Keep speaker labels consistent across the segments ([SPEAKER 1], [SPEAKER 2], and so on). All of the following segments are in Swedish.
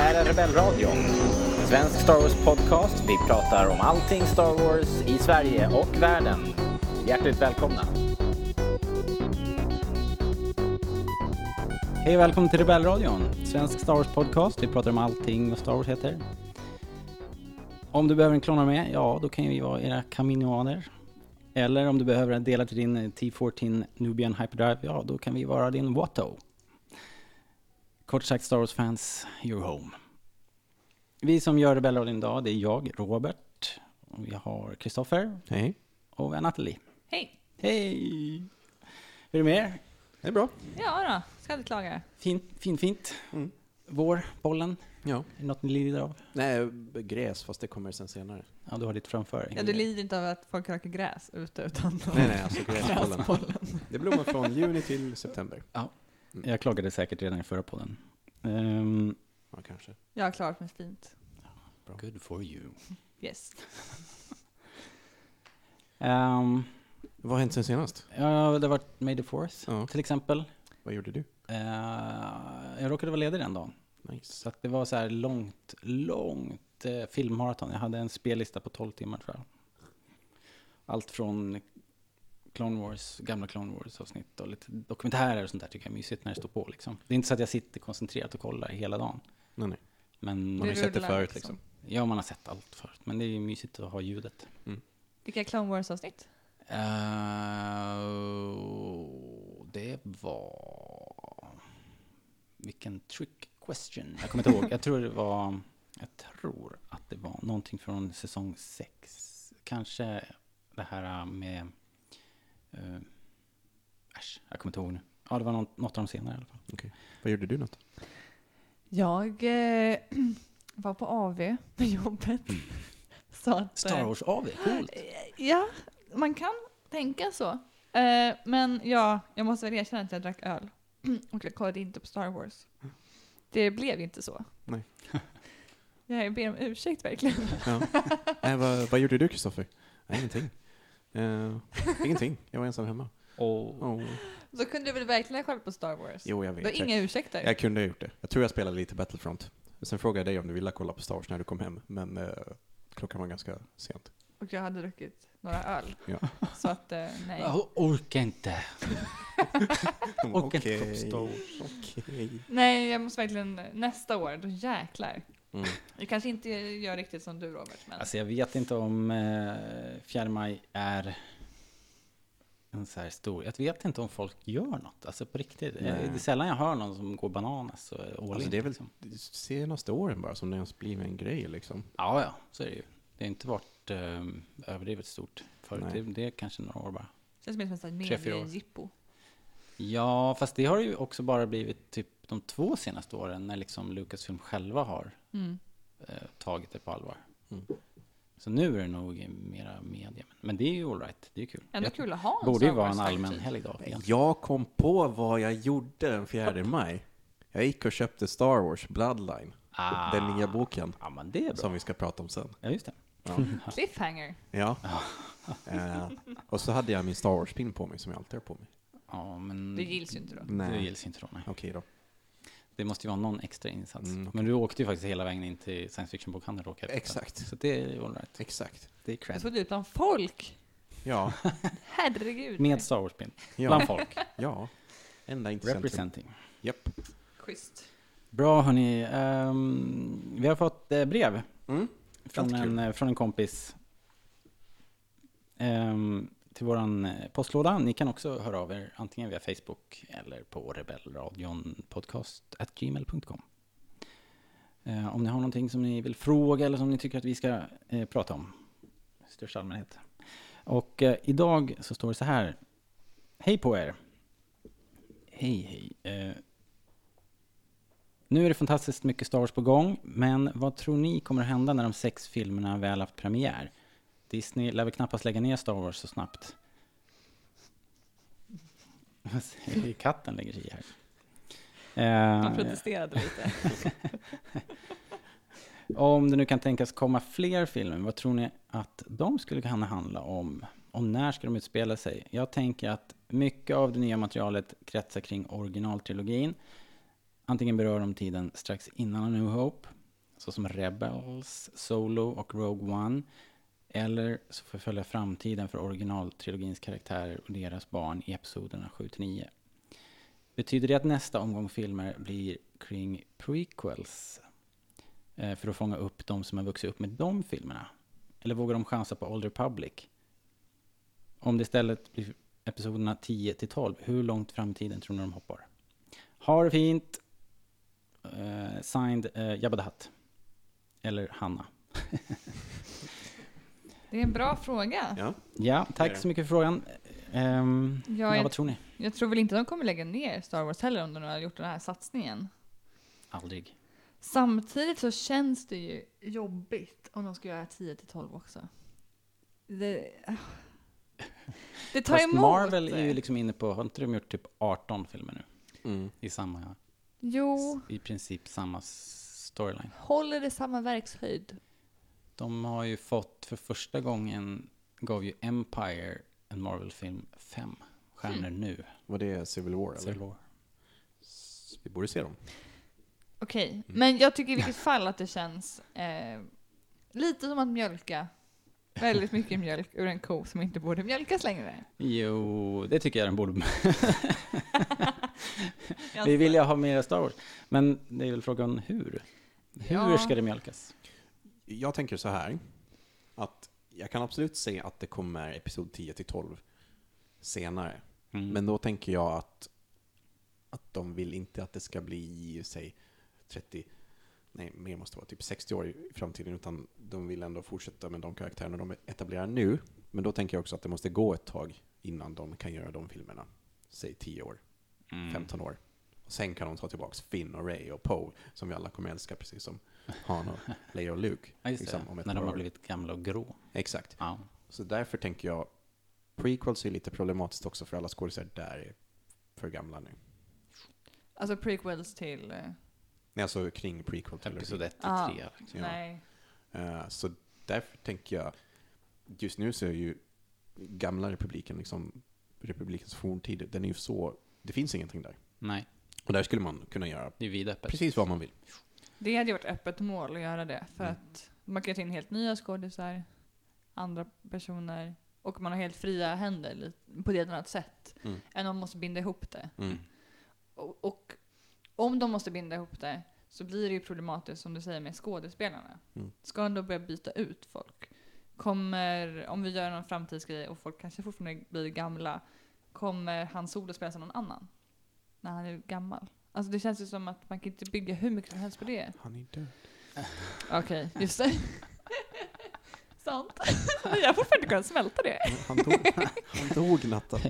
[SPEAKER 1] Rebellradion. Svensk Star Wars-podcast. Vi pratar om allting Star Wars i Sverige och världen. Hjärtligt välkomna!
[SPEAKER 2] Hej och välkommen till Rebellradion, svensk Star Wars-podcast. Vi pratar om allting vad Star Wars heter. Om du behöver en klonare med, ja då kan vi vara era kaminoaner. Eller om du behöver en delar till din T14 Nubian Hyperdrive, ja då kan vi vara din Watto. Kort sagt Star Wars-fans, you're home. Vi som gör Rebellradion idag, det är jag, Robert. och Vi har Kristoffer
[SPEAKER 3] Hej.
[SPEAKER 2] och vi har Nathalie.
[SPEAKER 4] Hej!
[SPEAKER 2] Hej! Hur är det med er?
[SPEAKER 3] Det är bra.
[SPEAKER 4] Ja då, ska inte klaga.
[SPEAKER 2] Fint, fint, fint.
[SPEAKER 4] Mm.
[SPEAKER 2] Vår, bollen.
[SPEAKER 3] Ja.
[SPEAKER 2] Är det något ni lider av?
[SPEAKER 3] Nej, gräs, fast det kommer sen senare.
[SPEAKER 2] Ja, du har lite framför dig.
[SPEAKER 4] Ja, du lider inte av att folk röker gräs ute utan
[SPEAKER 3] Nej, nej, alltså gräsbollen. Det blommar från juni till september.
[SPEAKER 2] Jag klagade säkert redan i förra podden. Ehm,
[SPEAKER 3] Ja, kanske.
[SPEAKER 4] Jag har klarat mig fint.
[SPEAKER 2] Good for you.
[SPEAKER 4] Yes.
[SPEAKER 3] Vad har hänt sen senast?
[SPEAKER 2] ehm, ja, det har varit May the Fourth,
[SPEAKER 3] Ja.
[SPEAKER 2] till exempel.
[SPEAKER 3] Vad gjorde du?
[SPEAKER 2] Ehm, jag råkade vara ledig den dagen.
[SPEAKER 3] Nice.
[SPEAKER 2] Så att det var så här långt, långt eh, filmmaraton. Jag hade en spellista på 12 timmar tror jag. Allt från Clone Wars, gamla Clone Wars-avsnitt och lite dokumentärer och sånt där tycker jag är mysigt när det står på liksom. Det är inte så att jag sitter koncentrerat och kollar hela dagen.
[SPEAKER 3] Nej, nej.
[SPEAKER 2] Men
[SPEAKER 3] Man har ju
[SPEAKER 4] Det
[SPEAKER 3] sett det
[SPEAKER 4] rullar
[SPEAKER 3] förut
[SPEAKER 4] liksom.
[SPEAKER 3] liksom.
[SPEAKER 2] ja, man har sett allt förut. Men det är ju mysigt att ha ljudet.
[SPEAKER 4] Vilka Clone Wars-avsnitt?
[SPEAKER 2] Eh, det var... Vilken trick question. Jag kommer inte ihåg. Jag tror det var... Jag tror att det var någonting från säsong 6. Kanske det här med... Uh, äsch, jag kommer inte ihåg nu. Ja, det var något, något av de senare i alla fall.
[SPEAKER 3] Vad gjorde du något?
[SPEAKER 4] Jag eh, var på AV med jobbet. Så att,
[SPEAKER 2] Star
[SPEAKER 4] eh,
[SPEAKER 2] Wars AV, coolt!
[SPEAKER 4] Ja, man kan tänka så. Eh, men ja, jag måste väl erkänna att jag drack öl. Och jag kollade inte på Star Wars. Det blev inte så.
[SPEAKER 3] Nej.
[SPEAKER 4] Jag ber om ursäkt verkligen.
[SPEAKER 3] Ja. nej, vad, vad gjorde du, Kristoffer? Nej, ingenting. Eh, ingenting. Jag var ensam hemma.
[SPEAKER 2] Och
[SPEAKER 3] Oh.
[SPEAKER 4] Då kunde du väl verkligen ha kollat på Star Wars?
[SPEAKER 3] Jo, jag
[SPEAKER 4] Du
[SPEAKER 3] vet.
[SPEAKER 4] har inga ursäkter.
[SPEAKER 3] Jag kunde ha gjort det. Jag tror jag spelade lite Battlefront. Sen frågade jag dig om du ville kolla på Star Wars när du kom hem, men eh, klockan var ganska sent.
[SPEAKER 4] Och jag hade druckit några öl.
[SPEAKER 3] Ja.
[SPEAKER 4] Så att, eh, nej.
[SPEAKER 2] jag orkar inte. Orkar inte kolla på
[SPEAKER 3] Okej.
[SPEAKER 2] Star Wars.
[SPEAKER 3] Okej.
[SPEAKER 4] Nej, jag måste verkligen eh, nästa år, då jäklar.
[SPEAKER 3] Mm.
[SPEAKER 4] Jag kanske inte gör riktigt som du Robert, men
[SPEAKER 2] Alltså jag vet inte om eh, 4 maj är en så här stor... Jag vet inte om folk gör något, alltså på riktigt. Eh,
[SPEAKER 3] Nej.
[SPEAKER 2] Det är sällan jag hör någon som går bananas och all
[SPEAKER 3] Alltså
[SPEAKER 2] in,
[SPEAKER 3] det är väl
[SPEAKER 2] liksom.
[SPEAKER 3] de senaste åren bara som det ens blivit en grej liksom.
[SPEAKER 2] Ja, ja, så är det ju. Det har inte varit eh, överdrivet stort förut.
[SPEAKER 3] Nej.
[SPEAKER 2] Det, det är kanske några år bara.
[SPEAKER 4] det känns mer som
[SPEAKER 2] Tre, fyra år.
[SPEAKER 4] ett jippo.
[SPEAKER 2] Ja, fast det har ju också bara blivit typ de två senaste åren när liksom Lucasfilm själva har
[SPEAKER 4] Mm.
[SPEAKER 2] eh, tagit det på allvar.
[SPEAKER 3] Mm.
[SPEAKER 2] Så nu är det nog mera media. Men det är ju all right. det är kul.
[SPEAKER 4] Ändå
[SPEAKER 2] Jag-
[SPEAKER 4] kul att ha en
[SPEAKER 2] borde ju
[SPEAKER 4] Star
[SPEAKER 2] vara en
[SPEAKER 4] Wars-dag,
[SPEAKER 2] allmän
[SPEAKER 4] typ.
[SPEAKER 2] helgdag. egentligen.
[SPEAKER 3] Jag kom på vad jag gjorde den 4 maj. Jag gick och köpte Star Wars Bloodline,
[SPEAKER 2] Ah.
[SPEAKER 3] den nya boken
[SPEAKER 2] Ja, men det är bra.
[SPEAKER 3] som vi ska prata om sen.
[SPEAKER 2] Ja, just det.
[SPEAKER 3] Ja.
[SPEAKER 4] Cliffhanger.
[SPEAKER 2] Mm.
[SPEAKER 3] ja. Eh, och så hade jag min Star Wars-pin på mig som jag alltid har på mig.
[SPEAKER 2] Ja, men
[SPEAKER 4] Det gills ju inte då.
[SPEAKER 2] Det
[SPEAKER 3] Nej,
[SPEAKER 2] gills inte då, nej.
[SPEAKER 3] okej då.
[SPEAKER 2] Det måste ju vara någon extra insats.
[SPEAKER 3] Mm, okej.
[SPEAKER 2] Men du åkte ju faktiskt hela vägen in till science fiction-bokhandeln råkade jag berätta.
[SPEAKER 3] Exakt,
[SPEAKER 2] Så det är ju all right.
[SPEAKER 3] exakt.
[SPEAKER 2] Det är
[SPEAKER 4] Jag
[SPEAKER 2] cred.
[SPEAKER 4] tog det ut bland folk.
[SPEAKER 3] Ja,
[SPEAKER 4] Herregud.
[SPEAKER 2] Med Star Wars-pin. Bland
[SPEAKER 3] ja,
[SPEAKER 2] folk.
[SPEAKER 3] ja. Enda intressenten.
[SPEAKER 2] Representing.
[SPEAKER 3] Japp.
[SPEAKER 4] Schysst.
[SPEAKER 2] Bra hörni. Ehm, vi har fått eh, brev
[SPEAKER 3] Mm.
[SPEAKER 2] från
[SPEAKER 3] Alltid
[SPEAKER 2] en,
[SPEAKER 3] kul.
[SPEAKER 2] eh, från en kompis. Ehm, till våran eh, postlåda. Ni kan också höra av er antingen via Facebook eller på rebellradionpodcast.gmail.com. Eh, om ni har någonting som ni vill fråga eller som ni tycker att vi ska eh, prata om i största allmänhet. Och eh, idag så står det så här. Hej på er! Hej hej. Eh, nu är det fantastiskt mycket Star Wars på gång, men vad tror ni kommer att hända när de sex filmerna väl haft premiär? Disney lär väl knappast lägga ner Star Wars så snabbt. Vad säger Katten lägger sig i här. Eh,
[SPEAKER 4] Man protesterade lite.
[SPEAKER 2] om det nu kan tänkas komma fler filmer, vad tror ni att de skulle kunna handla om? Och när ska de utspela sig? Jag tänker att mycket av det nya materialet kretsar kring originaltrilogin. Antingen berör de tiden strax innan A New Hope, såsom Rebels, Solo och Rogue One. Eller så får vi följa framtiden för originaltrilogins karaktärer och deras barn i episoderna 7-9. Betyder det att nästa omgång filmer blir kring prequels? Eh, För att fånga upp de som har vuxit upp med de filmerna? Eller vågar de chansa på Old Republic? Om det istället blir episoderna 10 till 12, hur långt framtiden tror ni de hoppar? Ha det fint! Eh, signed eh, Jabba the Hutt. Eller Hanna.
[SPEAKER 4] Det är en bra fråga.
[SPEAKER 3] Ja.
[SPEAKER 2] Ja,
[SPEAKER 3] är
[SPEAKER 2] tack
[SPEAKER 3] det.
[SPEAKER 2] så mycket för frågan. Ehm,
[SPEAKER 4] Jag,
[SPEAKER 2] ja,
[SPEAKER 4] är,
[SPEAKER 2] vad tror ni?
[SPEAKER 4] jag tror väl inte de kommer lägga ner Star Wars heller om de har gjort den här satsningen.
[SPEAKER 2] Aldrig.
[SPEAKER 4] Samtidigt så känns det ju jobbigt om de ska göra 10 till 12 också. Det, det tar
[SPEAKER 2] Fast
[SPEAKER 4] emot.
[SPEAKER 2] Marvel är ju liksom inne på, har inte de gjort typ 18 filmer nu?
[SPEAKER 3] Mm.
[SPEAKER 2] I samma,
[SPEAKER 4] Jo,
[SPEAKER 2] i princip samma storyline.
[SPEAKER 4] håller det samma verkshöjd?
[SPEAKER 2] De har ju fått, för första gången gav ju Empire en Marvel-film fem stjärnor nu.
[SPEAKER 3] Var det Civil War eller?
[SPEAKER 2] Civil War.
[SPEAKER 3] S- Vi borde se dem.
[SPEAKER 4] Okej,
[SPEAKER 2] Mm.
[SPEAKER 4] men jag tycker i vilket fall att det känns eh, lite som att mjölka väldigt mycket mjölk ur en ko som inte borde mjölkas längre.
[SPEAKER 2] Jo, det tycker jag den borde. Vi vill ju ha mer Star Wars. Men det är väl frågan hur? Hur
[SPEAKER 4] Ja.
[SPEAKER 2] ska det mjölkas?
[SPEAKER 3] Jag tänker så här. Att jag kan absolut se att det kommer episod 10 till 12 senare.
[SPEAKER 2] Mm.
[SPEAKER 3] Men då tänker jag att, att de vill inte att det ska bli, säg, 30, nej, mer måste vara typ 60 år i framtiden, utan de vill ändå fortsätta med de karaktärerna de etablerar nu. Men då tänker jag också att det måste gå ett tag innan de kan göra de filmerna. Säg 10 år,
[SPEAKER 2] Mm.
[SPEAKER 3] 15 år. Och sen kan de ta tillbaka Finn och Ray och Poe, som vi alla kommer älska, precis som Han och Leia och Luke.
[SPEAKER 2] Ja, just
[SPEAKER 3] liksom,
[SPEAKER 2] det.
[SPEAKER 3] om ett
[SPEAKER 2] När
[SPEAKER 3] par
[SPEAKER 2] de har
[SPEAKER 3] år.
[SPEAKER 2] blivit gamla och grå.
[SPEAKER 3] Exakt.
[SPEAKER 2] Ja.
[SPEAKER 3] Så därför tänker jag, prequels är lite problematiskt också för alla skådisar där är för gamla nu.
[SPEAKER 4] Alltså prequels till... eh,
[SPEAKER 3] Nej, alltså kring prequel
[SPEAKER 2] Episod 1 till
[SPEAKER 4] Ah.
[SPEAKER 2] 3.
[SPEAKER 3] Ja.
[SPEAKER 4] Nej.
[SPEAKER 3] Eh, Så därför tänker jag, just nu så är ju gamla republiken, liksom republikens forntid, den är ju så, det finns ingenting där.
[SPEAKER 2] Nej,
[SPEAKER 3] Och där skulle man kunna göra
[SPEAKER 2] det är vidöppet.
[SPEAKER 3] precis vad man vill.
[SPEAKER 4] Det hade ju varit öppet mål att göra det. För
[SPEAKER 3] Mm.
[SPEAKER 4] att man kan ta in helt nya skådisar, andra personer. Och man har helt fria händer li- på ett helt annat sätt.
[SPEAKER 3] Mm.
[SPEAKER 4] Än om man måste binda ihop det.
[SPEAKER 3] Mm.
[SPEAKER 4] Och, och om de måste binda ihop det så blir det ju problematiskt som du säger med skådespelarna.
[SPEAKER 3] Mm.
[SPEAKER 4] Ska de då börja byta ut folk? Kommer, om vi gör någon framtidsgrej och folk kanske fortfarande blir gamla, kommer hans Solo spelas av någon annan? När han är gammal? Alltså det känns ju som att man kan inte bygga hur mycket som helst på det.
[SPEAKER 3] Han är död.
[SPEAKER 4] Okej, just det. Sant. Men jag har fortfarande inte kunnat smälta det.
[SPEAKER 3] Han dog, han dog natten.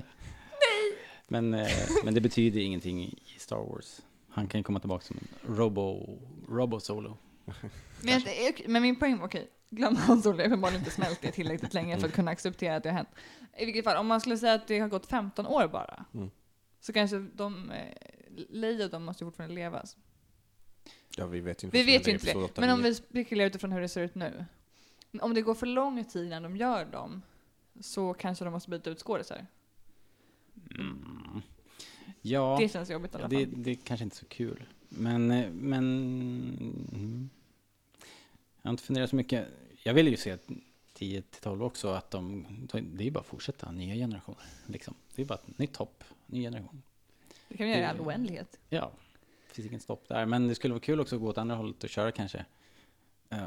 [SPEAKER 2] Men, eh, men det betyder ingenting i Star Wars. Han kan ju komma tillbaka som en robo, robo solo.
[SPEAKER 4] Men, jag- det är okej- men min poäng var okej, glöm Hans Olle, jag har uppenbarligen inte smält det tillräckligt länge för att kunna acceptera att det har hänt. I vilket fall, om man skulle säga att det har gått 15 år bara,
[SPEAKER 3] Mm.
[SPEAKER 4] så kanske de, eh, Leia och de måste ju fortfarande leva.
[SPEAKER 3] Ja, vi vet ju inte.
[SPEAKER 4] Vi
[SPEAKER 3] vad som
[SPEAKER 4] vet
[SPEAKER 3] händer
[SPEAKER 4] ju
[SPEAKER 3] i
[SPEAKER 4] inte det,
[SPEAKER 3] episod åtta,
[SPEAKER 4] men om
[SPEAKER 3] nio.
[SPEAKER 4] vi spekulerar utifrån hur det ser ut nu. Om det går för lång tid innan de gör dem, så kanske de måste byta ut skådisar.
[SPEAKER 2] Mm. Ja,
[SPEAKER 4] Det känns jobbigt i alla
[SPEAKER 2] det,
[SPEAKER 4] fall.
[SPEAKER 2] det är kanske inte så kul. Men, eh, men... Mm. Jag har inte funderat så mycket. Jag vill ju se 10 till 12 också, att de... Det är ju bara att fortsätta, nya generationer. Liksom. Det är bara ett nytt hopp, ny generation.
[SPEAKER 4] Det kan vi göra i all
[SPEAKER 2] det-
[SPEAKER 4] oändlighet.
[SPEAKER 2] Ja, det finns ingen stopp där. Men det skulle vara kul också att gå åt andra hållet och köra kanske. Eh,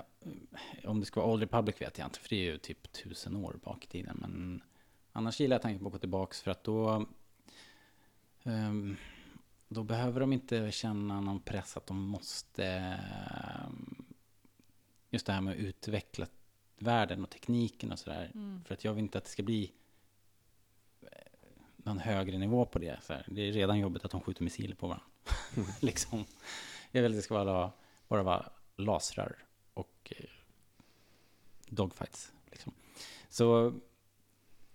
[SPEAKER 2] om det ska vara Old Republic vet jag inte, för det är ju typ tusen år bak i tiden. Men annars gillar jag tanken på att gå tillbaks för att då... ehm, då behöver de inte känna någon press att de måste... ehm, just det här med att utveckla världen och tekniken och sådär.
[SPEAKER 4] Mm.
[SPEAKER 2] För att jag vill inte att det ska bli eh, någon högre nivå på det. Så här. Det är redan jobbigt att de skjuter missiler på varandra. liksom. Jag vill att det ska vara, bara vara lasrar och eh, dogfights. Liksom. Så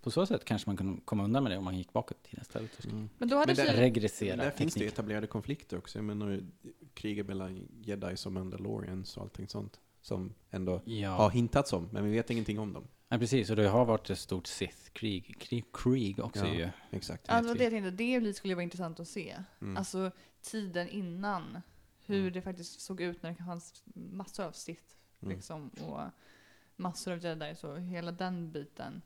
[SPEAKER 2] på så sätt kanske man kunde komma undan med det om man gick bakåt i tiden istället. och skulle
[SPEAKER 3] Mm.
[SPEAKER 4] Men då
[SPEAKER 3] Men
[SPEAKER 4] hade
[SPEAKER 3] det-
[SPEAKER 4] Kylo-
[SPEAKER 2] Regressera
[SPEAKER 3] Men Där finns det ju
[SPEAKER 2] tekniken.
[SPEAKER 3] etablerade konflikter också. Jag menar kriget mellan jedi och mandalorians och allting sånt. Som ändå har
[SPEAKER 2] Ja,
[SPEAKER 3] hintats om, men vi vet ingenting om dem.
[SPEAKER 2] ja, precis. Och det har varit ett stort Sith-krig krig, krig också
[SPEAKER 3] Ja.
[SPEAKER 2] ju.
[SPEAKER 3] Exakt.
[SPEAKER 4] Ja, det var det jag tänkte. Det skulle vara intressant att se.
[SPEAKER 3] Mm.
[SPEAKER 4] Alltså tiden Alltså, innan. Hur
[SPEAKER 3] Mm.
[SPEAKER 4] det faktiskt såg ut när det fanns massor av sitt.
[SPEAKER 3] Mm.
[SPEAKER 4] Liksom, och massor av jedi. Så hela den biten.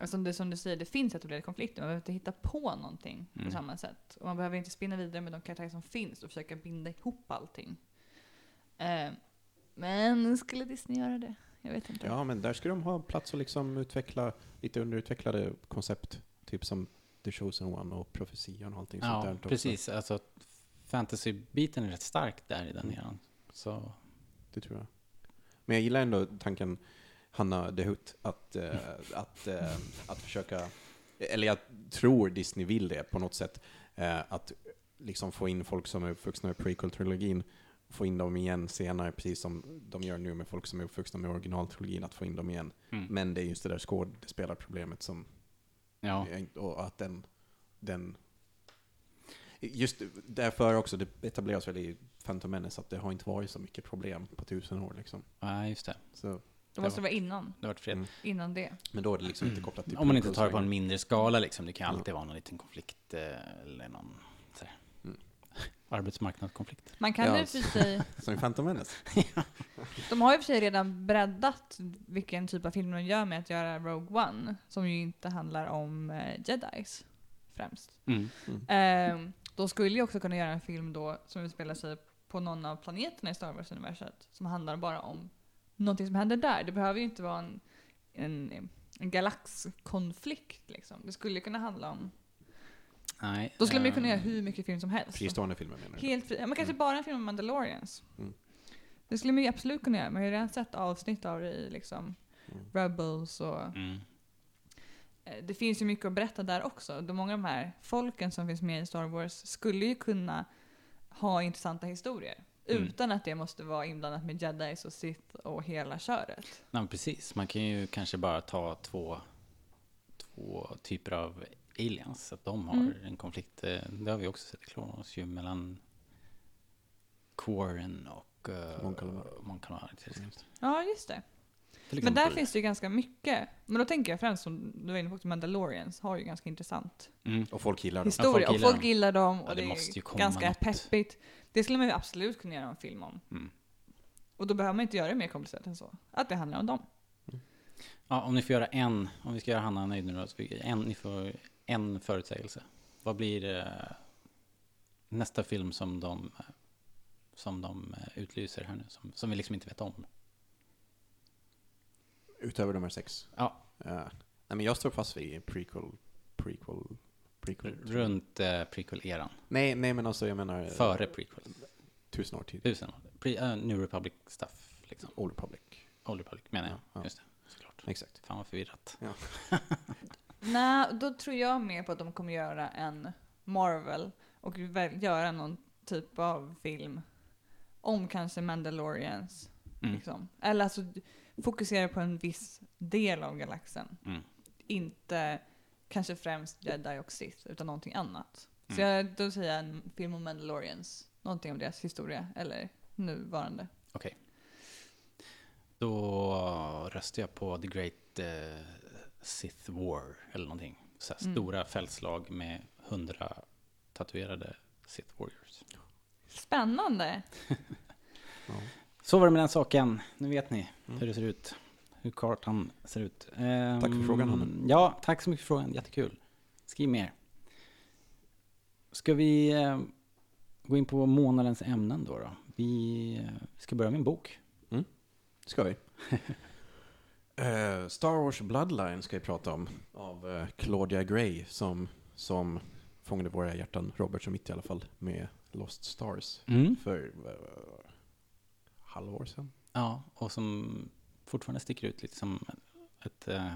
[SPEAKER 4] Alltså det, är som du säger, det finns etablerade konflikter. Man behöver inte hitta på någonting
[SPEAKER 2] Mm.
[SPEAKER 4] på samma sätt. Och man behöver inte spinna vidare med de karaktärer som finns och försöka binda ihop allting. Eh, men skulle Disney göra det? Jag vet inte.
[SPEAKER 3] Ja, men där skulle de ha plats att liksom utveckla lite underutvecklade koncept. Typ som The Chosen One och Profetian och allting sånt
[SPEAKER 2] Ja,
[SPEAKER 3] där. också.
[SPEAKER 2] precis. Alltså, fantasy-biten är rätt stark där i
[SPEAKER 3] Mm.
[SPEAKER 2] den eran. Så,
[SPEAKER 3] Det tror jag. Men jag gillar ändå tanken, Hanna de Hut, att, eh, att, eh, att försöka, eller jag tror Disney vill det på något sätt, eh, att liksom få in folk som är uppvuxna med prequel-trilogin, få in dem igen senare, precis som de gör nu med folk som är uppvuxna med originaltrilogin, att få in dem igen.
[SPEAKER 2] mm.
[SPEAKER 3] Men det är just det där skådespelarproblemet som
[SPEAKER 2] ja.
[SPEAKER 3] jag inte- Och att den, den... Just därför också, det etableras väl i Phantom Menace att det har inte varit så mycket problem på tusen år. Liksom.
[SPEAKER 2] ja, just det.
[SPEAKER 3] Så,
[SPEAKER 4] Då måste det vara innan,
[SPEAKER 2] Det vart fred.
[SPEAKER 3] Mm.
[SPEAKER 4] innan det.
[SPEAKER 3] men då är det liksom inte kopplat till
[SPEAKER 2] Om man inte
[SPEAKER 3] prequels
[SPEAKER 2] tar det på
[SPEAKER 3] längre.
[SPEAKER 2] en mindre skala liksom. Det kan ju alltid vara någon liten konflikt eh, eller någon så här,
[SPEAKER 3] Mm.
[SPEAKER 2] arbetsmarknadskonflikt.
[SPEAKER 4] Man kan
[SPEAKER 3] Ja.
[SPEAKER 4] ju för sig,
[SPEAKER 3] Som i Phantom Menace.
[SPEAKER 4] de har ju för sig redan breddat vilken typ av film de gör med att göra Rogue One, som ju inte handlar om eh, jedis främst.
[SPEAKER 2] Mm.
[SPEAKER 3] Mm.
[SPEAKER 4] Ehm, då skulle jag också kunna göra en film då som utspelar sig på någon av planeterna i Star Wars-universet som handlar bara om någonting som händer där. Det behöver ju inte vara en, en, en galaxkonflikt liksom. Det skulle ju kunna handla om...
[SPEAKER 2] Nej,
[SPEAKER 4] Då skulle man
[SPEAKER 2] eh,
[SPEAKER 4] ju kunna göra hur mycket film som helst.
[SPEAKER 3] Fristående filmer menar du?
[SPEAKER 4] Helt fri. ja, Men
[SPEAKER 2] Mm.
[SPEAKER 4] kanske bara en film om Mandalorians.
[SPEAKER 3] Mm.
[SPEAKER 4] Det skulle man ju absolut kunna göra. Man har ju redan sett avsnitt av det i liksom
[SPEAKER 3] Mm.
[SPEAKER 4] Rebels och...
[SPEAKER 2] Mm.
[SPEAKER 4] Eh, Det finns ju mycket att berätta där också. De många av de här folken som finns med i Star Wars skulle ju kunna ha intressanta historier.
[SPEAKER 2] Mm.
[SPEAKER 4] Utan att det måste vara inblandat med jedis och Sith och hela köret.
[SPEAKER 2] Nej, men precis. Man kan ju kanske bara ta två, två typer av aliens. Att de har
[SPEAKER 4] Mm.
[SPEAKER 2] en konflikt. eh, Det har vi också sett i Clone Wars ju mellan Quarren och eh,
[SPEAKER 3] Mon Calamari. Mm.
[SPEAKER 2] Mon Calamari, till exempel.
[SPEAKER 4] Ja, just det.
[SPEAKER 2] Till
[SPEAKER 4] Men där
[SPEAKER 2] exempel.
[SPEAKER 4] finns det ju ganska mycket. Men då tänker jag främst, som du var inne på, också, Mandalorians har ju ganska intressant
[SPEAKER 2] Mm.
[SPEAKER 3] Och folk gillar dem.
[SPEAKER 4] historia.
[SPEAKER 2] folk
[SPEAKER 4] och
[SPEAKER 2] gillar
[SPEAKER 4] folk gillar dem och
[SPEAKER 2] Ja, det
[SPEAKER 4] det,
[SPEAKER 2] måste ju
[SPEAKER 4] är
[SPEAKER 2] komma
[SPEAKER 4] ganska
[SPEAKER 2] något.
[SPEAKER 4] peppigt. Det skulle man ju absolut kunna göra en film om.
[SPEAKER 2] Mm.
[SPEAKER 4] Och då behöver man inte göra det mer komplicerat än så. Att det handlar om dem.
[SPEAKER 2] Ja, om ni får göra en, om vi ska göra Hanna nöjd nu då, så vi, en, ni får en förutsägelse. Vad blir eh, nästa film som de, eh, som de eh, utlyser här nu, som, som vi liksom inte vet om?
[SPEAKER 3] Utöver de här sex.
[SPEAKER 2] Ja.
[SPEAKER 3] Eh, nej men jag står fast vid prequel, prequel, prequel.
[SPEAKER 2] Runt eh, prequel-eran,
[SPEAKER 3] Nej, nej men alltså jag menar eh,
[SPEAKER 2] före prequel.
[SPEAKER 3] tusen år tidigare.
[SPEAKER 2] Tusen år. Pre, eh, New Republic stuff, liksom.
[SPEAKER 3] Old Republic.
[SPEAKER 2] Old Republic menar jag.
[SPEAKER 3] Ja, ja.
[SPEAKER 2] Just det, såklart.
[SPEAKER 3] Exakt.
[SPEAKER 2] Fan vad förvirrat.
[SPEAKER 4] Nej, då tror jag mer på att de kommer göra en Marvel och väl göra någon typ av film om kanske Mandalorians.
[SPEAKER 2] Mm.
[SPEAKER 4] Liksom. Eller alltså fokusera på en viss del av galaxen.
[SPEAKER 2] Mm.
[SPEAKER 4] Inte kanske främst Jedi och Sith, utan någonting annat. Så
[SPEAKER 2] Mm.
[SPEAKER 4] jag, då säger jag en film om Mandalorians. Någonting om deras historia, eller nuvarande.
[SPEAKER 2] Okej. Då röstar jag på The Great eh, Sith War eller någonting. Så här
[SPEAKER 4] Mm.
[SPEAKER 2] Stora fältslag med hundra tatuerade Sith Warriors.
[SPEAKER 4] Spännande!
[SPEAKER 3] Ja.
[SPEAKER 2] Så var det med den saken. Nu vet ni
[SPEAKER 3] Mm.
[SPEAKER 2] hur det ser ut. Hur kartan ser ut.
[SPEAKER 3] Tack för frågan,
[SPEAKER 2] Ehm,
[SPEAKER 3] Hanne.
[SPEAKER 2] Ja, tack så mycket för frågan. Jättekul. Skriv mer. Ska vi eh, gå in på månadens ämnen då? då? Vi eh, ska börja med en bok.
[SPEAKER 3] ska vi. Eh, Star Wars Bloodline ska vi prata om. Av eh, Claudia Gray som, som fångade våra hjärtan, Robert och mitt i alla fall, med Lost Stars för eh, halvår sedan.
[SPEAKER 2] Ja, och som fortfarande sticker ut lite som ett, eh,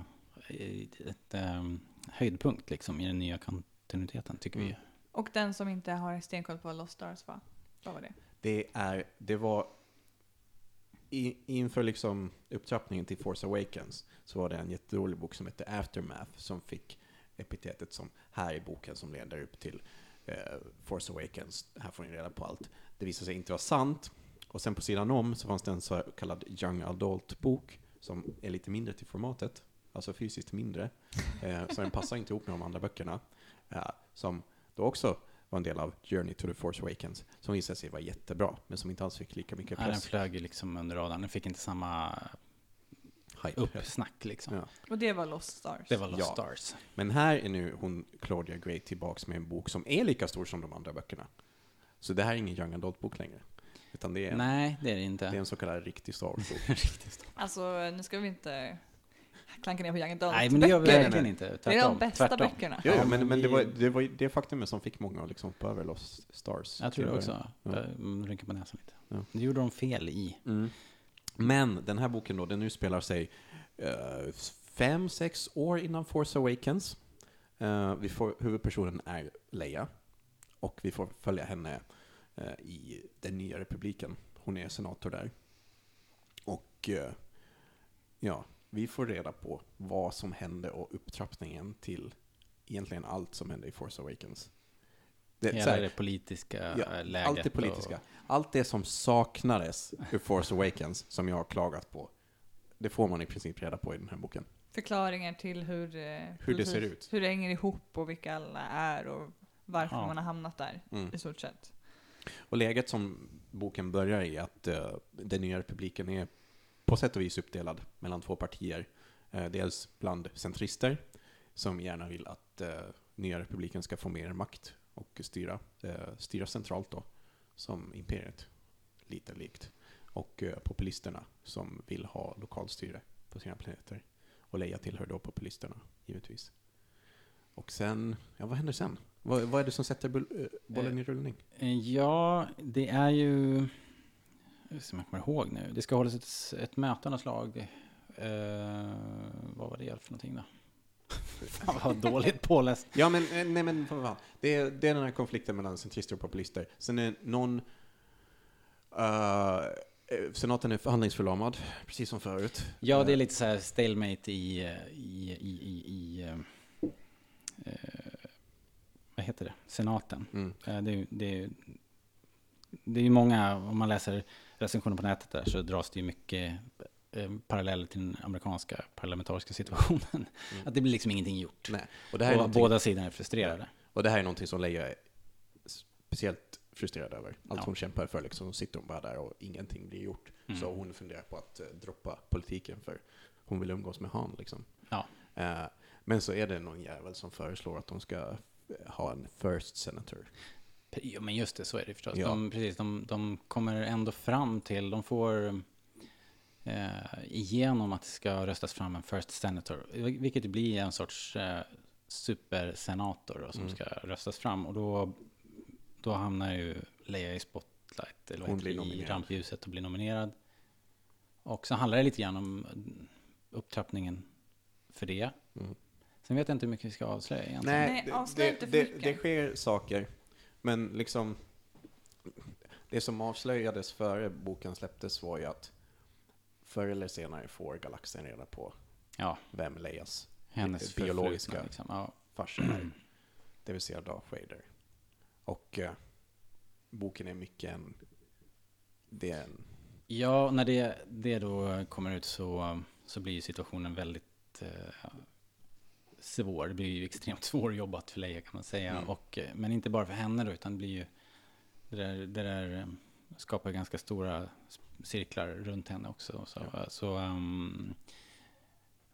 [SPEAKER 2] ett, eh, höjdpunkt liksom i den nya kontinuiteten tycker vi.
[SPEAKER 3] Mm.
[SPEAKER 4] Och den som inte har stenkoll på Lost Stars, va? Vad var det?
[SPEAKER 3] Det, är, det var i, inför liksom upptrappningen till Force Awakens så var det en jätterolig bok som hette Aftermath som fick epitetet som här är boken som leder upp till eh, Force Awakens. Här får ni reda på allt. Det visade sig inte vara sant. Och sen på sidan om så fanns det en så kallad Young Adult-bok som är lite mindre till formatet, alltså fysiskt mindre. Eh, så den passar inte ihop med de andra böckerna. Eh, som då också var en del av Journey to the Force Awakens, som visade sig vara jättebra, men som inte alls fick lika mycket
[SPEAKER 2] Nej, den
[SPEAKER 3] press.
[SPEAKER 2] flög ju liksom under radarn. Den fick inte samma
[SPEAKER 3] Hype.
[SPEAKER 2] uppsnack liksom.
[SPEAKER 3] Ja.
[SPEAKER 4] Och det var Lost Stars.
[SPEAKER 2] Det var Lost
[SPEAKER 3] Ja.
[SPEAKER 2] Stars.
[SPEAKER 3] Men här är nu hon, Claudia Gray, tillbaks med en bok som är lika stor som de andra böckerna. Så det här är ingen Young Adult-bok längre, utan det är, en,
[SPEAKER 2] Nej, det är det
[SPEAKER 3] det är
[SPEAKER 2] inte.
[SPEAKER 3] en så kallad riktig Star Wars-bok.
[SPEAKER 4] Alltså, nu ska vi inte klanka ner på Young Adult.
[SPEAKER 2] Nej, men det gör vi
[SPEAKER 4] böcker.
[SPEAKER 2] verkligen inte.
[SPEAKER 4] Det är
[SPEAKER 2] Tvärtom.
[SPEAKER 4] de bästa
[SPEAKER 2] tvärtom.
[SPEAKER 4] böckerna.
[SPEAKER 3] Jo,
[SPEAKER 2] Ja,
[SPEAKER 3] ja, men,
[SPEAKER 2] men
[SPEAKER 3] men det,
[SPEAKER 2] vi-
[SPEAKER 3] var, det var ju det faktumet som fick många att liksom hoppa över Lost Stars.
[SPEAKER 2] Jag tror
[SPEAKER 3] till
[SPEAKER 2] det
[SPEAKER 3] början.
[SPEAKER 2] också.
[SPEAKER 3] Ja.
[SPEAKER 2] Jag mm, rycker på näsan lite.
[SPEAKER 3] Ja.
[SPEAKER 2] Det gjorde de fel i.
[SPEAKER 3] Mm. Men den här boken då, den utspelar sig eh, fem, sex år innan Force Awakens. Eh, vi får, huvudpersonen är Leia och vi får följa henne eh, i den nya republiken. Hon är senator där. Och eh, ja, vi får reda på vad som hände och upptrappningen till egentligen allt som hände i Force Awakens. Det, så
[SPEAKER 2] Hela
[SPEAKER 3] här-
[SPEAKER 2] det politiska
[SPEAKER 3] Ja,
[SPEAKER 2] eh, läget.
[SPEAKER 3] allt det politiska. Allt det som saknades ur Force Awakens, som jag har klagat på, det får man i princip reda på i den här boken.
[SPEAKER 4] Förklaringar till hur, eh,
[SPEAKER 3] Hur det
[SPEAKER 4] precis,
[SPEAKER 3] ser ut.
[SPEAKER 4] Hur det hänger ihop och vilka alla är och varför
[SPEAKER 2] Ja.
[SPEAKER 4] man har hamnat där
[SPEAKER 3] Mm.
[SPEAKER 4] i stort sett.
[SPEAKER 3] Och läget som boken börjar i, att eh, den nya republiken är på sätt och vis uppdelad mellan två partier. Eh, dels bland centrister, som gärna vill att eh, nya republiken ska få mer makt och styra, eh, styra centralt då, som imperiet, lite likt. Och eh, populisterna som vill ha lokalstyre på sina planeter. Och Leia tillhör då populisterna, givetvis. Och sen, ja vad händer sen? Vad, vad är det som sätter bull- eh, bollen i rullning?
[SPEAKER 2] Eh, Ja, det är ju... Som jag kommer ihåg nu. Det ska hållas ett, ett möte av något slag. Eh, vad var det för någonting då? Fan vad dåligt påläst.
[SPEAKER 3] Ja, men, eh, nej, men vad fan. Det är, det är den här konflikten mellan centrister och populister. Sen är någon... eh, eh, senaten är förhandlingsförlamad, precis som förut.
[SPEAKER 2] Ja, det är lite så här stalemate i... eh, i, i, i, i eh, eh, vad heter det? Senaten.
[SPEAKER 3] Mm.
[SPEAKER 2] Eh, Det är ju det är, ju- det är ju många, om man läser recensioner på nätet där så dras det ju mycket eh, paralleller till den amerikanska parlamentariska situationen. Att det blir liksom ingenting gjort.
[SPEAKER 3] Nej. Och, Mm. det här är
[SPEAKER 2] och
[SPEAKER 3] någonting-
[SPEAKER 2] båda sidor är frustrerade.
[SPEAKER 3] och det här är någonting som Leia är speciellt frustrerad över. Allt
[SPEAKER 2] Ja.
[SPEAKER 3] hon kämpar för, liksom, sitter hon bara där och ingenting blir gjort.
[SPEAKER 2] Mm.
[SPEAKER 3] Så hon funderar på att eh, droppa politiken för hon vill umgås med Han. Liksom.
[SPEAKER 2] Ja.
[SPEAKER 3] Eh, men så är det någon jävel som föreslår att de ska eh, ha en first senator.
[SPEAKER 2] Ja, men just det, så är det förstås.
[SPEAKER 3] Ja.
[SPEAKER 2] De, precis, de, de kommer ändå fram till, de får eh, igenom att det ska röstas fram en First Senator, vilket blir en sorts eh, supersenator då, som
[SPEAKER 3] Mm.
[SPEAKER 2] ska röstas fram. Och då, då hamnar ju Leia i spotlight, eller vad
[SPEAKER 3] Hon
[SPEAKER 2] heter
[SPEAKER 3] blir
[SPEAKER 2] det, i
[SPEAKER 3] nominerad.
[SPEAKER 2] rampljuset och blir nominerad. Och så handlar det lite grann om upptrappningen för det.
[SPEAKER 3] Mm.
[SPEAKER 2] Sen vet jag inte hur mycket vi ska avslöja egentligen.
[SPEAKER 4] Nej,
[SPEAKER 3] Nej,
[SPEAKER 4] avslöja
[SPEAKER 3] det,
[SPEAKER 4] inte
[SPEAKER 3] det,
[SPEAKER 4] för
[SPEAKER 3] det, det
[SPEAKER 4] mycket.
[SPEAKER 3] sker saker, men liksom det som avslöjades före boken släpptes var ju att förr eller senare får galaxen reda på
[SPEAKER 2] Ja,
[SPEAKER 3] vem Leias
[SPEAKER 2] hennes
[SPEAKER 3] Det biologiska.
[SPEAKER 2] förflutna, Liksom. Ja.
[SPEAKER 3] farsa är, det vill säga Darth Vader. Och eh, boken är mycket en... Det är en
[SPEAKER 2] Ja, när det, det då kommer ut så, så blir ju situationen väldigt eh, svår. Det blir ju extremt svårjobbat för Leia kan man säga.
[SPEAKER 3] Mm.
[SPEAKER 2] Och, eh, men inte bara för henne då, utan det blir ju... Det där, det där eh, skapar ganska stora cirklar runt henne också. och Så, så ehm,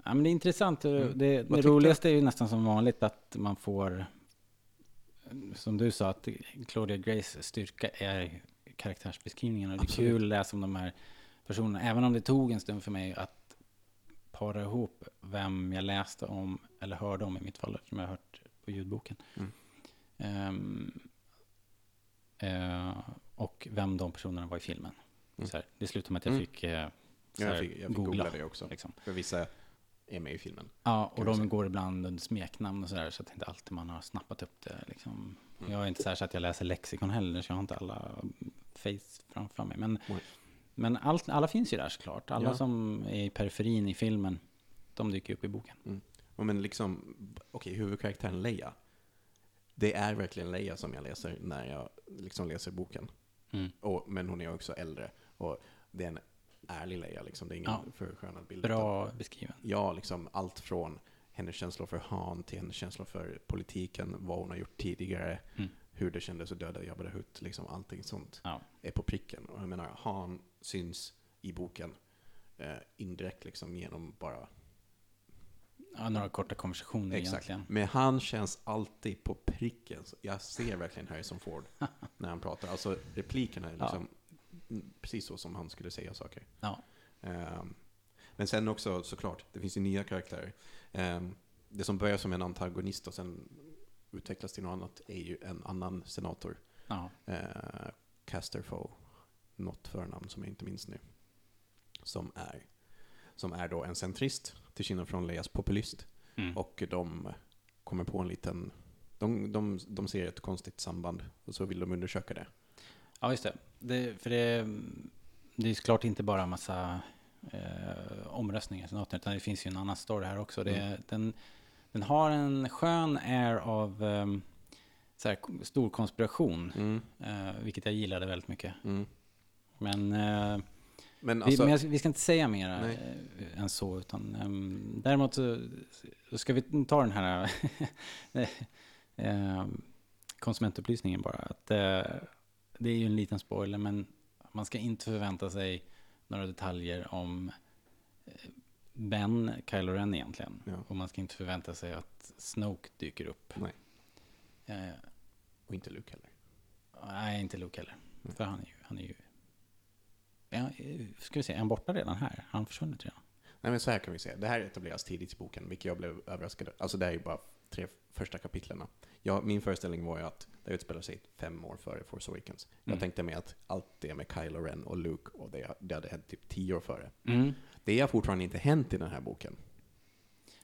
[SPEAKER 2] ja, men det är intressant. och
[SPEAKER 3] Mm.
[SPEAKER 2] Det, det
[SPEAKER 3] tyckte-
[SPEAKER 2] roligaste är ju nästan som vanligt att man får... Som du sa, att Claudia Grays styrka är karaktärsbeskrivningarna. Det är
[SPEAKER 3] Absolut.
[SPEAKER 2] kul att läsa om de här personerna. Även om det tog en stund för mig att para ihop vem jag läste om, eller hörde om i mitt fall, eftersom jag har hört på ljudboken.
[SPEAKER 3] Mm.
[SPEAKER 2] Ehm, eh, och vem de personerna var i filmen.
[SPEAKER 3] Mm.
[SPEAKER 2] Så här, det slutade med att jag
[SPEAKER 3] Mm.
[SPEAKER 2] fick, eh, så här,
[SPEAKER 3] jag, fick, jag fick googla. det också,
[SPEAKER 2] Liksom.
[SPEAKER 3] för vissa är med i filmen.
[SPEAKER 2] Ja, och
[SPEAKER 3] Kan vi säga.
[SPEAKER 2] de går ibland under smeknamn och sådär, så att det inte alltid man har snappat upp det. Liksom.
[SPEAKER 3] Mm.
[SPEAKER 2] Jag är inte så, här så att jag läser lexikon heller, så jag har inte alla face framför mig. Men,
[SPEAKER 3] Nej.
[SPEAKER 2] men allt, alla finns ju där såklart. Alla
[SPEAKER 3] Ja.
[SPEAKER 2] som är i periferin i filmen, de dyker upp i boken.
[SPEAKER 3] Ja, Men liksom, okej, huvudkaraktären Leia. Det är verkligen Leia som jag läser när jag liksom läser boken.
[SPEAKER 2] Mm.
[SPEAKER 3] Och, men hon är också äldre. Och det är en ärlig Leia, liksom. det är ingen
[SPEAKER 2] Ja.
[SPEAKER 3] förskönad bild.
[SPEAKER 2] Bra beskriven.
[SPEAKER 3] Ja, liksom allt från hennes känslor för Han till hennes känslor för politiken, vad hon har gjort tidigare,
[SPEAKER 2] Mm.
[SPEAKER 3] hur det kändes att döda Jabba the Hutt, liksom allting sånt
[SPEAKER 2] Ja.
[SPEAKER 3] är på pricken. Och jag menar, han syns i boken eh, indirekt liksom genom bara...
[SPEAKER 2] Ja, några korta konversationer egentligen.
[SPEAKER 3] Men han känns alltid på pricken. Så Jag ser verkligen Harrison Ford när han pratar. Alltså replikerna är
[SPEAKER 2] Ja.
[SPEAKER 3] liksom mm, precis så som han skulle säga saker.
[SPEAKER 2] Ja.
[SPEAKER 3] Ehm, men sen också såklart, det finns ju nya karaktärer. Ehm, det som börjar som en antagonist och sen utvecklas till något annat är ju en annan senator.
[SPEAKER 2] Ja.
[SPEAKER 3] eh, Casterfoe, något förnamn som jag inte minns nu, som är, som är då en centrist, till skillnad från Leias populist.
[SPEAKER 2] Mm.
[SPEAKER 3] Och de kommer på en liten, de, de, de ser ett konstigt samband och så vill de undersöka det.
[SPEAKER 2] Ja, just det. det för det, det är ju såklart inte bara en massa eh, omröstningar i senaten, utan det finns ju en annan story här också. Det, den, den har en skön air av eh, så här, stor konspiration, eh, vilket jag gillade väldigt mycket. Men, eh,
[SPEAKER 3] Men
[SPEAKER 2] mm. vi,
[SPEAKER 3] alltså,
[SPEAKER 2] men jag, vi ska inte säga mer
[SPEAKER 3] Nej.
[SPEAKER 2] eh, än så, utan ehm, däremot så, så ska vi ta den här eh, ehm, konsumentupplysningen bara. Att, eh, det är ju en liten spoiler, men man ska inte förvänta sig några detaljer om eh, Ben Kylo Ren egentligen.
[SPEAKER 3] Ja.
[SPEAKER 2] Och man ska inte förvänta sig att Snoke dyker upp.
[SPEAKER 3] nej,
[SPEAKER 2] Eh,
[SPEAKER 3] och inte Luke heller.
[SPEAKER 2] nej, inte Luke heller.
[SPEAKER 3] Mm.
[SPEAKER 2] För han är ju... Han är ju Ja, eh, ska vi se, är han borta redan här? Har han försvunnit redan?
[SPEAKER 3] Nej men så här kan vi säga, det här etableras tidigt i boken, vilket jag blev överraskad Alltså det här är ju bara tre första kapitlerna. Jag, min föreställning var ju att det utspelar sig fem år före Force Awakens. Jag
[SPEAKER 2] Mm.
[SPEAKER 3] tänkte mig att allt det med Kylo Ren och Luke, och det, det hade hänt typ tio år före.
[SPEAKER 2] Mm.
[SPEAKER 3] Det har fortfarande inte hänt i den här boken.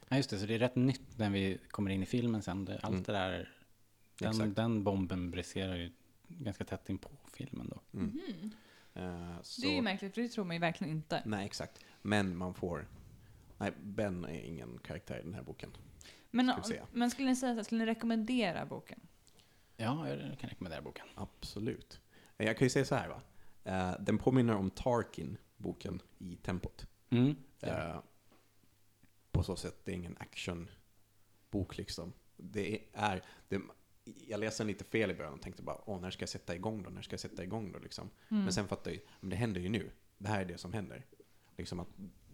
[SPEAKER 2] Ja, just det. Så det är rätt nytt när vi kommer in i filmen sen. Det- Allt
[SPEAKER 3] Mm.
[SPEAKER 2] det där, den,
[SPEAKER 3] Exakt.
[SPEAKER 2] den bomben briserar ju ganska tätt in på filmen då.
[SPEAKER 3] Mm.
[SPEAKER 4] Mhm.
[SPEAKER 3] Eh, så,
[SPEAKER 4] Det är ju märkligt, för det tror man ju verkligen inte.
[SPEAKER 3] Nej, exakt. Men man får... Nej, Ben är ingen karaktär i den här boken.
[SPEAKER 4] Men,
[SPEAKER 3] Ska vi se.
[SPEAKER 4] men skulle ni säga så här, skulle ni rekommendera boken?
[SPEAKER 2] Ja, jag kan rekommendera boken.
[SPEAKER 3] Absolut. Eh, Jag kan ju säga så här, va. Eh, den påminner om Tarkin, boken, i tempot.
[SPEAKER 2] Mm. Ja.
[SPEAKER 3] Eh, på så sätt, det är ingen actionbok liksom. Det är, det, jag läste den lite fel i början och tänkte bara, åh, när ska jag sätta igång då? När ska jag sätta igång då? Liksom.
[SPEAKER 2] Mm.
[SPEAKER 4] Mm.
[SPEAKER 3] Men sen fattade jag ju, men det händer ju nu. Det här är det som händer. Liksom att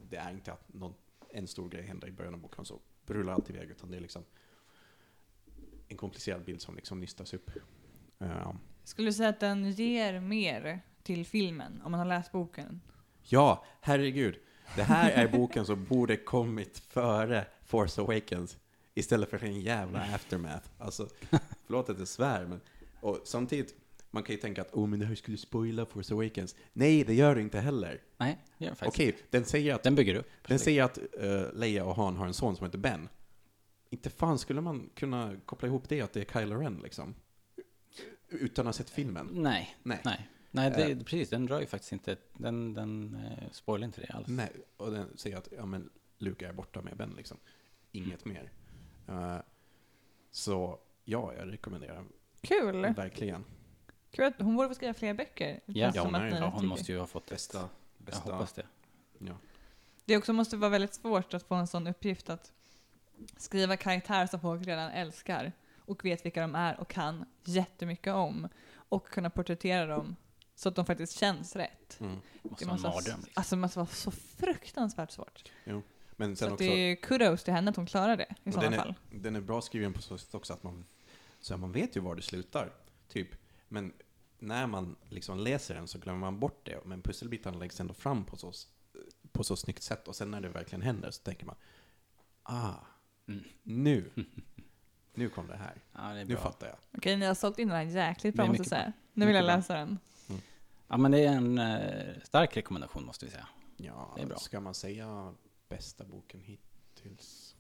[SPEAKER 3] det är inte att någon, en stor grej händer i början av boken så rullar allt iväg, utan det är liksom en komplicerad bild som liksom nystas upp. Eh,
[SPEAKER 4] Skulle du säga att den ger mer till filmen om man har läst boken?
[SPEAKER 3] Ja, herregud. Det här är boken som borde kommit före Force Awakens istället för en jävla aftermath. Alltså, förlåt att jag svär, men och samtidigt, man kan ju tänka att oh, men det här skulle spoila Force Awakens. Nej, det gör det inte heller.
[SPEAKER 2] Nej, det gör den faktiskt.
[SPEAKER 3] Okej, den säger att,
[SPEAKER 2] Den bygger upp.
[SPEAKER 3] den säger att eh, Leia och Han har en son som heter Ben. Inte fan skulle man kunna koppla ihop det att det är Kylo Ren liksom. Utan att ha sett filmen.
[SPEAKER 2] Nej,
[SPEAKER 3] Nej.
[SPEAKER 2] nej. Nej, det,
[SPEAKER 3] Eh.
[SPEAKER 2] precis. Den drar ju faktiskt inte, den, den eh, spoilar inte det alls.
[SPEAKER 3] Nej, och den säger att ja, men Luke är borta med Ben liksom. Inget mer. Eh, så ja, jag rekommenderar
[SPEAKER 4] Kul!
[SPEAKER 3] verkligen.
[SPEAKER 4] Kul att hon borde få skriva fler böcker. Det
[SPEAKER 2] Mm. Ja.
[SPEAKER 4] känns
[SPEAKER 3] Ja,
[SPEAKER 4] som
[SPEAKER 3] hon
[SPEAKER 4] att
[SPEAKER 3] är-
[SPEAKER 4] ni
[SPEAKER 2] Ja, hon
[SPEAKER 4] tycker.
[SPEAKER 2] måste ju ha fått ett.
[SPEAKER 3] Bästa,
[SPEAKER 2] Jag
[SPEAKER 3] bästa.
[SPEAKER 2] hoppas det.
[SPEAKER 3] Ja.
[SPEAKER 4] Det också måste vara väldigt svårt att få en sån uppgift att skriva karaktärer som folk redan älskar och vet vilka de är och kan jättemycket om och kunna porträttera dem så att de faktiskt känns rätt.
[SPEAKER 3] Mm.
[SPEAKER 2] Måste vara en mardröm.
[SPEAKER 4] s-
[SPEAKER 2] liksom.
[SPEAKER 4] alltså, det måste vara så fruktansvärt svårt.
[SPEAKER 3] Men
[SPEAKER 4] Så
[SPEAKER 3] sen
[SPEAKER 4] att
[SPEAKER 3] också,
[SPEAKER 4] det är kudos till henne att hon klarar det i
[SPEAKER 3] och
[SPEAKER 4] sådana
[SPEAKER 3] den,
[SPEAKER 4] fall.
[SPEAKER 3] är, den är bra skriven på så sätt också att man, så här, man vet ju var det slutar. Typ. Men när man liksom läser den så glömmer man bort det. Men pusselbitarna läggs ändå fram på så, på så snyggt sätt. Och sen när det verkligen händer så tänker man, ah,
[SPEAKER 2] Mm.
[SPEAKER 3] nu, nu kom det här.
[SPEAKER 2] Ja, det är
[SPEAKER 3] Nu
[SPEAKER 2] bra.
[SPEAKER 3] fattar jag.
[SPEAKER 4] Okej, ni har sålt in den här jäkligt bra
[SPEAKER 2] Det är
[SPEAKER 4] måste jag
[SPEAKER 2] mycket
[SPEAKER 4] säga. Nu vill jag
[SPEAKER 2] Mycket bra.
[SPEAKER 4] läsa den.
[SPEAKER 2] Ja, men det är en eh, stark rekommendation måste vi säga.
[SPEAKER 3] Ja,
[SPEAKER 2] Det är bra.
[SPEAKER 3] ska man säga bästa boken hittills?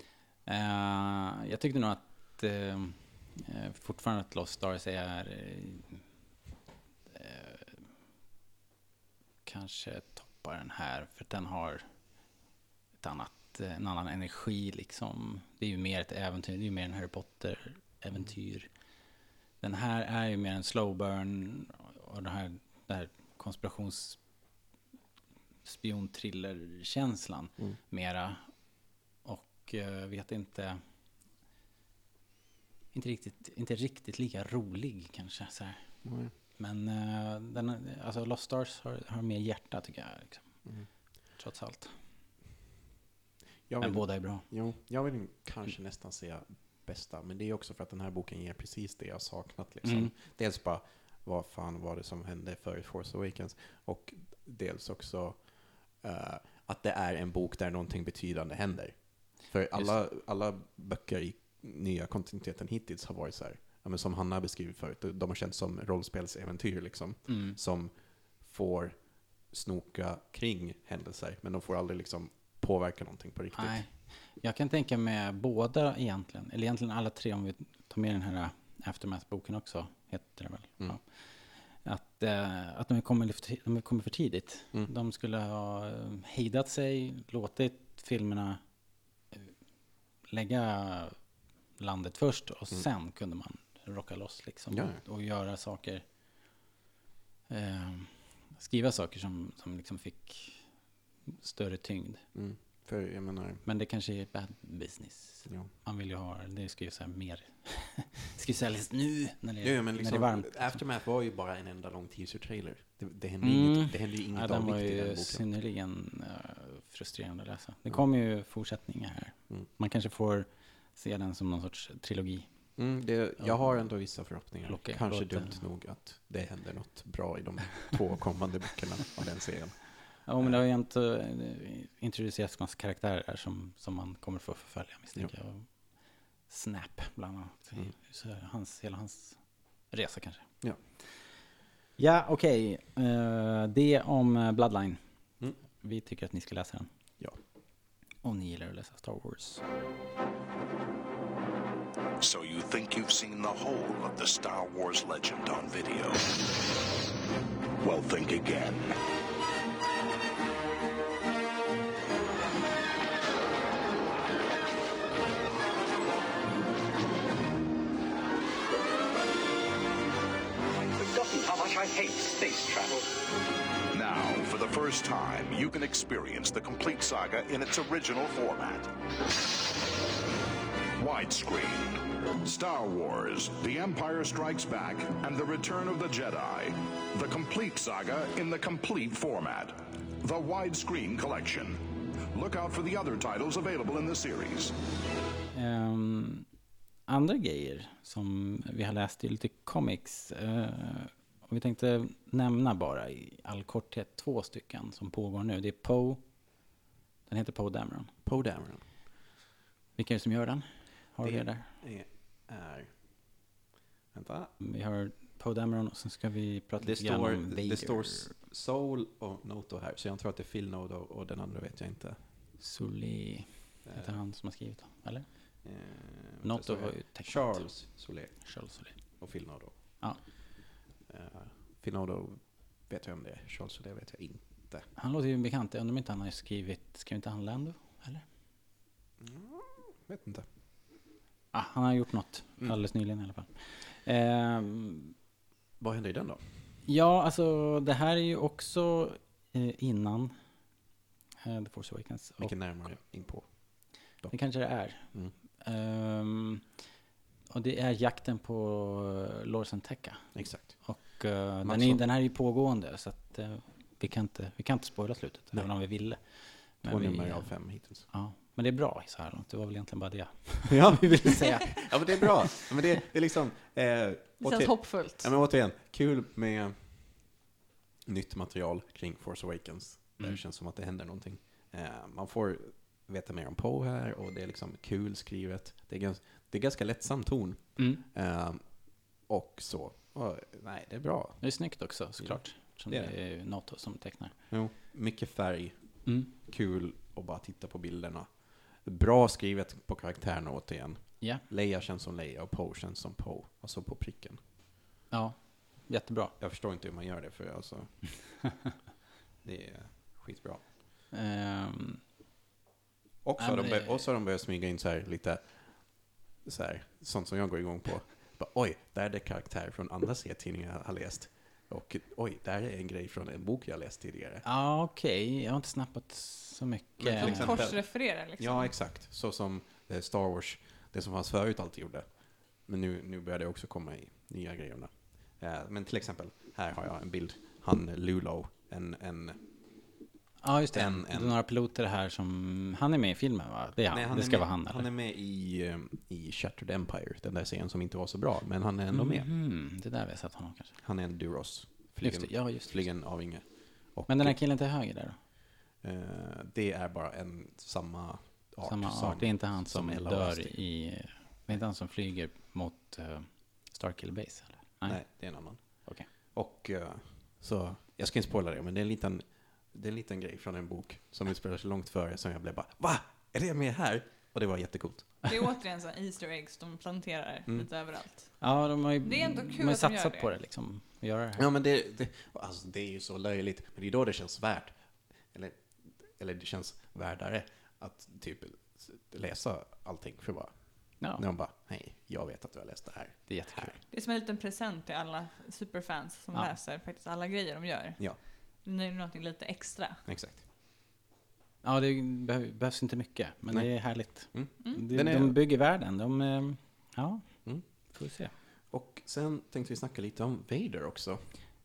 [SPEAKER 2] Eh, jag tyckte nog att eh, eh, fortfarande att Lost Stars är eh, eh, kanske toppar den här för att den har ett annat, eh, en annan energi liksom. Det är ju mer ett äventyr, det är ju mer en Harry Potter-äventyr. Den här är ju mer en slow burn och det här, det här konspirations spionthriller-känslan
[SPEAKER 3] Mm.
[SPEAKER 2] mera. Och eh, vet inte... Inte riktigt, inte riktigt lika rolig kanske. Så här.
[SPEAKER 3] Nej.
[SPEAKER 2] Men eh, den, alltså Lost Stars har, har mer hjärta tycker jag. Liksom,
[SPEAKER 3] Mm.
[SPEAKER 2] trots allt.
[SPEAKER 3] Jag
[SPEAKER 2] Men
[SPEAKER 3] vill,
[SPEAKER 2] båda är bra.
[SPEAKER 3] jo, jag vill kanske nästan säga bästa, men det är också för att den här boken ger precis det jag saknat. Liksom.
[SPEAKER 2] Mm.
[SPEAKER 3] Dels bara, vad fan var det som hände före Force Awakens? Och dels också eh, att det är en bok där någonting betydande händer. För alla, alla böcker i nya kontinuiteten hittills har varit så här, ja, men som Hanna beskriver förut, de har känts som rollspelsäventyr liksom.
[SPEAKER 2] Mm.
[SPEAKER 3] som får snoka kring händelser, men de får aldrig liksom påverka någonting på riktigt.
[SPEAKER 2] Nej. Jag kan tänka mig båda egentligen, eller egentligen alla tre om vi tar med den här Aftermath-boken också, heter den väl?
[SPEAKER 3] Mm.
[SPEAKER 2] Ja. Att, eh, att de kommer, lite för ti- de kommer för tidigt.
[SPEAKER 3] Mm.
[SPEAKER 2] De skulle ha eh, hejdat sig, låtit filmerna eh, lägga landet först och
[SPEAKER 3] Mm.
[SPEAKER 2] sen kunde man rocka loss liksom
[SPEAKER 3] Ja,
[SPEAKER 2] och göra saker, eh, skriva saker som, som liksom fick större tyngd.
[SPEAKER 3] Mm. För jag menar,
[SPEAKER 2] Men det kanske är bad business.
[SPEAKER 3] ja.
[SPEAKER 2] Man vill ju ha, det ska ju säga mer, det ska ju säljas nu när det,
[SPEAKER 3] Jo, jo, men
[SPEAKER 2] när det är varmt.
[SPEAKER 3] liksom, Aftermath var ju bara en enda lång teaser-trailer. Det, det hände
[SPEAKER 2] Mm.
[SPEAKER 3] inget, det hände ju
[SPEAKER 2] Ja,
[SPEAKER 3] inget
[SPEAKER 2] den
[SPEAKER 3] av
[SPEAKER 2] var
[SPEAKER 3] vikt i den
[SPEAKER 2] ju
[SPEAKER 3] boken.
[SPEAKER 2] synnerligen eh, frustrerande att läsa. Det
[SPEAKER 3] Ja.
[SPEAKER 2] kommer ju fortsättningar här.
[SPEAKER 3] Mm.
[SPEAKER 2] Man kanske får se den som någon sorts trilogi.
[SPEAKER 3] Mm, det, jag har ändå vissa förhoppningar.
[SPEAKER 2] Locka-
[SPEAKER 3] Kanske
[SPEAKER 2] låt det-
[SPEAKER 3] dumt nog att det händer något bra i de två kommande böckerna av den serien.
[SPEAKER 2] Ja, men det har ju inte eh, introducerats massa karaktärer här som, som man kommer få förfölja misstänker jag. Och Snap bland annat.
[SPEAKER 3] Mm.
[SPEAKER 2] Så hans, hela hans resa kanske.
[SPEAKER 3] Ja.
[SPEAKER 2] Ja, okej. Eh, det om eh, Bloodline.
[SPEAKER 3] Mm.
[SPEAKER 2] Vi tycker att ni ska läsa den.
[SPEAKER 3] Ja.
[SPEAKER 2] Om ni gillar att läsa Star Wars.
[SPEAKER 5] So you think you've seen the whole of the Star Wars legend on video? Well, think again.
[SPEAKER 6] forgotten how much I hate space travel.
[SPEAKER 5] Now, for the first time, you can experience the complete saga in its original format. Widescreen. Star Wars, The Empire Strikes Back, and The Return of the Jedi. The complete saga in the complete format. The Widescreen Collection. Look out for the other titles available in the series.
[SPEAKER 2] Ehm, andra grejer som vi har läst i lite comics. eh, och vi tänkte nämna bara i all korthet två stycken som pågår nu. Det är Poe. Den heter Poe Dameron.
[SPEAKER 3] Poe Dameron.
[SPEAKER 2] Vilka är det som gör den? Har vi
[SPEAKER 3] Det-
[SPEAKER 2] det där?
[SPEAKER 3] Det är... Vänta.
[SPEAKER 2] Vi har Poe Dameron och sen ska vi prata
[SPEAKER 3] Det
[SPEAKER 2] lite grann
[SPEAKER 3] står,
[SPEAKER 2] om Vader.
[SPEAKER 3] det står Soul och Noto här, så jag tror att det är Phil Noto och den andra vet jag inte.
[SPEAKER 2] Sully heter
[SPEAKER 3] Eh,
[SPEAKER 2] han som har skrivit den, eller?
[SPEAKER 3] Eh,
[SPEAKER 2] Något
[SPEAKER 3] vänta, så
[SPEAKER 2] var
[SPEAKER 3] är
[SPEAKER 2] ju tecknat.
[SPEAKER 3] Charles Solé
[SPEAKER 2] Charles Sully.
[SPEAKER 3] och Phil Nodo.
[SPEAKER 2] Ja.
[SPEAKER 3] Eh, Phil Nodo vet jag om det är, Charles Solé vet jag inte.
[SPEAKER 2] Han låter ju bekant. Jag undrar om inte han har skrivit, skrev inte han Lando? Eller?
[SPEAKER 3] Vet inte.
[SPEAKER 2] Ah, han har gjort något
[SPEAKER 3] Mm.
[SPEAKER 2] alldeles nyligen i alla fall. Ehm,
[SPEAKER 3] Vad händer i den då?
[SPEAKER 2] Ja, alltså det här är ju också eh, innan eh, The Force Awakens. Och
[SPEAKER 3] Vilken närmare in på?
[SPEAKER 2] det kanske det är.
[SPEAKER 3] Mm.
[SPEAKER 2] Ehm, och det är jakten på eh, Lorsen Tekka.
[SPEAKER 3] Exakt.
[SPEAKER 2] Och eh, den,
[SPEAKER 3] Max
[SPEAKER 2] är,
[SPEAKER 3] von-
[SPEAKER 2] den här är ju pågående så att eh, vi, kan inte, vi kan inte spoila slutet,
[SPEAKER 3] Nej.
[SPEAKER 2] även om vi ville.
[SPEAKER 3] Två
[SPEAKER 2] vi,
[SPEAKER 3] nummer av fem hittills.
[SPEAKER 2] Ja, men det är bra så här långt. Det var väl egentligen bara det
[SPEAKER 3] Ja,
[SPEAKER 2] vi ville säga.
[SPEAKER 3] ja men det är bra. Ja, Men det, det är liksom... Eh,
[SPEAKER 4] Det känns
[SPEAKER 3] åter-
[SPEAKER 4] hoppfullt.
[SPEAKER 3] Ja, men återigen, kul med nytt material kring Force Awakens. Där
[SPEAKER 2] Mm.
[SPEAKER 3] det känns som att det händer någonting. Eh, man får veta mer om Poe här och det är liksom kul skrivet. Det är, gans, det är ganska lättsam ton.
[SPEAKER 2] Mm.
[SPEAKER 3] Eh, och så. Och, nej, det är bra.
[SPEAKER 2] Det är snyggt också såklart. Som
[SPEAKER 3] Det
[SPEAKER 2] det
[SPEAKER 3] är
[SPEAKER 2] är, Nato som tecknar.
[SPEAKER 3] Jo, mycket färg,
[SPEAKER 2] Mm.
[SPEAKER 3] kul och bara titta på bilderna. Bra skrivet på karaktärerna återigen.
[SPEAKER 2] Ja.
[SPEAKER 3] Leia känns som Leia och Poe känns som Poe. Alltså på pricken.
[SPEAKER 2] ja, jättebra.
[SPEAKER 3] Jag förstår inte hur man gör det för alltså. det är skitbra.
[SPEAKER 2] Ehm,
[SPEAKER 3] Och så,
[SPEAKER 2] Ja,
[SPEAKER 3] har de
[SPEAKER 2] men
[SPEAKER 3] bör-
[SPEAKER 2] det-
[SPEAKER 3] och så har de börjat smyga in så här lite, så här, sånt som jag går igång på. Bara, oj, där är det karaktärer från andra serietidningar jag har läst. Och oj, där är en grej från en bok jag läst tidigare.
[SPEAKER 2] Ja, okej. Jag har inte snappat så mycket.
[SPEAKER 3] Men
[SPEAKER 4] Som
[SPEAKER 3] till exempel-
[SPEAKER 4] korsrefererar liksom.
[SPEAKER 3] Ja, exakt. Så som eh, Star Wars, det som fanns förut alltid gjorde. Men nu, nu börjar det också komma i nya grejerna. Eh, men till exempel, här har jag en bild. Han Lulo, en, en
[SPEAKER 2] Ja, just det.
[SPEAKER 3] En-
[SPEAKER 2] Det är
[SPEAKER 3] en-
[SPEAKER 2] några piloter här som... Han är med i filmen va? Det är han.
[SPEAKER 3] Nej,
[SPEAKER 2] det
[SPEAKER 3] är
[SPEAKER 2] ska
[SPEAKER 3] med,
[SPEAKER 2] vara han eller?
[SPEAKER 3] Han är med i, eh, i Shattered Empire, den där serien som inte var så bra, men han är ändå med.
[SPEAKER 2] Mm, det där vi har sett honom kanske.
[SPEAKER 3] Han är en Duros.
[SPEAKER 2] Just det, ja, just det.
[SPEAKER 3] flygen av Inge. Och,
[SPEAKER 2] Men den här killen till höger där då?
[SPEAKER 3] eh, det är bara en samma art.
[SPEAKER 2] Samma
[SPEAKER 3] som-
[SPEAKER 2] art. Det är inte han som,
[SPEAKER 3] Ella
[SPEAKER 2] dör
[SPEAKER 3] Westing.
[SPEAKER 2] i... Det är inte han som flyger mot uh, Starkill Base eller? Nej.
[SPEAKER 3] Nej, det är en annan.
[SPEAKER 2] Okej.
[SPEAKER 3] Och eh, så, jag ska inte spoila det, men det är en liten, det är en liten grej från en bok som utspelar sig långt före som jag blev bara Va? Är det med här? Och det var jättecoolt.
[SPEAKER 4] Det är återigen så här Easter eggs de planterar
[SPEAKER 3] Mm.
[SPEAKER 4] lite överallt.
[SPEAKER 2] Ja, de har ju,
[SPEAKER 4] Det är ändå kul
[SPEAKER 2] de har ju
[SPEAKER 4] att de gör
[SPEAKER 2] satsat på
[SPEAKER 4] det.
[SPEAKER 2] det liksom. att Göra det här.
[SPEAKER 3] Ja men det, det, alltså, det är ju så löjligt, men det är då det känns värt. Eller, eller det känns värdare att typ läsa allting för bara,
[SPEAKER 2] Ja.
[SPEAKER 3] när man bara, nej, jag vet att du har läst det här.
[SPEAKER 2] Det är jättekul.
[SPEAKER 3] Här.
[SPEAKER 4] Det är som en liten present till alla superfans som
[SPEAKER 2] Ja.
[SPEAKER 4] läser faktiskt alla grejer de gör.
[SPEAKER 3] Ja,
[SPEAKER 4] Nu är det någonting lite extra.
[SPEAKER 3] exakt.
[SPEAKER 2] Ja, det behöv, behövs inte mycket, men
[SPEAKER 3] Nej.
[SPEAKER 2] det är härligt.
[SPEAKER 3] Mm.
[SPEAKER 2] Det,
[SPEAKER 3] Den är-
[SPEAKER 2] De bygger världen. De, eh, ja,
[SPEAKER 3] Mm.
[SPEAKER 2] får vi se.
[SPEAKER 3] Och sen tänkte vi snacka lite om Vader också.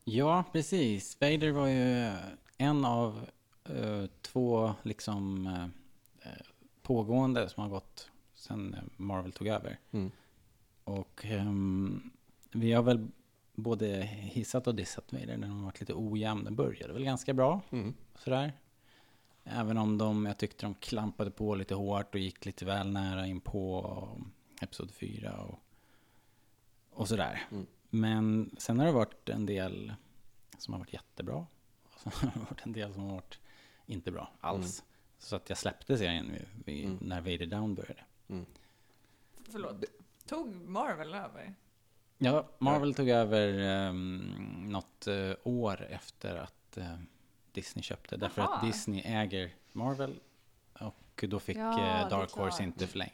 [SPEAKER 2] Ja, precis. Vader var ju en av eh, två liksom eh, eh, pågående som har gått sen eh, Marvel tog över.
[SPEAKER 3] Mm.
[SPEAKER 2] Och ehm, vi har väl både hissat och dissat Vader när de har varit lite ojämn. Den började väl ganska bra,
[SPEAKER 3] Mm.
[SPEAKER 2] sådär. Även om de, jag tyckte de klampade på lite hårt och gick lite väl nära in på um, Episod 4 och, och sådär. Men sen har det varit en del som har varit jättebra. Och sen har det varit en del som har varit inte bra alls. Så att jag släppte serien vid, vid, när Vader Down började.
[SPEAKER 4] Förlåt. Tog Marvel över?
[SPEAKER 2] Ja, Marvel tog över um, något eh, år efter att eh, Disney köpte. Därför att
[SPEAKER 4] Aha.
[SPEAKER 2] Disney äger Marvel. Och då fick
[SPEAKER 4] Ja,
[SPEAKER 2] eh,
[SPEAKER 4] det är
[SPEAKER 2] Dark Horse
[SPEAKER 4] klart.
[SPEAKER 2] inte förlänga.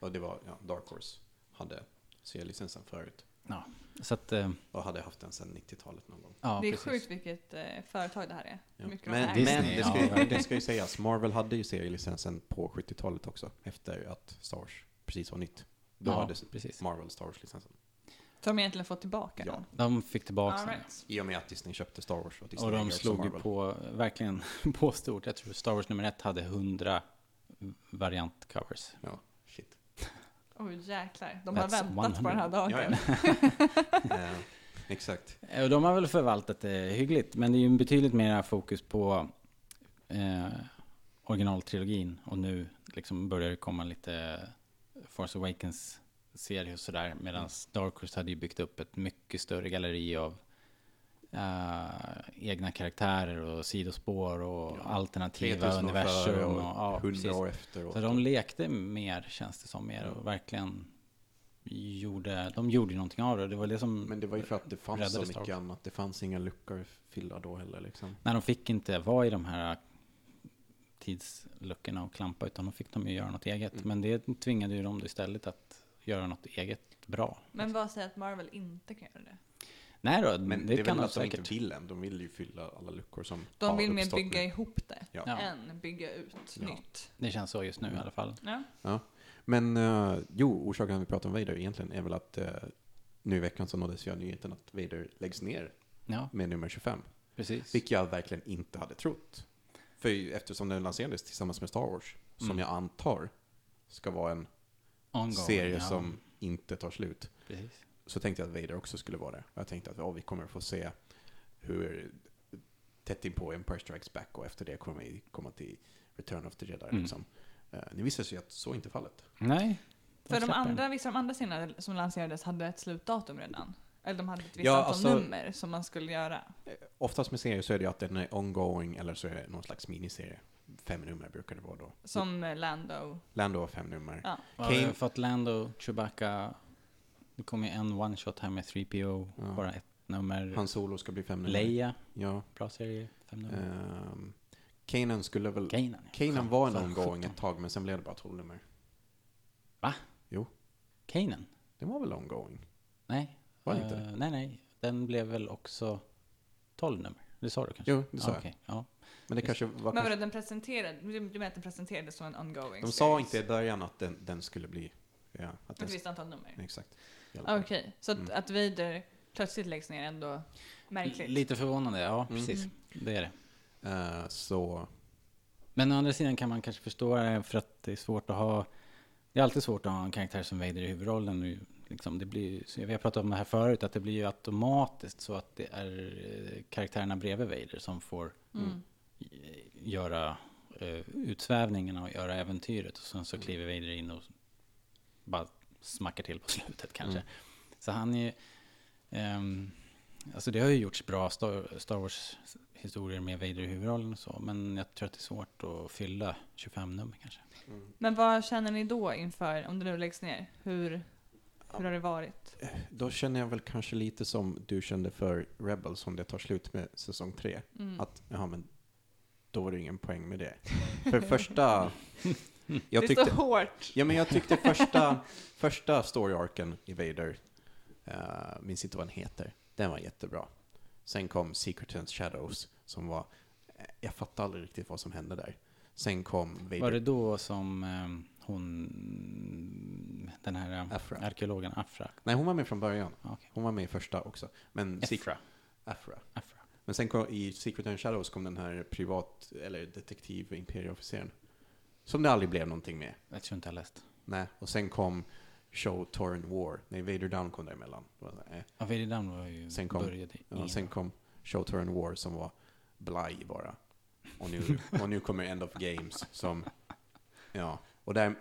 [SPEAKER 3] Och det var, ja, Dark Horse hade serielicensen förut.
[SPEAKER 2] Ja, så att, eh,
[SPEAKER 3] Och hade haft den sedan 90-talet någon gång.
[SPEAKER 2] ja,
[SPEAKER 4] det är
[SPEAKER 2] precis.
[SPEAKER 4] sjukt vilket eh, företag det här är. Hur mycket de
[SPEAKER 3] Men,
[SPEAKER 4] äger.
[SPEAKER 3] men
[SPEAKER 2] Disney,
[SPEAKER 3] det, ska,
[SPEAKER 2] ja.
[SPEAKER 3] ju- det ska ju sägas, Marvel hade ju serielicensen på 70-talet också, efter att Star Wars precis var nytt. Då
[SPEAKER 2] Ja,
[SPEAKER 3] hade
[SPEAKER 2] precis.
[SPEAKER 3] Marvel Star Wars-licensen.
[SPEAKER 4] Så de har egentligen fått tillbaka
[SPEAKER 3] Ja.
[SPEAKER 4] den?
[SPEAKER 2] De fick tillbaka
[SPEAKER 4] All
[SPEAKER 2] den.
[SPEAKER 4] right.
[SPEAKER 3] I och med att Disney köpte Star Wars och Disney
[SPEAKER 2] Och de
[SPEAKER 3] äger också
[SPEAKER 2] slog ju
[SPEAKER 3] Marvel.
[SPEAKER 2] på, verkligen på stort. Jag tror Star Wars nummer ett hade 100 variantcovers.
[SPEAKER 3] Ja, shit.
[SPEAKER 4] Oj jäklar. De har
[SPEAKER 2] That's
[SPEAKER 4] väntat
[SPEAKER 2] 100.
[SPEAKER 4] på den här dagen.
[SPEAKER 3] Ja, ja. eh, exakt.
[SPEAKER 2] Eh, Och de har väl förvaltat det hyggligt, men det är ju en betydligt mer fokus på eh, originaltrilogin och nu liksom börjar det komma lite Force Awakens serier och sådär. Medan Dark Horse hade ju byggt upp ett mycket större galleri av eh, egna karaktärer och sidospår och alternativa
[SPEAKER 3] 3000 år före
[SPEAKER 2] universum.
[SPEAKER 3] och
[SPEAKER 2] Och, ja,
[SPEAKER 3] 100
[SPEAKER 2] precis.
[SPEAKER 3] år efteråt.
[SPEAKER 2] Så de lekte mer, känns det som, mer och verkligen gjorde, de gjorde ju någonting av det. Det var det som
[SPEAKER 3] Men det var ju för att det fanns så
[SPEAKER 2] räddade Star
[SPEAKER 3] mycket
[SPEAKER 2] Wars.
[SPEAKER 3] annat. Det fanns inga luckor att fylla då heller liksom.
[SPEAKER 2] när de fick inte vara i de här tidsluckorna och klampa, utan då fick de ju göra något eget.
[SPEAKER 3] Mm.
[SPEAKER 2] Men det tvingade ju dem då istället att göra något eget bra.
[SPEAKER 4] Men vad säger att Marvel inte kan göra det?
[SPEAKER 2] Nej då,
[SPEAKER 3] Men
[SPEAKER 2] Mm, det,
[SPEAKER 3] det,
[SPEAKER 2] kan
[SPEAKER 3] är väl
[SPEAKER 2] de
[SPEAKER 3] att de inte
[SPEAKER 2] säkert.
[SPEAKER 3] vill än. De vill ju fylla alla luckor som
[SPEAKER 4] De
[SPEAKER 3] har
[SPEAKER 4] vill mer
[SPEAKER 3] uppstått
[SPEAKER 4] bygga
[SPEAKER 3] nu.
[SPEAKER 4] ihop det
[SPEAKER 3] Ja.
[SPEAKER 2] Ja.
[SPEAKER 4] än bygga ut
[SPEAKER 3] Ja.
[SPEAKER 4] nytt.
[SPEAKER 2] Det känns så just nu i alla fall.
[SPEAKER 4] Ja.
[SPEAKER 3] Ja. Men eh, jo, orsaken att vi pratar om Vader egentligen är väl att eh, nu i veckan så nåddes jag nyheten att Vader läggs ner
[SPEAKER 2] Ja,
[SPEAKER 3] med nummer 25.
[SPEAKER 2] precis.
[SPEAKER 3] Vilket jag verkligen inte hade trott. För ju- eftersom den lanserades tillsammans med Star Wars, som jag antar ska vara en
[SPEAKER 2] Ongoing,
[SPEAKER 3] serie
[SPEAKER 2] ja,
[SPEAKER 3] som inte tar slut,
[SPEAKER 2] Precis.
[SPEAKER 3] så tänkte jag att Vader också skulle vara där. Och Jag tänkte att ja, vi kommer få se hur tätt in på Empire Strikes Back och efter det kommer vi komma till Return of the Jedi.
[SPEAKER 2] Mm.
[SPEAKER 3] Liksom. Eh, det visar sig att så inte är fallet.
[SPEAKER 2] Nej.
[SPEAKER 4] För de
[SPEAKER 2] släpper den.
[SPEAKER 4] andra, vissa av de andra scenerna som lanserades hade ett slutdatum redan. Eller de hade ett visst
[SPEAKER 3] Ja,
[SPEAKER 4] antal
[SPEAKER 3] alltså-
[SPEAKER 4] nummer som man skulle göra.
[SPEAKER 3] Oftast med serier så är det ju att den är ongoing eller så är det någon slags miniserie. Fem nummer brukar det vara då.
[SPEAKER 4] Som eh, Lando.
[SPEAKER 3] Lando har fem nummer.
[SPEAKER 4] Ja.
[SPEAKER 2] Ja, vi har
[SPEAKER 3] Kane-
[SPEAKER 2] fått Lando, Chewbacca. Det kommer ju en one shot här med 3PO, bara ett nummer.
[SPEAKER 3] Han Solo ska bli fem nummer.
[SPEAKER 2] Leia,
[SPEAKER 3] Ja.
[SPEAKER 2] bra serie, fem nummer.
[SPEAKER 3] Um, Kanan skulle väl...
[SPEAKER 2] Kanan, ja.
[SPEAKER 3] Kanan
[SPEAKER 2] Fan,
[SPEAKER 3] var en
[SPEAKER 2] fan,
[SPEAKER 3] ongoing
[SPEAKER 2] 17.
[SPEAKER 3] ett tag men sen blev det bara tolv nummer.
[SPEAKER 2] Va?
[SPEAKER 3] Jo,
[SPEAKER 2] Kanan?
[SPEAKER 3] det var väl ongoing?
[SPEAKER 2] Nej.
[SPEAKER 3] Var det inte?
[SPEAKER 2] Eh, nej, nej. Den blev väl också 12 nummer. Det sa du kanske? Ah,
[SPEAKER 3] Jo, det sa jag.
[SPEAKER 2] okej, ja.
[SPEAKER 3] Men det kanske var...
[SPEAKER 4] Men
[SPEAKER 3] Kanske,
[SPEAKER 4] vadå, den presenterade, du menar att den presenterades som en ongoing
[SPEAKER 3] de sa
[SPEAKER 4] series?
[SPEAKER 3] inte i början att den, den skulle bli Ja, att det,
[SPEAKER 4] Ett visst antal nummer.
[SPEAKER 3] exakt. I alla
[SPEAKER 4] Okej,
[SPEAKER 3] fall.
[SPEAKER 4] så att,
[SPEAKER 3] Mm.
[SPEAKER 4] att Vader plötsligt läggs ner är ändå märkligt.
[SPEAKER 2] Lite förvånande,
[SPEAKER 3] Mm.
[SPEAKER 2] ja precis. Det är det.
[SPEAKER 3] Eh, så,
[SPEAKER 2] Men å andra sidan kan man kanske förstå det för att det är svårt att ha... Det är alltid svårt att ha en karaktär som Vader i huvudrollen. Nu, Liksom, det blir, ju- så vi har pratat om det här förut, att det blir ju automatiskt så att det är eh, karaktärerna bredvid Vader som får
[SPEAKER 4] Mm.
[SPEAKER 3] mm.
[SPEAKER 2] eh, göra eh, utsvävningarna och göra äventyret. Och sen
[SPEAKER 3] Mm.
[SPEAKER 2] så kliver Vader in och bara smackar till på slutet kanske.
[SPEAKER 3] Mm.
[SPEAKER 2] Så han är ju... ehm, Alltså det har ju gjorts bra Star Star Wars-historier med Vader i huvudrollen och så, men jag tror att det är svårt att fylla 25 nummer kanske.
[SPEAKER 4] Men vad känner ni då inför, om det nu läggs ner? Hur, hur har det varit?
[SPEAKER 3] eh, då känner jag väl kanske lite som du kände för Rebels om det tar slut med säsong tre.
[SPEAKER 4] Mm.
[SPEAKER 3] Att, ja men, då var det ingen poäng med det. För första... Jag
[SPEAKER 4] det är
[SPEAKER 3] tyckte,
[SPEAKER 4] så hårt.
[SPEAKER 3] ja, men jag tyckte första, första story-arken i Vader, uh, minns inte vad den heter, den var jättebra. Sen kom Secret and Shadows som var, eh, jag fattade aldrig riktigt vad som hände där. Sen kom Vader
[SPEAKER 2] Var det då som eh, hon, den här eh,
[SPEAKER 3] Afra.
[SPEAKER 2] arkeologen Afra,
[SPEAKER 3] Nej, hon var med från början.
[SPEAKER 2] Ja, okej.
[SPEAKER 3] Hon var med i första också. Men Afra. Afra.
[SPEAKER 2] Afra.
[SPEAKER 3] Men sen kom, i Secret and Shadows kom den här privat, eller detektiv och imperieofficeren. Som det aldrig blev någonting med.
[SPEAKER 2] jag tror inte jag har läst.
[SPEAKER 3] Nej, och sen kom Show Torn War. Nej, Vader Down kom däremellan. Det var så här, eh.
[SPEAKER 2] Ja, Vader Down var ju,
[SPEAKER 3] Sen kom,
[SPEAKER 2] började i-
[SPEAKER 3] ja, sen kom Show Turn War som var blaj bara. Och nu, och nu kommer End of Games som... Ja, och där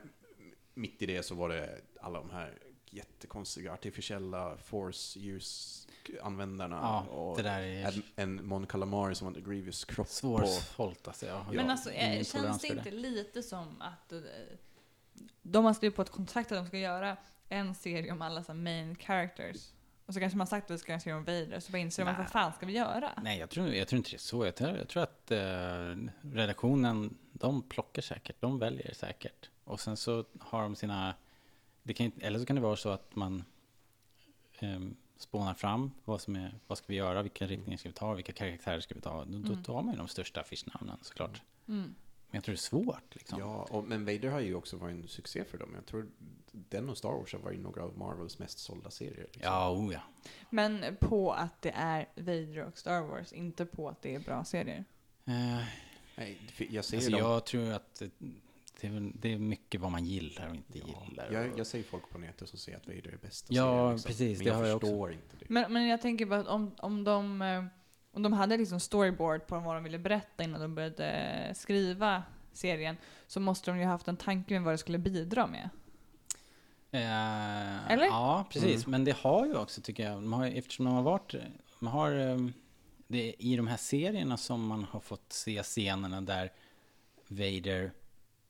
[SPEAKER 3] mitt i det så var det alla de här jättekonstiga artificiella force use användarna
[SPEAKER 2] Ja,
[SPEAKER 3] och
[SPEAKER 2] det där är-
[SPEAKER 3] en, en Mon Calamari som hade Grievous kropp på.
[SPEAKER 2] Svårsålt alltså. Jag har
[SPEAKER 4] Men
[SPEAKER 2] ingen
[SPEAKER 4] alltså, eh, känns
[SPEAKER 2] tolerans
[SPEAKER 4] det
[SPEAKER 2] för
[SPEAKER 4] inte lite som att eh, de har skrivit på ett kontrakt att de ska göra en serie om alla så här main characters? Och så kanske man sagt att vi ska göra en serie om Vader, så bara inser de att
[SPEAKER 2] Nej.
[SPEAKER 4] vad fan ska vi göra?
[SPEAKER 2] Nej, jag tror, jag tror inte det är så. Jag tror, jag tror att eh, redaktionen, de plockar säkert, de väljer säkert. Och sen så har de sina, det kan, ju- eller så kan det vara så att man eh, spånar fram vad som är, vad ska vi göra, vilken riktning ska vi ta, vilka karaktärer ska vi ta. Då,
[SPEAKER 4] Mm.
[SPEAKER 2] då tar man ju de största affischnamnen såklart. Men jag tror det är svårt liksom.
[SPEAKER 3] Ja, och, men Vader har ju också varit en succé för dem. Jag tror den och Star Wars har varit några av Marvels mest sålda serier. liksom.
[SPEAKER 2] Ja, oh ja.
[SPEAKER 4] Men på att det är Vader och Star Wars, inte på att det är bra serier.
[SPEAKER 2] Eh,
[SPEAKER 3] Nej, jag ser
[SPEAKER 2] alltså,
[SPEAKER 3] dem.
[SPEAKER 2] jag tror att eh, det är, väl- det är mycket vad man gillar och inte gillar.
[SPEAKER 3] Jag, jag ser folk på nätet som säger att Vader är bäst.
[SPEAKER 2] Ja, precis,
[SPEAKER 3] Men
[SPEAKER 2] det
[SPEAKER 3] jag
[SPEAKER 2] har jag också. Mm.
[SPEAKER 3] förstår inte det.
[SPEAKER 4] Men, men jag tänker bara att om, om de... eh, Om de hade liksom storyboard på vad de ville berätta innan de började eh, skriva serien så måste de ju haft en tanke med vad det skulle bidra med.
[SPEAKER 2] Eh,
[SPEAKER 4] Eller?
[SPEAKER 2] Ja, precis.
[SPEAKER 3] Mm.
[SPEAKER 2] Men det har ju också, tycker jag, de har, eftersom de har varit... Man har, ehm, det är i de här serierna som man har fått se scenerna där Vader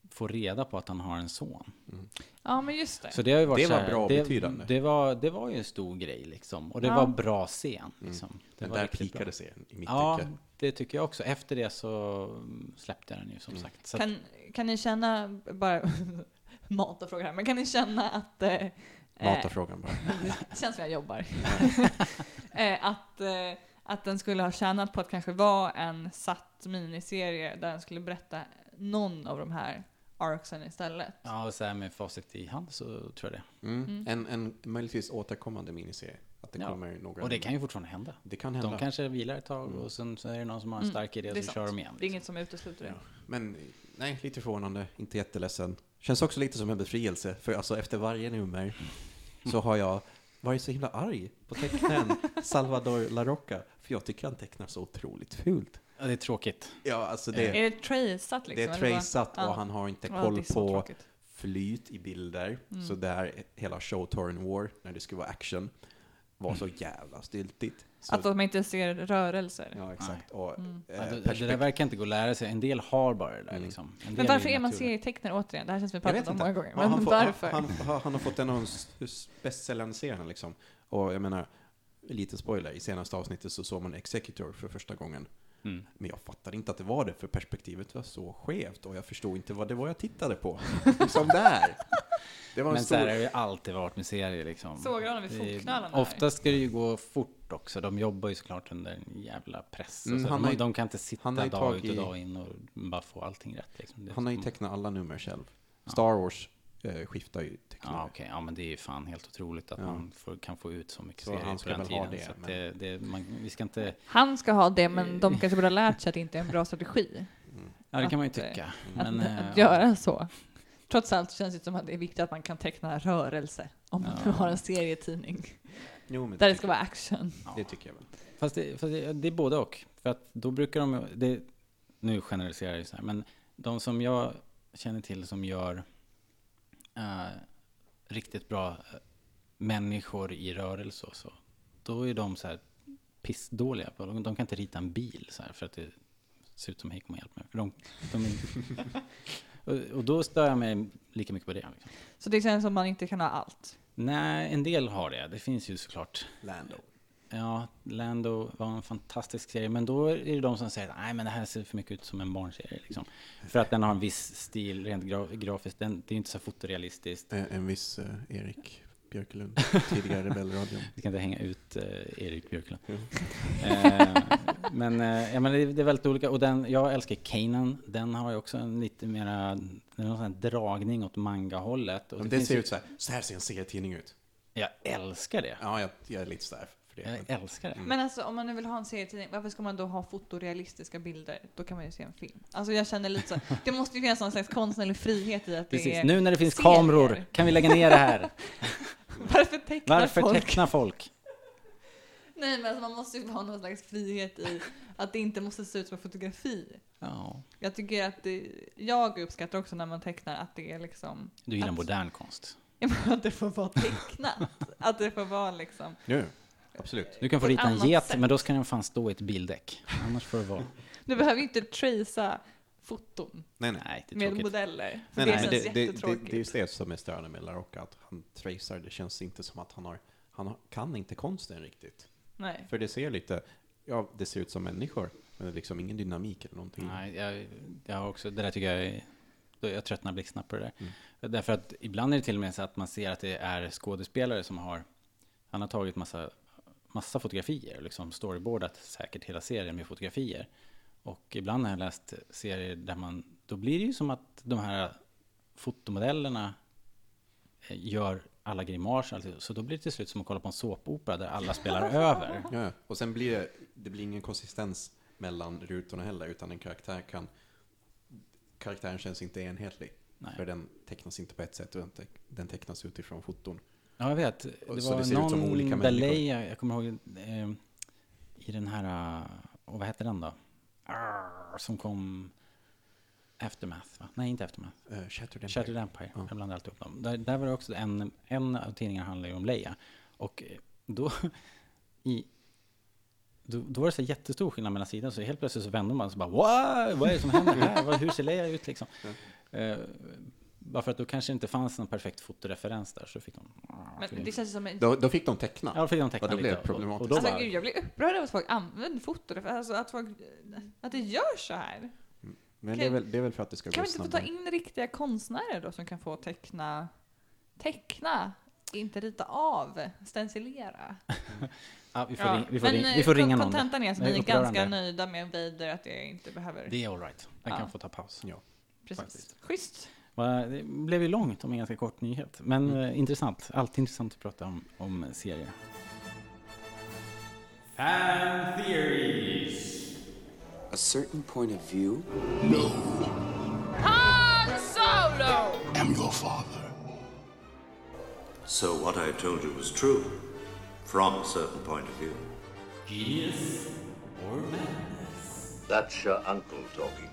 [SPEAKER 2] får reda på att han har en son.
[SPEAKER 4] Ja, men just det.
[SPEAKER 2] Så det har ju varit
[SPEAKER 3] Det var
[SPEAKER 2] så här,
[SPEAKER 3] bra och
[SPEAKER 2] det,
[SPEAKER 3] betydande.
[SPEAKER 2] Det var, det var ju en stor grej liksom. Och det
[SPEAKER 4] Ja.
[SPEAKER 2] var bra scen. Liksom. Det
[SPEAKER 3] Mm. Den
[SPEAKER 2] var
[SPEAKER 3] där
[SPEAKER 2] riktigt bra.
[SPEAKER 3] pikade sig i mitt
[SPEAKER 2] Ja,
[SPEAKER 3] tycke.
[SPEAKER 2] det tycker jag också. Efter det så mm, släppte jag den ju som sagt. Så att-
[SPEAKER 4] Kan, kan ni känna, bara mata frågan här, men kan ni känna att... Eh,
[SPEAKER 3] Mata frågan bara.
[SPEAKER 4] Det känns som jag jobbar. Eh, att, eh, att den skulle ha tjänat på att kanske vara en satt miniserie där den skulle berätta någon av de här arcsen istället.
[SPEAKER 2] Ja, och så här med facit i hand så tror jag det.
[SPEAKER 3] Mm. En, en möjligtvis återkommande miniserie. Att det
[SPEAKER 2] Ja.
[SPEAKER 3] kommer några...
[SPEAKER 2] Och det kan ju fortfarande hända.
[SPEAKER 3] Det kan hända. Mm.
[SPEAKER 2] De kanske vilar ett tag och sen så är det någon som har en stark idé och så
[SPEAKER 4] sant.
[SPEAKER 2] kör de igen. liksom.
[SPEAKER 4] Mm. Det är inget som utesluter det.
[SPEAKER 3] Ja. Men nej, lite förvånande. Inte jätteledsen. Känns också lite som en befrielse. För alltså efter varje nummer så har jag varit så himla arg på tecknaren Salvador LaRocca. För jag tycker han tecknar så otroligt fult.
[SPEAKER 2] Ja, det är tråkigt.
[SPEAKER 3] Ja, alltså det,
[SPEAKER 4] Är det traceat
[SPEAKER 3] det
[SPEAKER 4] liksom?
[SPEAKER 3] är
[SPEAKER 4] eller vad?
[SPEAKER 3] traceat
[SPEAKER 4] Ja.
[SPEAKER 3] och han har inte
[SPEAKER 4] Ja,
[SPEAKER 3] koll
[SPEAKER 4] det är så
[SPEAKER 3] på...
[SPEAKER 4] tråkigt.
[SPEAKER 3] flyt i bilder.
[SPEAKER 4] Mm.
[SPEAKER 3] Så där hela show Torn War, när det skulle vara action, var så jävla styltigt. Så,
[SPEAKER 4] Mm. Att de Mm. inte ser rörelser.
[SPEAKER 3] ja, exakt. Och, eh,
[SPEAKER 2] Ja, det, det
[SPEAKER 3] perspekt- Mm.
[SPEAKER 2] där verkar inte gå att lära sig. En del har bara det där liksom. En del
[SPEAKER 4] Men varför är man
[SPEAKER 2] naturligt.
[SPEAKER 4] serietecknare återigen? Det här känns som vi
[SPEAKER 3] Jag
[SPEAKER 4] pratat
[SPEAKER 3] vet
[SPEAKER 4] om
[SPEAKER 3] inte.
[SPEAKER 4] många gånger.
[SPEAKER 3] Ja,
[SPEAKER 4] Men
[SPEAKER 3] han får-
[SPEAKER 4] varför?
[SPEAKER 3] Han, han, han har fått en av de s- s- bästsäljande serierna liksom. Och jag menar, liten spoiler, i senaste avsnittet så såg man Executor för första gången.
[SPEAKER 2] Mm.
[SPEAKER 3] Men jag fattade inte att det var det, för perspektivet var så skevt och jag förstod inte vad det var jag tittade på. Som där! Det var en
[SPEAKER 2] Men så
[SPEAKER 3] stor...
[SPEAKER 2] här har det ju alltid varit med serier liksom.
[SPEAKER 4] Såg jag honom vid
[SPEAKER 2] Det är-
[SPEAKER 4] fotknölarna där?
[SPEAKER 2] Oftast ska det ju gå fort också. De jobbar ju såklart under en jävla press. och
[SPEAKER 3] Mm,
[SPEAKER 2] så.
[SPEAKER 3] han
[SPEAKER 2] de,
[SPEAKER 3] har ju-
[SPEAKER 2] de kan inte sitta
[SPEAKER 3] han har ju
[SPEAKER 2] dag
[SPEAKER 3] tagit
[SPEAKER 2] ut och
[SPEAKER 3] i-
[SPEAKER 2] dag in och bara få allting rätt. Liksom. Det är
[SPEAKER 3] Han har ju
[SPEAKER 2] som-
[SPEAKER 3] tecknat alla nummer själv. Star Wars, eh, skiftar ju tecknare.
[SPEAKER 2] Ja, okej. Ja, men det är ju fan helt otroligt att
[SPEAKER 3] Ja.
[SPEAKER 2] man får, kan få ut så mycket
[SPEAKER 3] Så
[SPEAKER 2] serier
[SPEAKER 3] han
[SPEAKER 2] på
[SPEAKER 3] ska
[SPEAKER 2] den
[SPEAKER 3] väl ha
[SPEAKER 2] tiden.
[SPEAKER 3] det,
[SPEAKER 2] så att
[SPEAKER 3] men-
[SPEAKER 2] det, det, man, vi ska inte...
[SPEAKER 4] Han ska ha det, men
[SPEAKER 2] Eh.
[SPEAKER 4] de kanske borde ha lärt sig att det inte är en bra strategi
[SPEAKER 2] Ja, det kan man ju
[SPEAKER 4] Att, eh,
[SPEAKER 2] tycka.
[SPEAKER 4] att,
[SPEAKER 3] Mm.
[SPEAKER 2] Men, eh,
[SPEAKER 4] att göra så. Trots allt så känns det som att det är viktigt att man kan teckna rörelse om man nu
[SPEAKER 2] Ja.
[SPEAKER 4] har en serietidning
[SPEAKER 3] Jo, men
[SPEAKER 4] där
[SPEAKER 3] det,
[SPEAKER 4] det ska vara action.
[SPEAKER 2] vara-
[SPEAKER 3] det tycker jag väl.
[SPEAKER 2] Fast, det, fast det, det är både och. För att då brukar de, ju- det, nu generaliserar jag ju så här, men de som jag känner till som gör eh, riktigt bra eh, människor i rörelse och så, då är de så här pissdåliga. på- De, de kan inte rita en bil så här för att det ser ut som hej kom och hjälp mig. För de, de är, och, och då stör jag mig lika mycket på det. Liksom.
[SPEAKER 4] Så det känns som att man inte kan ha allt.
[SPEAKER 2] Nej, en del har det. Det finns ju såklart
[SPEAKER 3] Lando.
[SPEAKER 2] Ja, Lando var en fantastisk serie, men då är det de som säger nej men det här ser för mycket ut som en barnserie. Liksom. För att den har en viss stil rent gra grafiskt, den, det är ju inte så fotorealistiskt.
[SPEAKER 3] Eh, En viss eh, Erik Björkelund, tidigare Rebellradion.
[SPEAKER 2] Vi ska inte hänga ut eh, Erik Björklund.
[SPEAKER 3] Jo.
[SPEAKER 2] eh, men eh, ja, men det, det är väldigt olika, och den, jag älskar Kanan, den har ju också en lite mera, den har en sån här dragning åt manga-hållet. Och
[SPEAKER 3] Men
[SPEAKER 2] det
[SPEAKER 3] det
[SPEAKER 2] finns
[SPEAKER 3] ser
[SPEAKER 2] ju,
[SPEAKER 3] ut så här, så här ser en serietidning ut.
[SPEAKER 2] jag älskar det.
[SPEAKER 3] Ja, jag, jag är lite sådär för det.
[SPEAKER 2] Jag
[SPEAKER 3] men-
[SPEAKER 2] älskar det.
[SPEAKER 4] Men alltså om man nu vill ha en serietidning, varför ska man då ha fotorealistiska bilder? Då kan man ju se en film. Alltså jag känner lite så, det måste ju finnas någon slags konstnärlig frihet i att det
[SPEAKER 2] Precis,
[SPEAKER 4] är...
[SPEAKER 2] nu när det finns
[SPEAKER 4] serier.
[SPEAKER 2] kameror kan vi lägga ner det här.
[SPEAKER 4] Varför tecknar
[SPEAKER 2] Varför
[SPEAKER 4] folk?
[SPEAKER 2] teckna folk?
[SPEAKER 4] Nej men alltså, man måste ju ha någon slags frihet i att det inte måste se ut som en fotografi.
[SPEAKER 2] Ja.
[SPEAKER 4] Jag tycker att det, jag uppskattar också när man tecknar att det är liksom...
[SPEAKER 2] Du gillar
[SPEAKER 4] att,
[SPEAKER 2] modern konst.
[SPEAKER 4] Ja, men Att det får vara tecknat. att det får vara liksom...
[SPEAKER 3] Jo, jo, absolut.
[SPEAKER 2] Du kan få
[SPEAKER 4] På ett
[SPEAKER 2] rita en
[SPEAKER 4] annat
[SPEAKER 2] get,
[SPEAKER 4] sätt.
[SPEAKER 2] men då ska den fan stå i ett bildäck. Annars får det vara.
[SPEAKER 4] Du behöver ju inte tracea foton
[SPEAKER 3] Nej, nej.
[SPEAKER 2] Nej, det är
[SPEAKER 4] med
[SPEAKER 2] tråkigt.
[SPEAKER 4] modeller.
[SPEAKER 3] Nej, nej,
[SPEAKER 4] För det
[SPEAKER 3] men
[SPEAKER 4] känns
[SPEAKER 3] det, det, det,
[SPEAKER 4] jättetråkigt.
[SPEAKER 3] det är just det som är störande med Larocca, att han tracear, det känns inte som att han har, han har- kan inte konsten riktigt.
[SPEAKER 4] Nej.
[SPEAKER 3] För det ser lite, ja, det ser ut som människor, men det är liksom ingen dynamik eller någonting.
[SPEAKER 2] Nej, jag, jag har också, det där tycker jag är, då- jag tröttnar blixtsnabbt på det där. Därför att ibland är det till och med så att man ser att det är skådespelare som har, han har tagit massa, massa fotografier, liksom storyboardat säkert hela serien med fotografier. Och ibland har jag läst serier där man, då blir det ju som att de här fotomodellerna eh, gör alla grimaser, alltså, så då blir det till slut som att kolla på en såpopera där alla spelar över.
[SPEAKER 3] Ja, ja. och sen blir det, det blir ingen konsistens mellan rutorna heller, utan en karaktär kan... Karaktären känns inte enhetlig.
[SPEAKER 2] Nej.
[SPEAKER 3] För den tecknas inte på ett sätt, utan te- den tecknas utifrån foton.
[SPEAKER 2] Ja, jag vet. Det
[SPEAKER 3] Och så
[SPEAKER 2] var
[SPEAKER 3] det ser ut
[SPEAKER 2] någon
[SPEAKER 3] som olika människor.
[SPEAKER 2] delay, jag, jag kommer ihåg, eh, i den här, eh, och vad hette den då? Arr, som kom Aftermath, va? Nej, inte Aftermath.
[SPEAKER 3] Uh, Shattered Empire.
[SPEAKER 2] Shattered Empire, jag blandar alltid upp dem. Där, där var det också en, en av tidningarna handlade ju om Leia. Och eh, då, i, då, då var det så här jättestor skillnad mellan sidorna, så helt plötsligt så vände man sig och bara wow, vad är det som händer här? Vad- Hur ser Leia ut liksom? Eh, bara för att då kanske det inte fanns någon perfekt fotoreferens där, så fick de...
[SPEAKER 4] Men det känns som en...
[SPEAKER 3] Då, då fick de teckna.
[SPEAKER 2] Ja, då fick de teckna
[SPEAKER 3] och då
[SPEAKER 2] lite.
[SPEAKER 3] blev det
[SPEAKER 2] och- Och
[SPEAKER 3] problematiskt.
[SPEAKER 2] då
[SPEAKER 4] Alltså
[SPEAKER 2] bara,
[SPEAKER 4] gud, jag blir upprörd över att folk använder foton. Alltså att folk... Att det gör så här.
[SPEAKER 3] Men det är, väl, det är väl för att det ska
[SPEAKER 4] Kan
[SPEAKER 3] gå
[SPEAKER 4] vi inte få ta
[SPEAKER 3] snabbare.
[SPEAKER 4] in riktiga konstnärer då som kan få teckna? Teckna? Inte rita av, stencilera.
[SPEAKER 2] ja, vi får,
[SPEAKER 4] Ja,
[SPEAKER 2] ring, vi får, ring,
[SPEAKER 4] eh,
[SPEAKER 2] vi får
[SPEAKER 4] kon-
[SPEAKER 2] ringa någon.
[SPEAKER 4] Kontentan är att
[SPEAKER 2] Det är
[SPEAKER 4] ni är ganska
[SPEAKER 2] upprörande.
[SPEAKER 4] nöjda med Vader, att det inte behöver...
[SPEAKER 2] Det är alright. Den
[SPEAKER 4] Ja.
[SPEAKER 2] kan få ta paus.
[SPEAKER 3] Ja.
[SPEAKER 4] precis.
[SPEAKER 2] faktiskt.
[SPEAKER 4] Schysst.
[SPEAKER 2] Va, Det blev ju långt om en ganska kort nyhet. Men eh, intressant. Alltid intressant att prata om, om serier.
[SPEAKER 7] A certain point of view
[SPEAKER 5] Am your father.
[SPEAKER 8] So what I told you was true, from a certain point of view. Genius or madness? That's your uncle talking.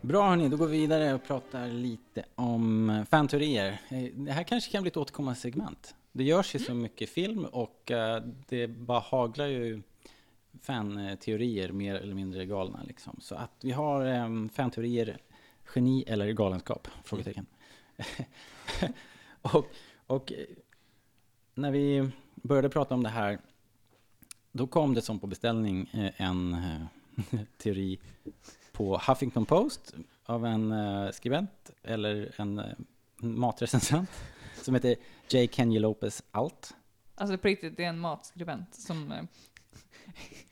[SPEAKER 2] Bra hörni, då går vi vidare och pratar lite om eh, fanteorier. Eh, Det här kanske kan bli ett återkommande segment. Det görs ju så mycket film och eh, det bara haglar ju fanteorier mer eller mindre galna liksom. Så att vi har eh, fanteorier, geni eller galenskap? Frågetecken. och, och eh, när vi började prata om det här då kom det som på beställning eh, en eh, teori på Huffington Post av en eh, skribent eller en eh, matrecensent som heter J. Kenny Lopez Alt.
[SPEAKER 4] Alltså på riktigt, det är en matskribent som, eh,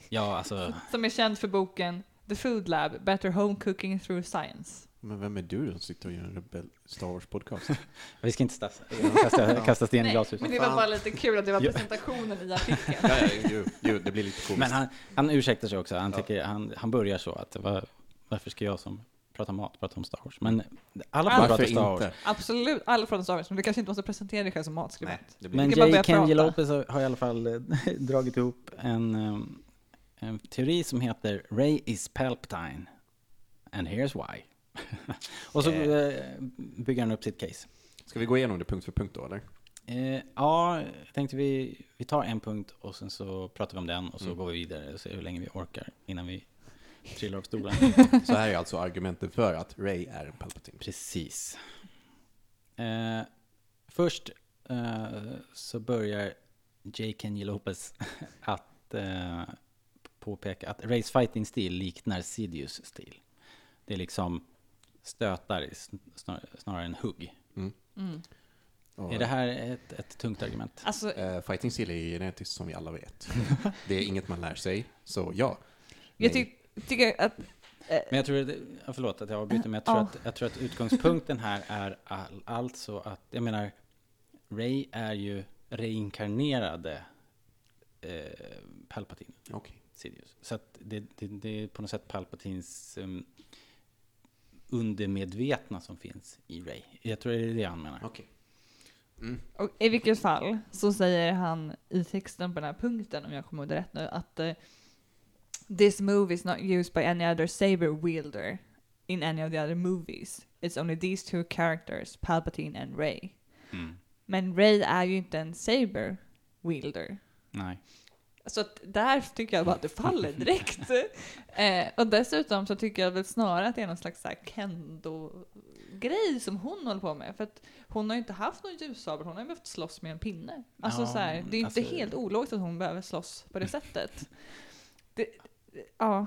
[SPEAKER 2] Ja, alltså,
[SPEAKER 4] som är känd för boken The Food Lab, Better Home Cooking Through Science.
[SPEAKER 3] Men vem är du som sitter och gör en rebell Star Wars-podcast?
[SPEAKER 2] Vi ska inte kasta, kasta, kasta sten i
[SPEAKER 4] Nej,
[SPEAKER 2] glashus.
[SPEAKER 4] men det var bara lite kul att det var presentationen i artikeln.
[SPEAKER 3] ja, ja, jo, jo, det blir lite komiskt.
[SPEAKER 2] Men han, han ursäktar sig också. Han, tycker, han, han börjar så att var, varför ska jag som pratar mat prata om Star Wars? Men alla får
[SPEAKER 3] Varför
[SPEAKER 2] prata Star Wars.
[SPEAKER 3] inte?
[SPEAKER 4] Absolut, alla från Star Wars, men du kanske inte måste presentera dig själv som matskribent.
[SPEAKER 3] det blir-
[SPEAKER 2] Men
[SPEAKER 4] Vi kan bara
[SPEAKER 2] J.
[SPEAKER 4] börja
[SPEAKER 2] Kenji
[SPEAKER 4] prata.
[SPEAKER 2] Lopez har har i alla fall eh, dragit ihop en, ehm, en teori som heter Ray is Palpatine and here's why. Och så eh, bygger han upp sitt case.
[SPEAKER 3] Ska vi gå igenom det punkt för punkt då, eller?
[SPEAKER 2] Eh, ja, jag tänkte vi, vi tar en punkt och sen så pratar vi om den och så går vi vidare och ser hur länge vi orkar innan vi trillar av stolen.
[SPEAKER 3] Så här är alltså argumenten för att Ray är en Palpatine.
[SPEAKER 2] Precis. Eh, först eh, så börjar J. Kenny Lopez att eh, påpeka att Rays fighting-stil liknar Sidious stil. Det är liksom stötar sn- snar- snarare än hugg.
[SPEAKER 3] Och,
[SPEAKER 2] Är det här ett, ett tungt argument?
[SPEAKER 4] Alltså,
[SPEAKER 3] eh, fighting steel är ju genetiskt som vi alla vet. det är inget man lär sig, så ja.
[SPEAKER 4] jag
[SPEAKER 3] Nej.
[SPEAKER 4] ty- tycker att...
[SPEAKER 2] Men jag tror, att- ja, förlåt att jag avbryter, men jag tror,
[SPEAKER 4] Ja.
[SPEAKER 2] att, jag tror att utgångspunkten här är all, alltså att, jag menar, Ray är ju reinkarnerade eh, Palpatine,
[SPEAKER 3] Okej.
[SPEAKER 2] Sidious. Så att det, det, det är på något sätt Palpatins um, undermedvetna som finns i Ray. Jag tror det är det han menar.
[SPEAKER 3] Okej.
[SPEAKER 4] Och I vilket fall så säger han i texten på den här punkten, om jag kommer ihåg det rätt nu, att eh, “This movie is not used by any other saber wielder in any of the other movies. It's only these two characters, Palpatine and Ray. Men Ray är ju inte en saber wielder.
[SPEAKER 2] Nej.
[SPEAKER 4] Så att där tycker jag bara att det faller direkt. eh, och dessutom så tycker jag väl snarare att det är någon slags så här kendo-grej som hon håller på med. För att hon har ju inte haft någon ljussabel, hon har ju behövt slåss med en pinne. Alltså
[SPEAKER 2] Ja,
[SPEAKER 4] så här, det är ju inte
[SPEAKER 2] alltså-
[SPEAKER 4] helt ologiskt att hon behöver slåss på det sättet. Det, ja.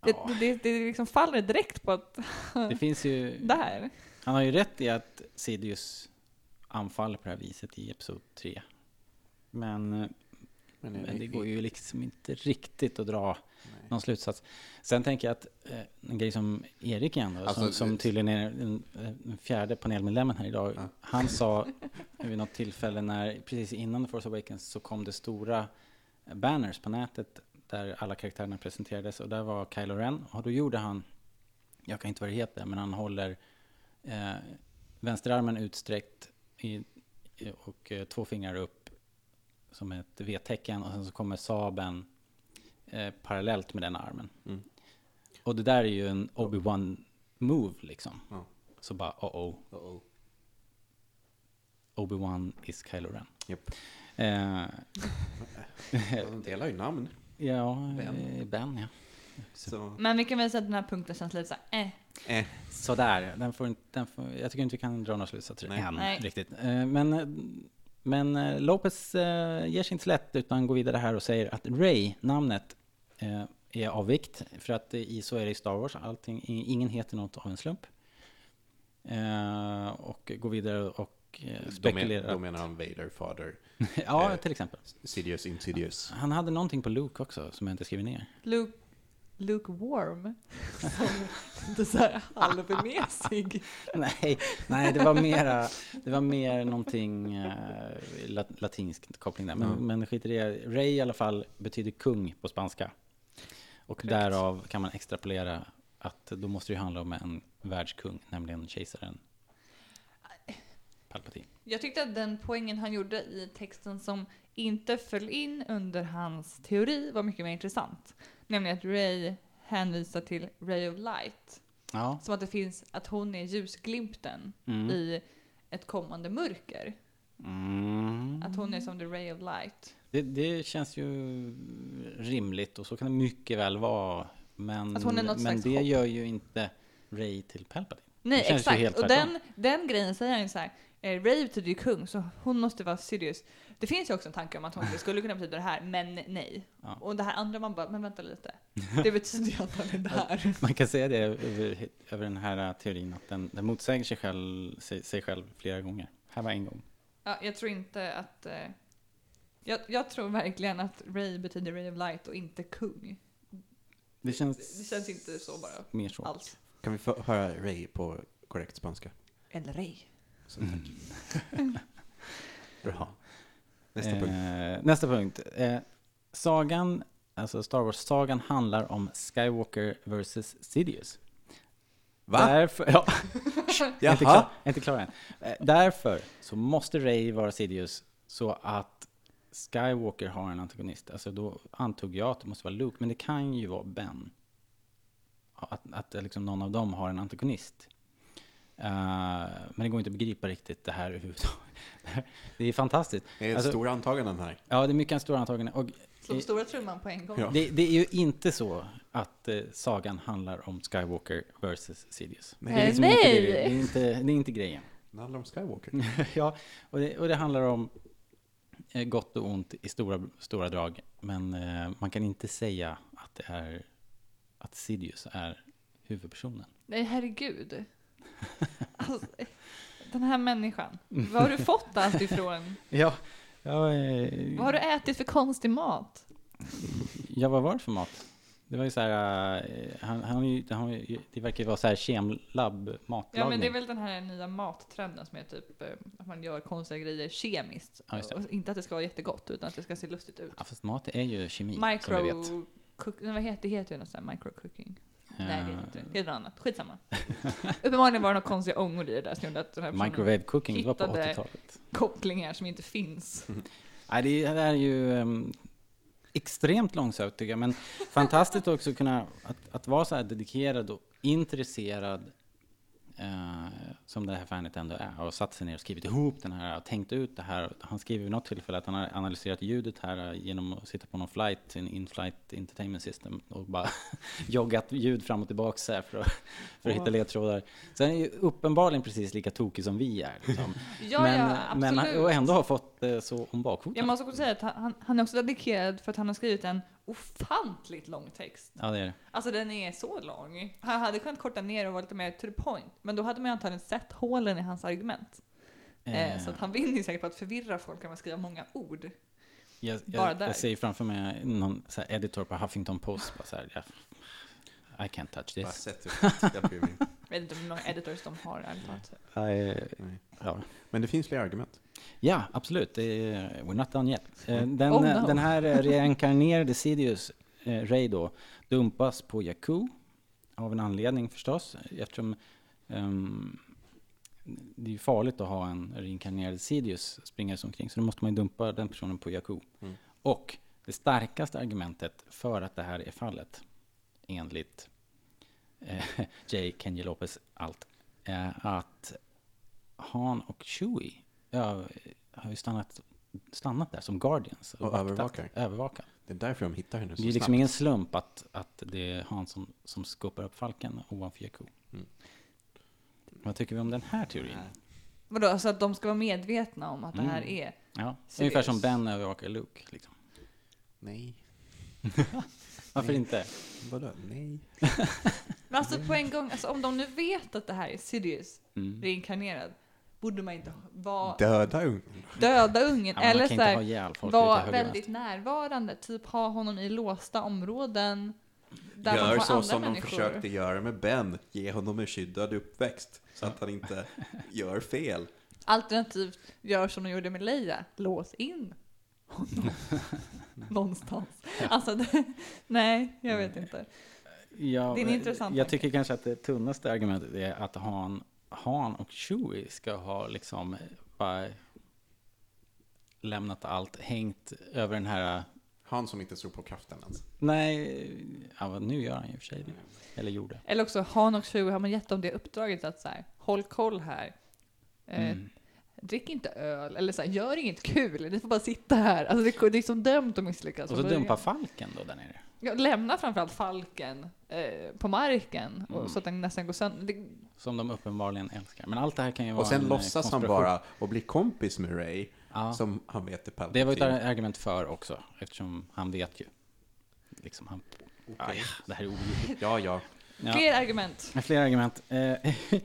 [SPEAKER 4] Det,
[SPEAKER 2] Ja.
[SPEAKER 4] det, det, det liksom faller direkt på att
[SPEAKER 2] Det finns ju,
[SPEAKER 4] där.
[SPEAKER 2] han har ju rätt i att Sidious anfaller på det här viset i Episod 3. Men eh,
[SPEAKER 3] Men,
[SPEAKER 2] Men det går ju liksom inte riktigt att dra
[SPEAKER 3] Nej.
[SPEAKER 2] någon slutsats. Sen tänker jag att eh, en grej som Erik igen då, som,
[SPEAKER 3] Alltså,
[SPEAKER 2] som
[SPEAKER 3] det-
[SPEAKER 2] tydligen är den, eh, den fjärde panelmedlemmen här idag. Han sa vid något tillfälle när, precis innan The Force Awakens så kom det stora banners på nätet där alla karaktärerna presenterades och där var Kylo Ren och då gjorde han, jag kan inte vad det heter, men han håller eh, vänsterarmen utsträckt i, och eh, två fingrar upp som ett V-tecken och sen så kommer sabeln eh, parallellt med den armen.
[SPEAKER 3] Mm.
[SPEAKER 2] Och det där är ju en Obi-Wan move liksom.
[SPEAKER 3] Ja.
[SPEAKER 2] Så bara oh oh,
[SPEAKER 3] Uh-oh.
[SPEAKER 2] Obi-Wan is Kylo Ren.
[SPEAKER 3] Japp.
[SPEAKER 2] Eh,
[SPEAKER 3] De delar ju namn.
[SPEAKER 2] ja,
[SPEAKER 3] Ben.
[SPEAKER 2] ben, ben ja.
[SPEAKER 3] Så.
[SPEAKER 4] Men vi kan väl säga att den här punkten känns lite så här, eh.
[SPEAKER 3] Eh.
[SPEAKER 2] Sådär, den får, inte- den får, jag tycker inte vi kan dra några slutsatser
[SPEAKER 3] Nej.
[SPEAKER 2] än
[SPEAKER 4] Nej.
[SPEAKER 2] riktigt. Eh, Men, eh, men eh, Lopez eh, ger sig inte slätt utan går vidare här och säger att Ray, namnet, eh, är av vikt. För att eh, i, så är det i Star Wars, allting, i- ingen heter något av en slump. Eh, Och går vidare och eh,
[SPEAKER 3] Då, men,
[SPEAKER 2] spekulerar.
[SPEAKER 3] då menar han Vader, Father,
[SPEAKER 2] ja,
[SPEAKER 3] eh,
[SPEAKER 2] till exempel.
[SPEAKER 3] Sidious, Insidious.
[SPEAKER 2] Han hade någonting på Luke också som jag inte skriver ner.
[SPEAKER 4] Luke, Luke Warm. Som lite såhär halvmesig.
[SPEAKER 2] Nej, nej det, var mera, det var mer någonting eh, lat- latinsk koppling där. Men, men skit i det. Rey i alla fall betyder kung på spanska. Och därav kan man extrapolera att då måste det ju handla om en världskung, nämligen kejsaren Palpatine.
[SPEAKER 4] Jag tyckte att den poängen han gjorde i texten som inte föll in under hans teori var mycket mer intressant. Nämligen att Ray hänvisar till Ray of Light.
[SPEAKER 2] Ja,
[SPEAKER 4] Som att det finns, att hon är ljusglimten
[SPEAKER 2] Mm.
[SPEAKER 4] i ett kommande mörker. Att hon är som the Ray of Light.
[SPEAKER 2] Mm. det, det känns ju rimligt och så kan det mycket väl vara. Men,
[SPEAKER 4] Att hon är något
[SPEAKER 2] men
[SPEAKER 4] slags
[SPEAKER 2] det
[SPEAKER 4] hopp.
[SPEAKER 2] gör ju inte Rey till Palpatine.
[SPEAKER 4] Nej,
[SPEAKER 2] Det känns ju helt
[SPEAKER 4] exakt. Och
[SPEAKER 2] tvärtom.
[SPEAKER 4] den, den grejen säger han ju så här. eh, Ray betyder ju kung, så hon måste vara Sirius. Det finns ju också en tanke om att hon skulle kunna betyda det här, men nej.
[SPEAKER 2] Ja.
[SPEAKER 4] Och det här andra man bara, men vänta lite. Det betyder ju att han är där.
[SPEAKER 2] Man kan säga det över, över den här eh, teorin att den, den motsäger sig själv, sig, sig själv flera gånger. Här var en gång.
[SPEAKER 4] Ja, jag tror inte att... Eh, jag, jag tror verkligen att Ray betyder Ray of Light och inte kung.
[SPEAKER 2] Det känns,
[SPEAKER 4] Det känns inte så bara
[SPEAKER 2] mer så.
[SPEAKER 4] alls.
[SPEAKER 3] Kan vi få höra Ray på korrekt spanska?
[SPEAKER 4] Eller ej.
[SPEAKER 3] Så, tack. Bra. Nästa
[SPEAKER 2] Mm. Eh,
[SPEAKER 3] punkt.
[SPEAKER 2] Nästa punkt. Eh, sagan, alltså Star Wars-sagan handlar om Skywalker vs. Sidious. Därför, ja, jag är inte klar,
[SPEAKER 3] Jaha.
[SPEAKER 2] jag är inte klar än. Eh, Därför så måste Ray vara Sidious så att Skywalker har en antagonist. Alltså då antog jag att det måste vara Luke, men det kan ju vara Ben. Att, att liksom någon av dem har en antagonist. Eh, men det går inte att begripa riktigt det här överhuvudtaget. Det är fantastiskt.
[SPEAKER 3] Det är
[SPEAKER 2] Alltså-
[SPEAKER 3] stora antaganden här.
[SPEAKER 2] Ja, det är mycket stora antaganden. Och
[SPEAKER 4] Slå på stora trumman på en gång.
[SPEAKER 3] Ja.
[SPEAKER 2] det, det är ju inte så att eh, sagan handlar om Skywalker vs. Sidious.
[SPEAKER 3] Nej.
[SPEAKER 2] Det är liksom
[SPEAKER 4] Nej.
[SPEAKER 2] inte, det, det, är inte, det är inte grejen.
[SPEAKER 3] Det handlar om
[SPEAKER 2] Mm.
[SPEAKER 3] Skywalker.
[SPEAKER 2] ja, och det, och det handlar om eh, gott och ont i stora, stora drag. Men eh, man kan inte säga att det är att Sidious är huvudpersonen.
[SPEAKER 4] Nej, herregud. Alltså, den här människan.
[SPEAKER 2] Mm.
[SPEAKER 4] Var har du fått allt ifrån?
[SPEAKER 2] Ja, ja, eh,
[SPEAKER 4] Vad har du ätit för konstig mat?
[SPEAKER 2] ja vad var det för mat? Det var ju så här, eh, han, han, har ju- han, har ju- det verkar ju vara så här kemlabb-matlagning.
[SPEAKER 4] Ja, men det är väl den här nya mattrenden som är typ eh, att man gör konstiga grejer kemiskt.
[SPEAKER 2] Ja, just det.
[SPEAKER 4] Och inte att det ska vara jättegott, utan att det ska se lustigt ut.
[SPEAKER 2] Ja, fast mat är ju kemi, som vi
[SPEAKER 4] Micro...
[SPEAKER 2] vet.
[SPEAKER 4] Cook, nej, vad heter det? heter ju något sånt här microcooking. Nej, det
[SPEAKER 2] Eh,
[SPEAKER 4] heter inte det. Det heter något annat. Skitsamma. Uppenbarligen var det några konstiga ångor i det där som gjorde att den här personen
[SPEAKER 2] Microwave cooking, det var på
[SPEAKER 4] hittade
[SPEAKER 2] 80-talet.
[SPEAKER 4] kopplingar som inte finns.
[SPEAKER 2] Nej, det, är- det här är ju ehm, extremt långsökt tycker jag, men fantastiskt också att kunna att, att vara så här dedikerad och intresserad eh, som det här fanet ändå är och satt sig ner och skrivit ihop den här och tänkt ut det här. Han skriver vid något tillfälle att han har analyserat ljudet här eh, genom att sitta på någon flight, en in-flight entertainment system och bara joggat ljud fram och tillbaka så här för att, för att hitta ledtrådar. Så han är ju uppenbarligen precis lika tokig som vi är. Liksom.
[SPEAKER 4] Ja, ja,
[SPEAKER 2] men han- och
[SPEAKER 4] absolut.
[SPEAKER 2] ändå har fått eh, så om bakfoten.
[SPEAKER 4] Jag måste också säga att han, han är också dedikerad för att han har skrivit en ofantligt lång text.
[SPEAKER 2] Ja, det är det.
[SPEAKER 4] Alltså den är så lång. Han hade kunnat korta ner och vara lite mer to the point. Men då hade man ju antagligen sett hålen i hans argument. Eh, så att han vinner ju säkert på att förvirra folk genom att skriva många ord.
[SPEAKER 2] jag,
[SPEAKER 4] bara
[SPEAKER 2] jag,
[SPEAKER 4] där.
[SPEAKER 2] jag ser framför mig någon så här editor på Huffington Post bara så här, "Ja, I can't touch
[SPEAKER 3] Bara
[SPEAKER 2] this.
[SPEAKER 3] sett ut. Jag bryr mig inte.
[SPEAKER 4] Jag vet inte hur många editors de har ärligt talat.
[SPEAKER 3] Nej.
[SPEAKER 2] Eh, Ja.
[SPEAKER 3] Men det finns fler argument.
[SPEAKER 2] ja, absolut. Det är, we're not done yet. Eh, Den,
[SPEAKER 4] Oh,
[SPEAKER 2] eh,
[SPEAKER 4] no.
[SPEAKER 2] den här eh, reinkarnerade Sidious, eh, Ray då, dumpas på Jakku. Av en anledning förstås, eftersom ehm, det är ju farligt att ha en reinkarnerad Sidious springandes omkring, så då måste man ju dumpa den personen på Jakku.
[SPEAKER 3] Mm.
[SPEAKER 2] Och det starkaste argumentet för att det här är fallet, enligt eh, J. Kenji Lopez allt, eh, att Han och Chewie ja, har ju stannat, stannat där som Guardians.
[SPEAKER 3] Och
[SPEAKER 2] vaktat,
[SPEAKER 3] övervakar.
[SPEAKER 2] övervakar.
[SPEAKER 3] Det är därför de hittar henne så
[SPEAKER 2] Det är liksom
[SPEAKER 3] snabbt.
[SPEAKER 2] ingen slump att, att det är han som, som skopar upp falken ovanför Jakku.
[SPEAKER 3] Mm.
[SPEAKER 2] Vad tycker vi om den här teorin?
[SPEAKER 4] Vadå, alltså att de ska vara medvetna om att det
[SPEAKER 2] Mm.
[SPEAKER 4] här är...
[SPEAKER 2] Ja,
[SPEAKER 4] Seriös.
[SPEAKER 2] ungefär som Ben övervakar Luke. Liksom.
[SPEAKER 3] Nej.
[SPEAKER 2] Varför
[SPEAKER 4] Mm.
[SPEAKER 2] inte?
[SPEAKER 3] Vadå? Nej.
[SPEAKER 4] Men alltså
[SPEAKER 2] Mm.
[SPEAKER 4] på en gång, alltså om de nu vet att det här är Sirius reinkarnerad, borde man inte vara
[SPEAKER 3] Döda ungen.
[SPEAKER 4] döda ungen.
[SPEAKER 2] Ja, man
[SPEAKER 4] eller
[SPEAKER 2] kan
[SPEAKER 4] så
[SPEAKER 2] inte
[SPEAKER 4] här,
[SPEAKER 2] ha ihjäl folk lite
[SPEAKER 4] vara
[SPEAKER 2] höger och
[SPEAKER 4] väldigt närvarande. Typ ha honom i låsta områden. Där man
[SPEAKER 3] Gör
[SPEAKER 4] har
[SPEAKER 3] så
[SPEAKER 4] andra
[SPEAKER 3] som de
[SPEAKER 4] människor.
[SPEAKER 3] försökte göra med Ben. Ge honom en skyddad uppväxt. Så att han inte gör fel.
[SPEAKER 4] Alternativt gör som de gjorde med Leia. Lås in honom. Någonstans. Alltså, det, nej, jag vet inte.
[SPEAKER 2] Ja,
[SPEAKER 4] Det är en intressant
[SPEAKER 2] jag
[SPEAKER 4] tanke.
[SPEAKER 2] tycker kanske att det tunnaste argumentet är att Han, han och Chewie ska ha liksom bara lämnat allt, hängt över den här
[SPEAKER 3] Han som inte tror på kraften ens.
[SPEAKER 2] Nej, ja, vad- nu gör han ju i och för sig det. Eller gjorde.
[SPEAKER 4] Eller också, Han och Chewie har man gett dem det uppdraget att så här, håll koll här. Eh,
[SPEAKER 2] Mm.
[SPEAKER 4] Drick inte öl, eller så här, gör inget kul, ni får bara sitta här. Alltså det, det är som dömt att misslyckas.
[SPEAKER 2] Och så
[SPEAKER 4] från början.
[SPEAKER 2] dumpar Falken då där nere.
[SPEAKER 4] Ja, lämna framförallt falken eh, på marken
[SPEAKER 2] Mm.
[SPEAKER 4] och, så att den nästan går sönder. Det,
[SPEAKER 2] Som de uppenbarligen älskar. Men allt det här kan ju vara
[SPEAKER 3] Och sen
[SPEAKER 2] en, eh,
[SPEAKER 3] låtsas han
[SPEAKER 2] konspiration.
[SPEAKER 3] bara och blir kompis med Ray.
[SPEAKER 2] Ja.
[SPEAKER 3] Som han vet är
[SPEAKER 2] Det
[SPEAKER 3] Palpatine.
[SPEAKER 2] var ett ar- argument för också, eftersom han vet ju. Liksom han... Aj, det här är ogiltigt.
[SPEAKER 3] Ja, ja.
[SPEAKER 2] Ja.
[SPEAKER 4] Fler argument.
[SPEAKER 2] Men Fler argument. Eh, eh,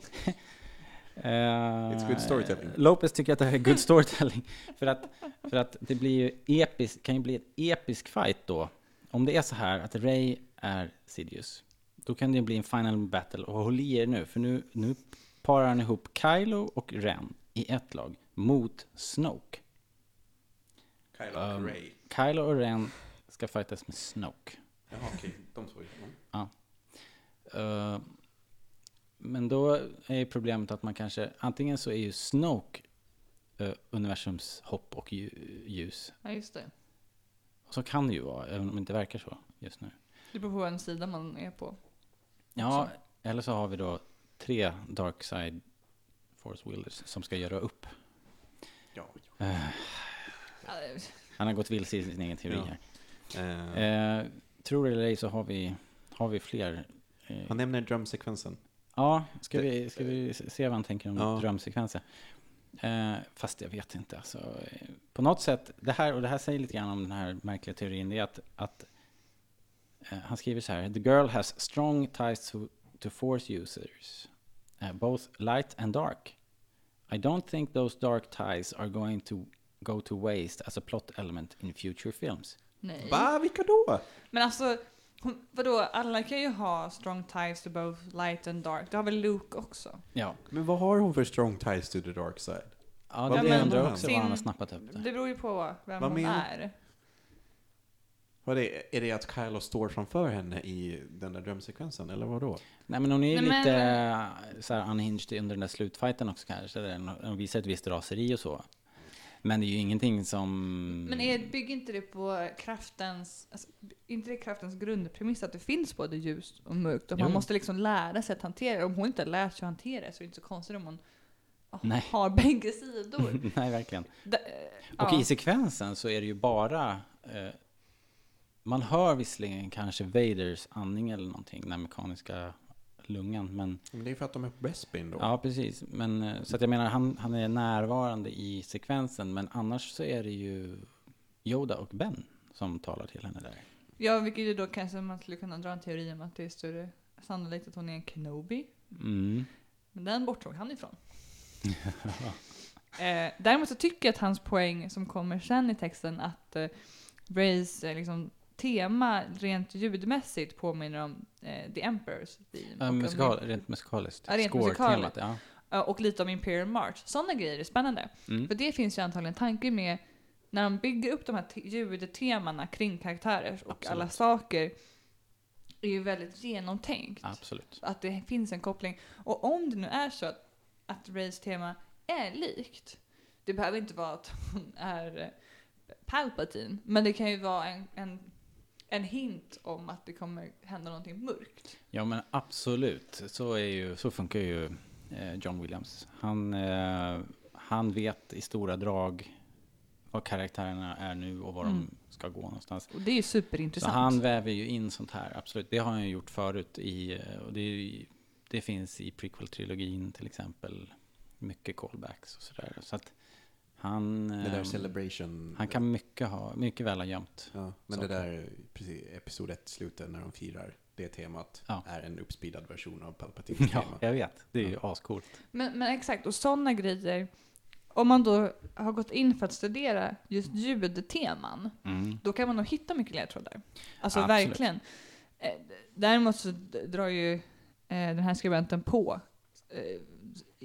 [SPEAKER 3] It's good storytelling.
[SPEAKER 2] Lopez tycker att det här är good storytelling. för, att, för att det blir ju episk, kan ju bli en episk fight då. Om det är så här att Ray är Sidious, Då kan det bli en final battle. Och håll i er nu, för nu, nu parar han ihop Kylo och Ren i ett lag mot Snoke.
[SPEAKER 3] Kylo
[SPEAKER 2] Ehm,
[SPEAKER 3] och Ray.
[SPEAKER 2] Kylo och Ren ska fightas med Snoke.
[SPEAKER 3] Jaha, okej. De två. Mm.
[SPEAKER 2] Ja. Eh, men då är problemet att man kanske, antingen så är ju Snoke eh, universums hopp och lju- ljus.
[SPEAKER 4] Ja, just det.
[SPEAKER 2] Och så kan det ju vara, även om det inte verkar så just nu.
[SPEAKER 4] Det beror på vilken sida man är på.
[SPEAKER 2] Ja, eller så har vi då tre Dark Side Force Wielders som ska göra upp.
[SPEAKER 3] Ja.
[SPEAKER 4] Ja, det-
[SPEAKER 2] Han har gått vilse i sin egen teori
[SPEAKER 3] Ja.
[SPEAKER 2] här.
[SPEAKER 3] Eh,
[SPEAKER 2] Eh, tror det eller ej så har vi, har vi fler. eh,
[SPEAKER 3] han nämner drömsekvensen.
[SPEAKER 2] Ja, ska vi, ska vi se vad han tänker om
[SPEAKER 3] Ja.
[SPEAKER 2] drömsekvenser? Eh, fast jag vet inte. Alltså, eh, på något sätt, det här, och det här säger lite grann om den här märkliga teorin, det är att, att eh, han skriver så här, The girl has strong ties to, to force users, eh, both light and dark. I don't think those dark ties are going to go to waste as a plot element in future films.
[SPEAKER 4] nej.
[SPEAKER 3] Va? Vilka då?
[SPEAKER 4] Men alltså, hon, vadå, alla kan ju ha strong ties to both light and dark. Det har väl Luke också?
[SPEAKER 2] Ja,
[SPEAKER 3] Men vad har hon för strong ties to the dark side?
[SPEAKER 2] ja
[SPEAKER 3] Vad
[SPEAKER 2] det
[SPEAKER 4] menar
[SPEAKER 2] undrar
[SPEAKER 4] han?
[SPEAKER 2] jag också vad han har
[SPEAKER 4] Sin-
[SPEAKER 2] snappat upp.
[SPEAKER 4] Det beror ju på vem
[SPEAKER 3] Vad
[SPEAKER 4] hon
[SPEAKER 3] menar-
[SPEAKER 4] är.
[SPEAKER 3] Vad är, det, är det att Kylo står framför henne i den där drömsekvensen, eller vad då?
[SPEAKER 2] Nej men hon är ju
[SPEAKER 4] Nej, men-
[SPEAKER 2] lite eh, så här unhinged under den där slutfighten också kanske. Där hon- hon visar ett visst raseri och så. Men det är ju ingenting som...
[SPEAKER 4] Men är, bygger inte det på kraftens, alltså, är inte det kraftens grundpremiss att det finns både ljus och mörkt? Och man
[SPEAKER 2] Jo.
[SPEAKER 4] måste liksom lära sig att hantera det. Om hon inte har lärt sig att hantera det så är det inte så konstigt om hon ah,
[SPEAKER 2] Nej.
[SPEAKER 4] har bägge sidor.
[SPEAKER 2] Nej verkligen.
[SPEAKER 4] Da,
[SPEAKER 2] Och
[SPEAKER 4] ja.
[SPEAKER 2] i sekvensen så är det ju bara... Eh, man hör visserligen kanske Vaders andning eller någonting, den här mekaniska lungan. Men,
[SPEAKER 3] Men det är för att de är på Bespin då.
[SPEAKER 2] ja precis. Men, eh, så att jag menar, han, han är närvarande i sekvensen. Men annars så är det ju Yoda och Ben som talar till henne där.
[SPEAKER 4] ja, vilket ju då kanske man skulle kunna dra en teori om att det är större sannolikt att hon är en Kenobi.
[SPEAKER 2] Mm.
[SPEAKER 4] Men den borttog han ifrån. eh, däremot så tycker jag att hans poäng som kommer sen i texten att eh, Rays eh, liksom, tema rent ljudmässigt påminner om eh, The Emperors. i- och
[SPEAKER 2] Ja,
[SPEAKER 4] om-
[SPEAKER 2] musikal, rent musikaliskt.
[SPEAKER 4] Ja, rent
[SPEAKER 2] Score-temat,
[SPEAKER 4] musikaliskt.
[SPEAKER 2] ja.
[SPEAKER 4] Ja, och lite om Imperial March. Sådana grejer är spännande.
[SPEAKER 2] Mm.
[SPEAKER 4] För det finns ju antagligen tanke med när de bygger upp de här te- ljudtemana kring karaktärer och
[SPEAKER 2] Absolut.
[SPEAKER 4] alla saker är ju väldigt genomtänkt.
[SPEAKER 2] Absolut.
[SPEAKER 4] att det finns en koppling. Och om det nu är så att, att Rays tema är likt, det behöver inte vara att hon är eh, Palpatine, men det kan ju vara en, en, en hint om att det kommer hända någonting mörkt.
[SPEAKER 2] Ja men absolut, så, är ju, så funkar ju eh, John Williams. Han, eh, han vet i stora drag vad karaktärerna är nu och var
[SPEAKER 4] Mm.
[SPEAKER 2] de ska gå någonstans.
[SPEAKER 4] Och det är ju
[SPEAKER 2] Så
[SPEAKER 4] superintressant.
[SPEAKER 2] han väver ju in sånt här, absolut. Det har han ju gjort förut. I, eh, och det, är ju- det finns i prequel-trilogin till exempel. Mycket callbacks och sådär. Så att han,
[SPEAKER 3] Det där
[SPEAKER 2] eh,
[SPEAKER 3] celebration.
[SPEAKER 2] han kan mycket, ha, mycket väl ha gömt.
[SPEAKER 3] Ja, men det
[SPEAKER 2] saker.
[SPEAKER 3] där, precis, episod 1 slutet när de firar det temat
[SPEAKER 2] Ja.
[SPEAKER 3] är en uppspeedad version av Palpatines
[SPEAKER 2] Ja,
[SPEAKER 3] tema.
[SPEAKER 2] jag vet. Det är ju ascoolt.
[SPEAKER 4] Men, men exakt, och sådana grejer, om man då har gått in för att studera just ljudteman, då kan man nog hitta mycket ledtrådar. Alltså
[SPEAKER 2] Absolut.
[SPEAKER 4] verkligen. Eh, Däremot så d- drar ju eh, den här skribenten på, eh,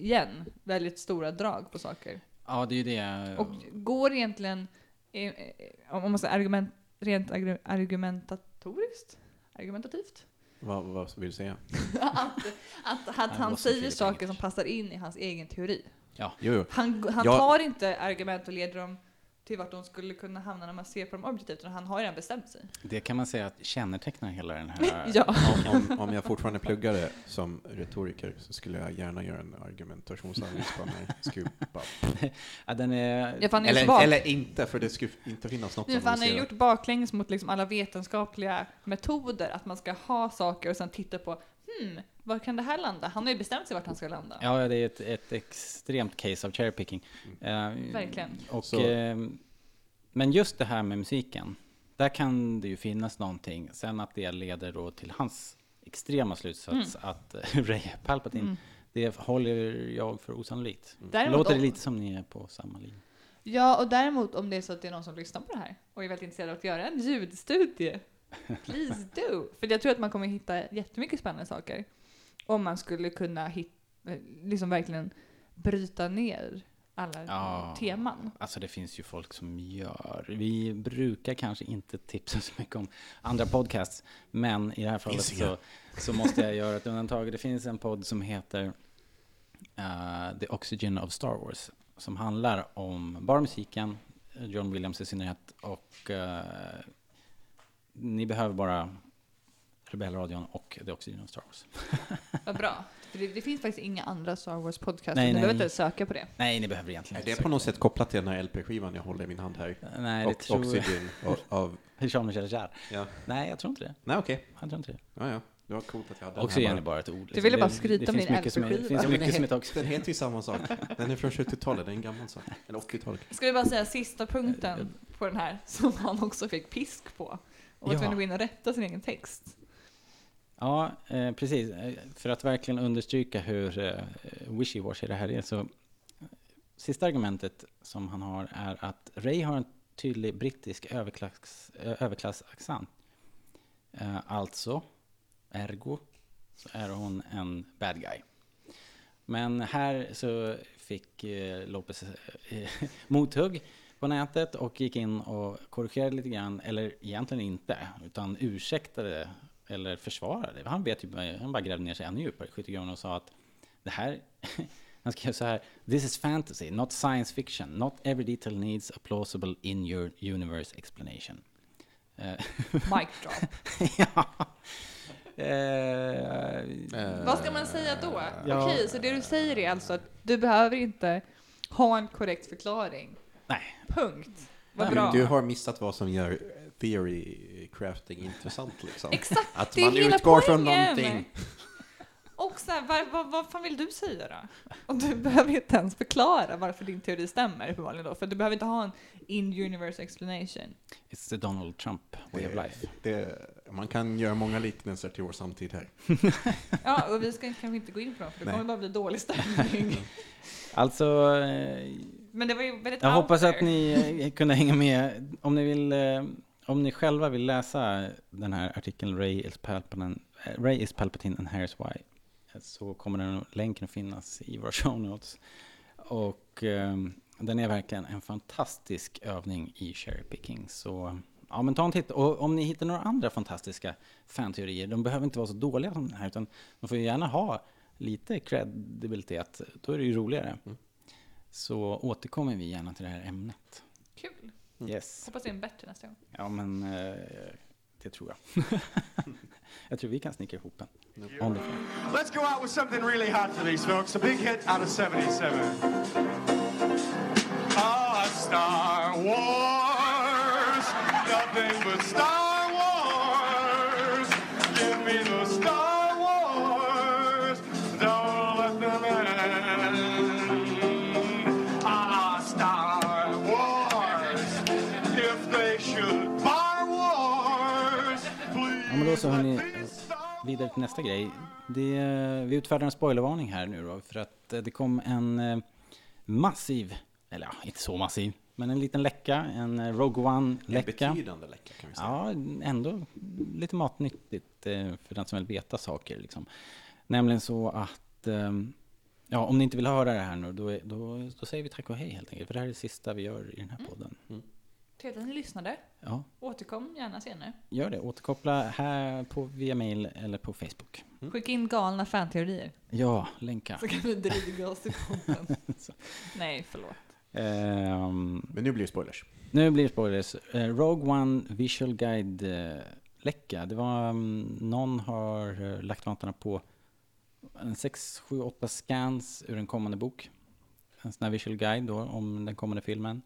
[SPEAKER 4] igen, väldigt stora drag på saker.
[SPEAKER 2] Ja, det är ju det.
[SPEAKER 4] Och går egentligen, eh, eh, om man säger argument, rent agru- argumentatoriskt, argumentativt,
[SPEAKER 3] Vad, vad vill du säga?
[SPEAKER 4] att, att, att
[SPEAKER 2] det
[SPEAKER 4] han
[SPEAKER 2] var som
[SPEAKER 4] säger
[SPEAKER 2] Filip
[SPEAKER 4] saker
[SPEAKER 2] Engels.
[SPEAKER 4] som passar in i hans egen teori.
[SPEAKER 3] Jo, jo.
[SPEAKER 4] Han, han
[SPEAKER 3] Jag-
[SPEAKER 4] tar inte argument och leder dem till vart de skulle kunna hamna när man ser på dem objektivt, utan han har ju redan bestämt sig.
[SPEAKER 2] Det kan man säga att kännetecknar hela den här...
[SPEAKER 4] Ja.
[SPEAKER 3] Om, om jag fortfarande pluggade som retoriker så skulle jag gärna göra en argumentationsanalys på mig. Skulle bara-
[SPEAKER 2] ja den är...
[SPEAKER 4] Ja, för han är ju så
[SPEAKER 3] Eller,
[SPEAKER 4] bak-
[SPEAKER 3] eller inte, för det skulle inte finnas något
[SPEAKER 4] Nej, för han har ju
[SPEAKER 3] analysera.
[SPEAKER 4] gjort baklänges mot liksom alla vetenskapliga metoder, att man ska ha saker och sen titta på hmm, var kan det här landa? Han har ju bestämt sig vart han ska landa.
[SPEAKER 2] Ja, ja, det är ett, ett extremt case av cherry picking. Eh,
[SPEAKER 4] Mm. Verkligen.
[SPEAKER 2] Och,
[SPEAKER 3] Så-
[SPEAKER 2] eh, men just det här med musiken, där kan det ju finnas någonting. Sen att det leder då till hans extrema slutsats
[SPEAKER 4] Mm.
[SPEAKER 2] att eh, Ray är Palpatine, det håller jag för osannolikt.
[SPEAKER 4] Däremot
[SPEAKER 2] Låter det
[SPEAKER 4] om-
[SPEAKER 2] lite som ni är på samma linje?
[SPEAKER 4] Ja, och däremot om det är så att det är någon som lyssnar på det här och är väldigt intresserad av att göra en ljudstudie Please do! För jag tror att man kommer hitta jättemycket spännande saker. Om man skulle kunna hit, eh, liksom verkligen bryta ner alla
[SPEAKER 2] Ja.
[SPEAKER 4] teman.
[SPEAKER 2] Alltså det finns ju folk som gör. Vi brukar kanske inte tipsa så mycket om andra podcasts. Men i det här fallet
[SPEAKER 3] Finns inga.
[SPEAKER 2] så, så måste jag göra ett undantag. Det finns en podd som heter eh, The Oxygen of Star Wars. Som handlar om bara musiken, John Williams i synnerhet. Och eh, ni behöver bara Rebellradion och The Oxygen of Star Wars.
[SPEAKER 4] Vad bra. För det, det finns faktiskt inga andra Star Wars-podcasts.
[SPEAKER 2] Nej,
[SPEAKER 4] Ni
[SPEAKER 2] nej.
[SPEAKER 4] behöver inte söka på det.
[SPEAKER 2] Nej, ni behöver egentligen
[SPEAKER 3] Är
[SPEAKER 2] inte
[SPEAKER 3] det på
[SPEAKER 2] söka.
[SPEAKER 3] något sätt kopplat till den här LP-skivan jag håller i min hand här?
[SPEAKER 2] Nej, det
[SPEAKER 3] och
[SPEAKER 2] tror jag.
[SPEAKER 3] Oxygen av... av
[SPEAKER 2] Jean-Michel Jarre.
[SPEAKER 3] ja.
[SPEAKER 2] Nej, jag tror inte det.
[SPEAKER 3] Nej, okej.
[SPEAKER 2] Jag tror inte det.
[SPEAKER 3] Ja, ja. Det var coolt att jag hade
[SPEAKER 2] Också
[SPEAKER 3] den
[SPEAKER 2] igen är
[SPEAKER 3] här bara.
[SPEAKER 2] bara ett ord. Alltså,
[SPEAKER 4] Du ville
[SPEAKER 2] Det-
[SPEAKER 4] bara skryta
[SPEAKER 2] det
[SPEAKER 4] om
[SPEAKER 2] finns
[SPEAKER 4] din
[SPEAKER 2] mycket som är- Det
[SPEAKER 4] LP-skiva.
[SPEAKER 2] finns
[SPEAKER 3] Ja, men
[SPEAKER 2] mycket som är
[SPEAKER 3] den,
[SPEAKER 2] toxic.
[SPEAKER 3] den heter ju samma sak. Den är från 70-talet, det är en gammal sak. Eller 80-talet.
[SPEAKER 4] Ska vi bara säga sista
[SPEAKER 3] Eh,
[SPEAKER 4] punkten på den här som han också fick pisk på. Och var
[SPEAKER 2] Ja.
[SPEAKER 4] tvungen att gå in och rätta sin egen text.
[SPEAKER 2] Ja, eh, precis. Eh, För att verkligen understryka hur eh, wishy-washy det här är så eh, sista argumentet som han har är att Ray har en tydlig brittisk överklass, eh, överklassaccent. Eh, alltså, ergo, så är hon en bad guy. Men här så fick eh, Lopez eh, mothugg på nätet och gick in och korrigerade lite grann, eller egentligen inte, utan ursäktade eller försvarade. Han vet ju, han bara grävde ner sig ännu djupare i skyttegraven och sa att det här, han skrev så här, this is fantasy, not science fiction, not every detail needs a plausible in your universe explanation. Eh,
[SPEAKER 4] Mic drop.
[SPEAKER 2] ja. Eh,
[SPEAKER 4] Vad ska man säga då?
[SPEAKER 3] Eh,
[SPEAKER 2] ja.
[SPEAKER 4] Okej, så det du säger är alltså att du behöver inte ha en korrekt förklaring.
[SPEAKER 2] nej,
[SPEAKER 4] Punkt. Vad
[SPEAKER 3] Du,
[SPEAKER 4] bra.
[SPEAKER 3] du har missat vad som gör theory crafting intressant liksom.
[SPEAKER 4] Exakt,
[SPEAKER 3] Att
[SPEAKER 4] det är
[SPEAKER 3] man
[SPEAKER 4] hela
[SPEAKER 3] utgår från
[SPEAKER 4] poängen.
[SPEAKER 3] någonting.
[SPEAKER 4] Och så här, vad, vad, vad fan vill du säga då? Och du behöver inte ens förklara varför din teori stämmer uppenbarligen då, för du behöver inte ha en in-universe explanation.
[SPEAKER 2] it's the Donald Trump way of
[SPEAKER 3] Eh,
[SPEAKER 2] life.
[SPEAKER 3] Det, man kan göra många liknelser till vår samtid här.
[SPEAKER 4] Ja, och vi ska kanske inte gå in på dem, för det
[SPEAKER 3] Nej.
[SPEAKER 4] kommer bara bli dålig stämning.
[SPEAKER 2] Alltså, eh,
[SPEAKER 4] Men det var ju väldigt
[SPEAKER 2] jag
[SPEAKER 4] out
[SPEAKER 2] hoppas att
[SPEAKER 4] there.
[SPEAKER 2] ni eh, kunde hänga med. Om ni, vill, eh, om ni själva vill läsa den här artikeln Ray is Palpatine, eh, Ray is Palpatine and Here's Why eh, så kommer den länken att finnas i våra show notes. Och eh, den är verkligen en fantastisk övning i cherry picking. Så ja, men ta en titt. Och om ni hittar några andra fantastiska fanteorier, de behöver inte vara så dåliga som den här, utan de får ju gärna ha lite kredibilitet. Då är det ju roligare. Så återkommer vi gärna till det här ämnet.
[SPEAKER 4] Kul.
[SPEAKER 2] Yes.
[SPEAKER 4] Hoppas det är en bättre nästa gång.
[SPEAKER 2] Ja, men eh, det tror jag. jag tror vi kan snickra ihop en. Om det finns.
[SPEAKER 9] Let's go out with something really hot for these folks. A big hit out of 77. Ah, Star Wars. Nothing but Star Wars. Give me the Star Wars. Don't let them in. Ah, Star Wars. If they should bar wars,
[SPEAKER 2] Ja, men då
[SPEAKER 9] please
[SPEAKER 2] så hörni,
[SPEAKER 9] let
[SPEAKER 2] eh,
[SPEAKER 9] these Star
[SPEAKER 2] vidare till nästa grej. Det, eh, vi utfärdar en spoilervarning här nu då, för att eh, det kom en eh, massiv, eller ja, inte så massiv, men en liten läcka, en eh, Rogue One-läcka.
[SPEAKER 3] En betydande läcka kan vi säga.
[SPEAKER 2] Ja, ändå lite matnyttigt eh, för den som vill veta saker. Liksom. Nämligen så att, ehm, ja, om ni inte vill höra det här nu, då, är- då, då säger vi tack och hej helt enkelt. För det här är det sista vi gör i den här podden.
[SPEAKER 4] Trevligt att ni lyssnade.
[SPEAKER 2] Ja,
[SPEAKER 4] Återkom gärna senare.
[SPEAKER 2] gör det. Återkoppla här på, via mail eller på Facebook.
[SPEAKER 4] Skicka in galna fanteorier,
[SPEAKER 2] Mm. Ja, länka.
[SPEAKER 4] så kan vi dryga oss i podden. Nej, förlåt.
[SPEAKER 2] Ehm,
[SPEAKER 3] Men nu blir det spoilers.
[SPEAKER 2] Nu blir det spoilers. Eh, Rogue One Visual Guide-läcka. Det var mm, någon har eh, lagt vantarna på en 6, 7, 8 scans ur en kommande bok. En sån här visual guide då om den kommande filmen.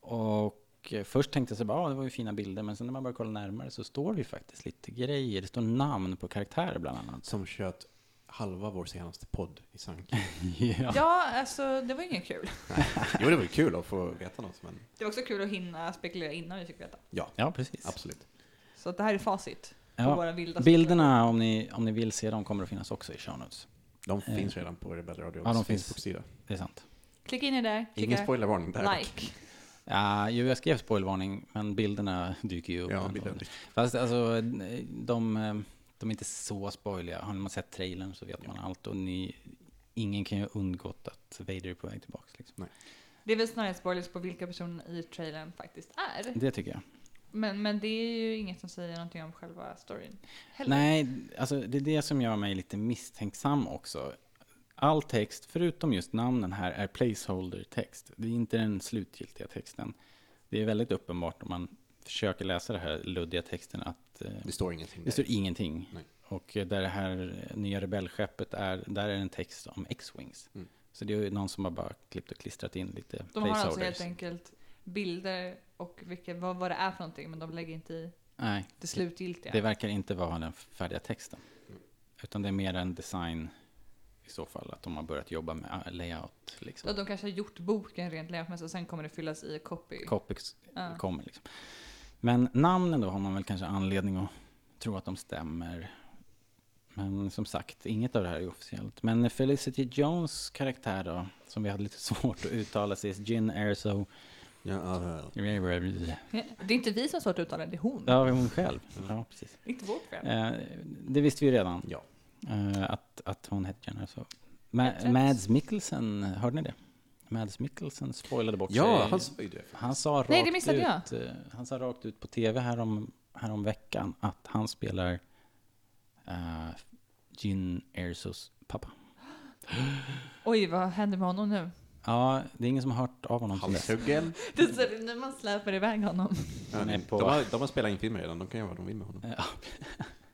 [SPEAKER 2] Och eh, först tänkte jag så bara, ah, det var ju fina bilder, men sen när man börjar kolla närmare så står det ju faktiskt lite grejer. Det står namn på karaktärer bland annat.
[SPEAKER 3] Som sköt halva vår senaste podd i sank.
[SPEAKER 2] ja.
[SPEAKER 4] Ja, alltså det var inget kul.
[SPEAKER 3] Jo, det var ju kul att få veta något, men
[SPEAKER 4] Det var också kul att hinna spekulera innan vi fick veta.
[SPEAKER 3] ja,
[SPEAKER 2] ja, precis.
[SPEAKER 3] absolut.
[SPEAKER 4] Så att det här är facit på
[SPEAKER 2] Ja.
[SPEAKER 4] våra vilda
[SPEAKER 2] Bilderna, om ni, om ni vill se dem, kommer att finnas också i show notes.
[SPEAKER 3] De finns redan på Rebellradions
[SPEAKER 2] Eh. ja, de finns.
[SPEAKER 3] Facebook-sida.
[SPEAKER 2] Det är sant.
[SPEAKER 4] Klicka in er där,
[SPEAKER 3] Ingen
[SPEAKER 4] klicka
[SPEAKER 3] spoilervarning där. dock.
[SPEAKER 4] like.
[SPEAKER 2] Ja, jo, jag skrev spoilvarning, men bilderna dyker ju upp.
[SPEAKER 3] Ja,
[SPEAKER 2] ändå.
[SPEAKER 3] bilderna dyker.
[SPEAKER 2] Fast alltså, de, eh, de är inte så spoiliga. Har man sett trailern så vet man allt. Och ni, ingen kan ju ha undgått att Vader är på väg tillbaka. Liksom.
[SPEAKER 4] Det är väl snarare spoilers på vilka personerna i trailern faktiskt är.
[SPEAKER 2] Det tycker jag.
[SPEAKER 4] Men, men det är ju inget som säger någonting om själva storyn. Heller.
[SPEAKER 2] Nej, alltså det är det som gör mig lite misstänksam också. All text, förutom just namnen här, är placeholder-text. Det är inte den slutgiltiga texten. Det är väldigt uppenbart om man försöker läsa den här luddiga texten att eh,
[SPEAKER 3] Det står ingenting
[SPEAKER 2] det
[SPEAKER 3] där.
[SPEAKER 2] står ingenting.
[SPEAKER 3] Nej.
[SPEAKER 2] Och eh, där det här nya rebellskeppet är, där är en text om X-Wings.
[SPEAKER 3] Mm.
[SPEAKER 2] Så det är ju någon som har bara klippt och klistrat in lite
[SPEAKER 4] De har
[SPEAKER 2] placeholders.
[SPEAKER 4] alltså helt enkelt bilder och vilka, vad, vad det är för någonting, men de lägger inte i
[SPEAKER 2] Nej,
[SPEAKER 4] det slutgiltiga.
[SPEAKER 2] Det verkar inte vara den färdiga texten.
[SPEAKER 3] Mm.
[SPEAKER 2] Utan det är mer en design i så fall, att de har börjat jobba med eh, layout. Liksom.
[SPEAKER 4] Ja, de kanske har gjort boken rent layoutmässigt och sen kommer det fyllas i copy.
[SPEAKER 2] Copics kommer liksom. Men namnen då har man väl kanske anledning att tro att de stämmer. Men som sagt, inget av det här är officiellt. Men Felicity Jones karaktär då, som vi hade lite svårt att uttala sig, Gin Erso.
[SPEAKER 3] Ja, eh, ja, ja.
[SPEAKER 4] Det är inte vi som har svårt att uttala det, det är hon.
[SPEAKER 2] Ja, hon själv. Ja, precis.
[SPEAKER 4] Det är inte vårt fel.
[SPEAKER 2] Eh, det visste vi ju redan.
[SPEAKER 3] ja.
[SPEAKER 2] Eh, att, att hon hette Jenna så.
[SPEAKER 4] Jag
[SPEAKER 2] Ma-
[SPEAKER 4] tror-
[SPEAKER 2] Mads Mikkelsen, hörde ni det? Mads Mikkelsen spoilade bort
[SPEAKER 3] ja
[SPEAKER 2] sig.
[SPEAKER 3] han sa ju det.
[SPEAKER 2] Han sa rakt
[SPEAKER 4] Nej, det missade
[SPEAKER 2] ut, eh, Han sa rakt ut på tv härom, härom veckan att han spelar uh, Gin Ersos pappa.
[SPEAKER 4] Oj, vad händer med honom nu?
[SPEAKER 2] Ja, det är ingen som har hört av honom sedan dess.
[SPEAKER 3] Halshuggen.
[SPEAKER 4] Det är så, när man släpar iväg honom.
[SPEAKER 3] Ja,
[SPEAKER 2] är
[SPEAKER 3] de,
[SPEAKER 2] på-
[SPEAKER 3] har, de har spelat in filmer redan, de kan göra vad de vill med honom.
[SPEAKER 2] Ja,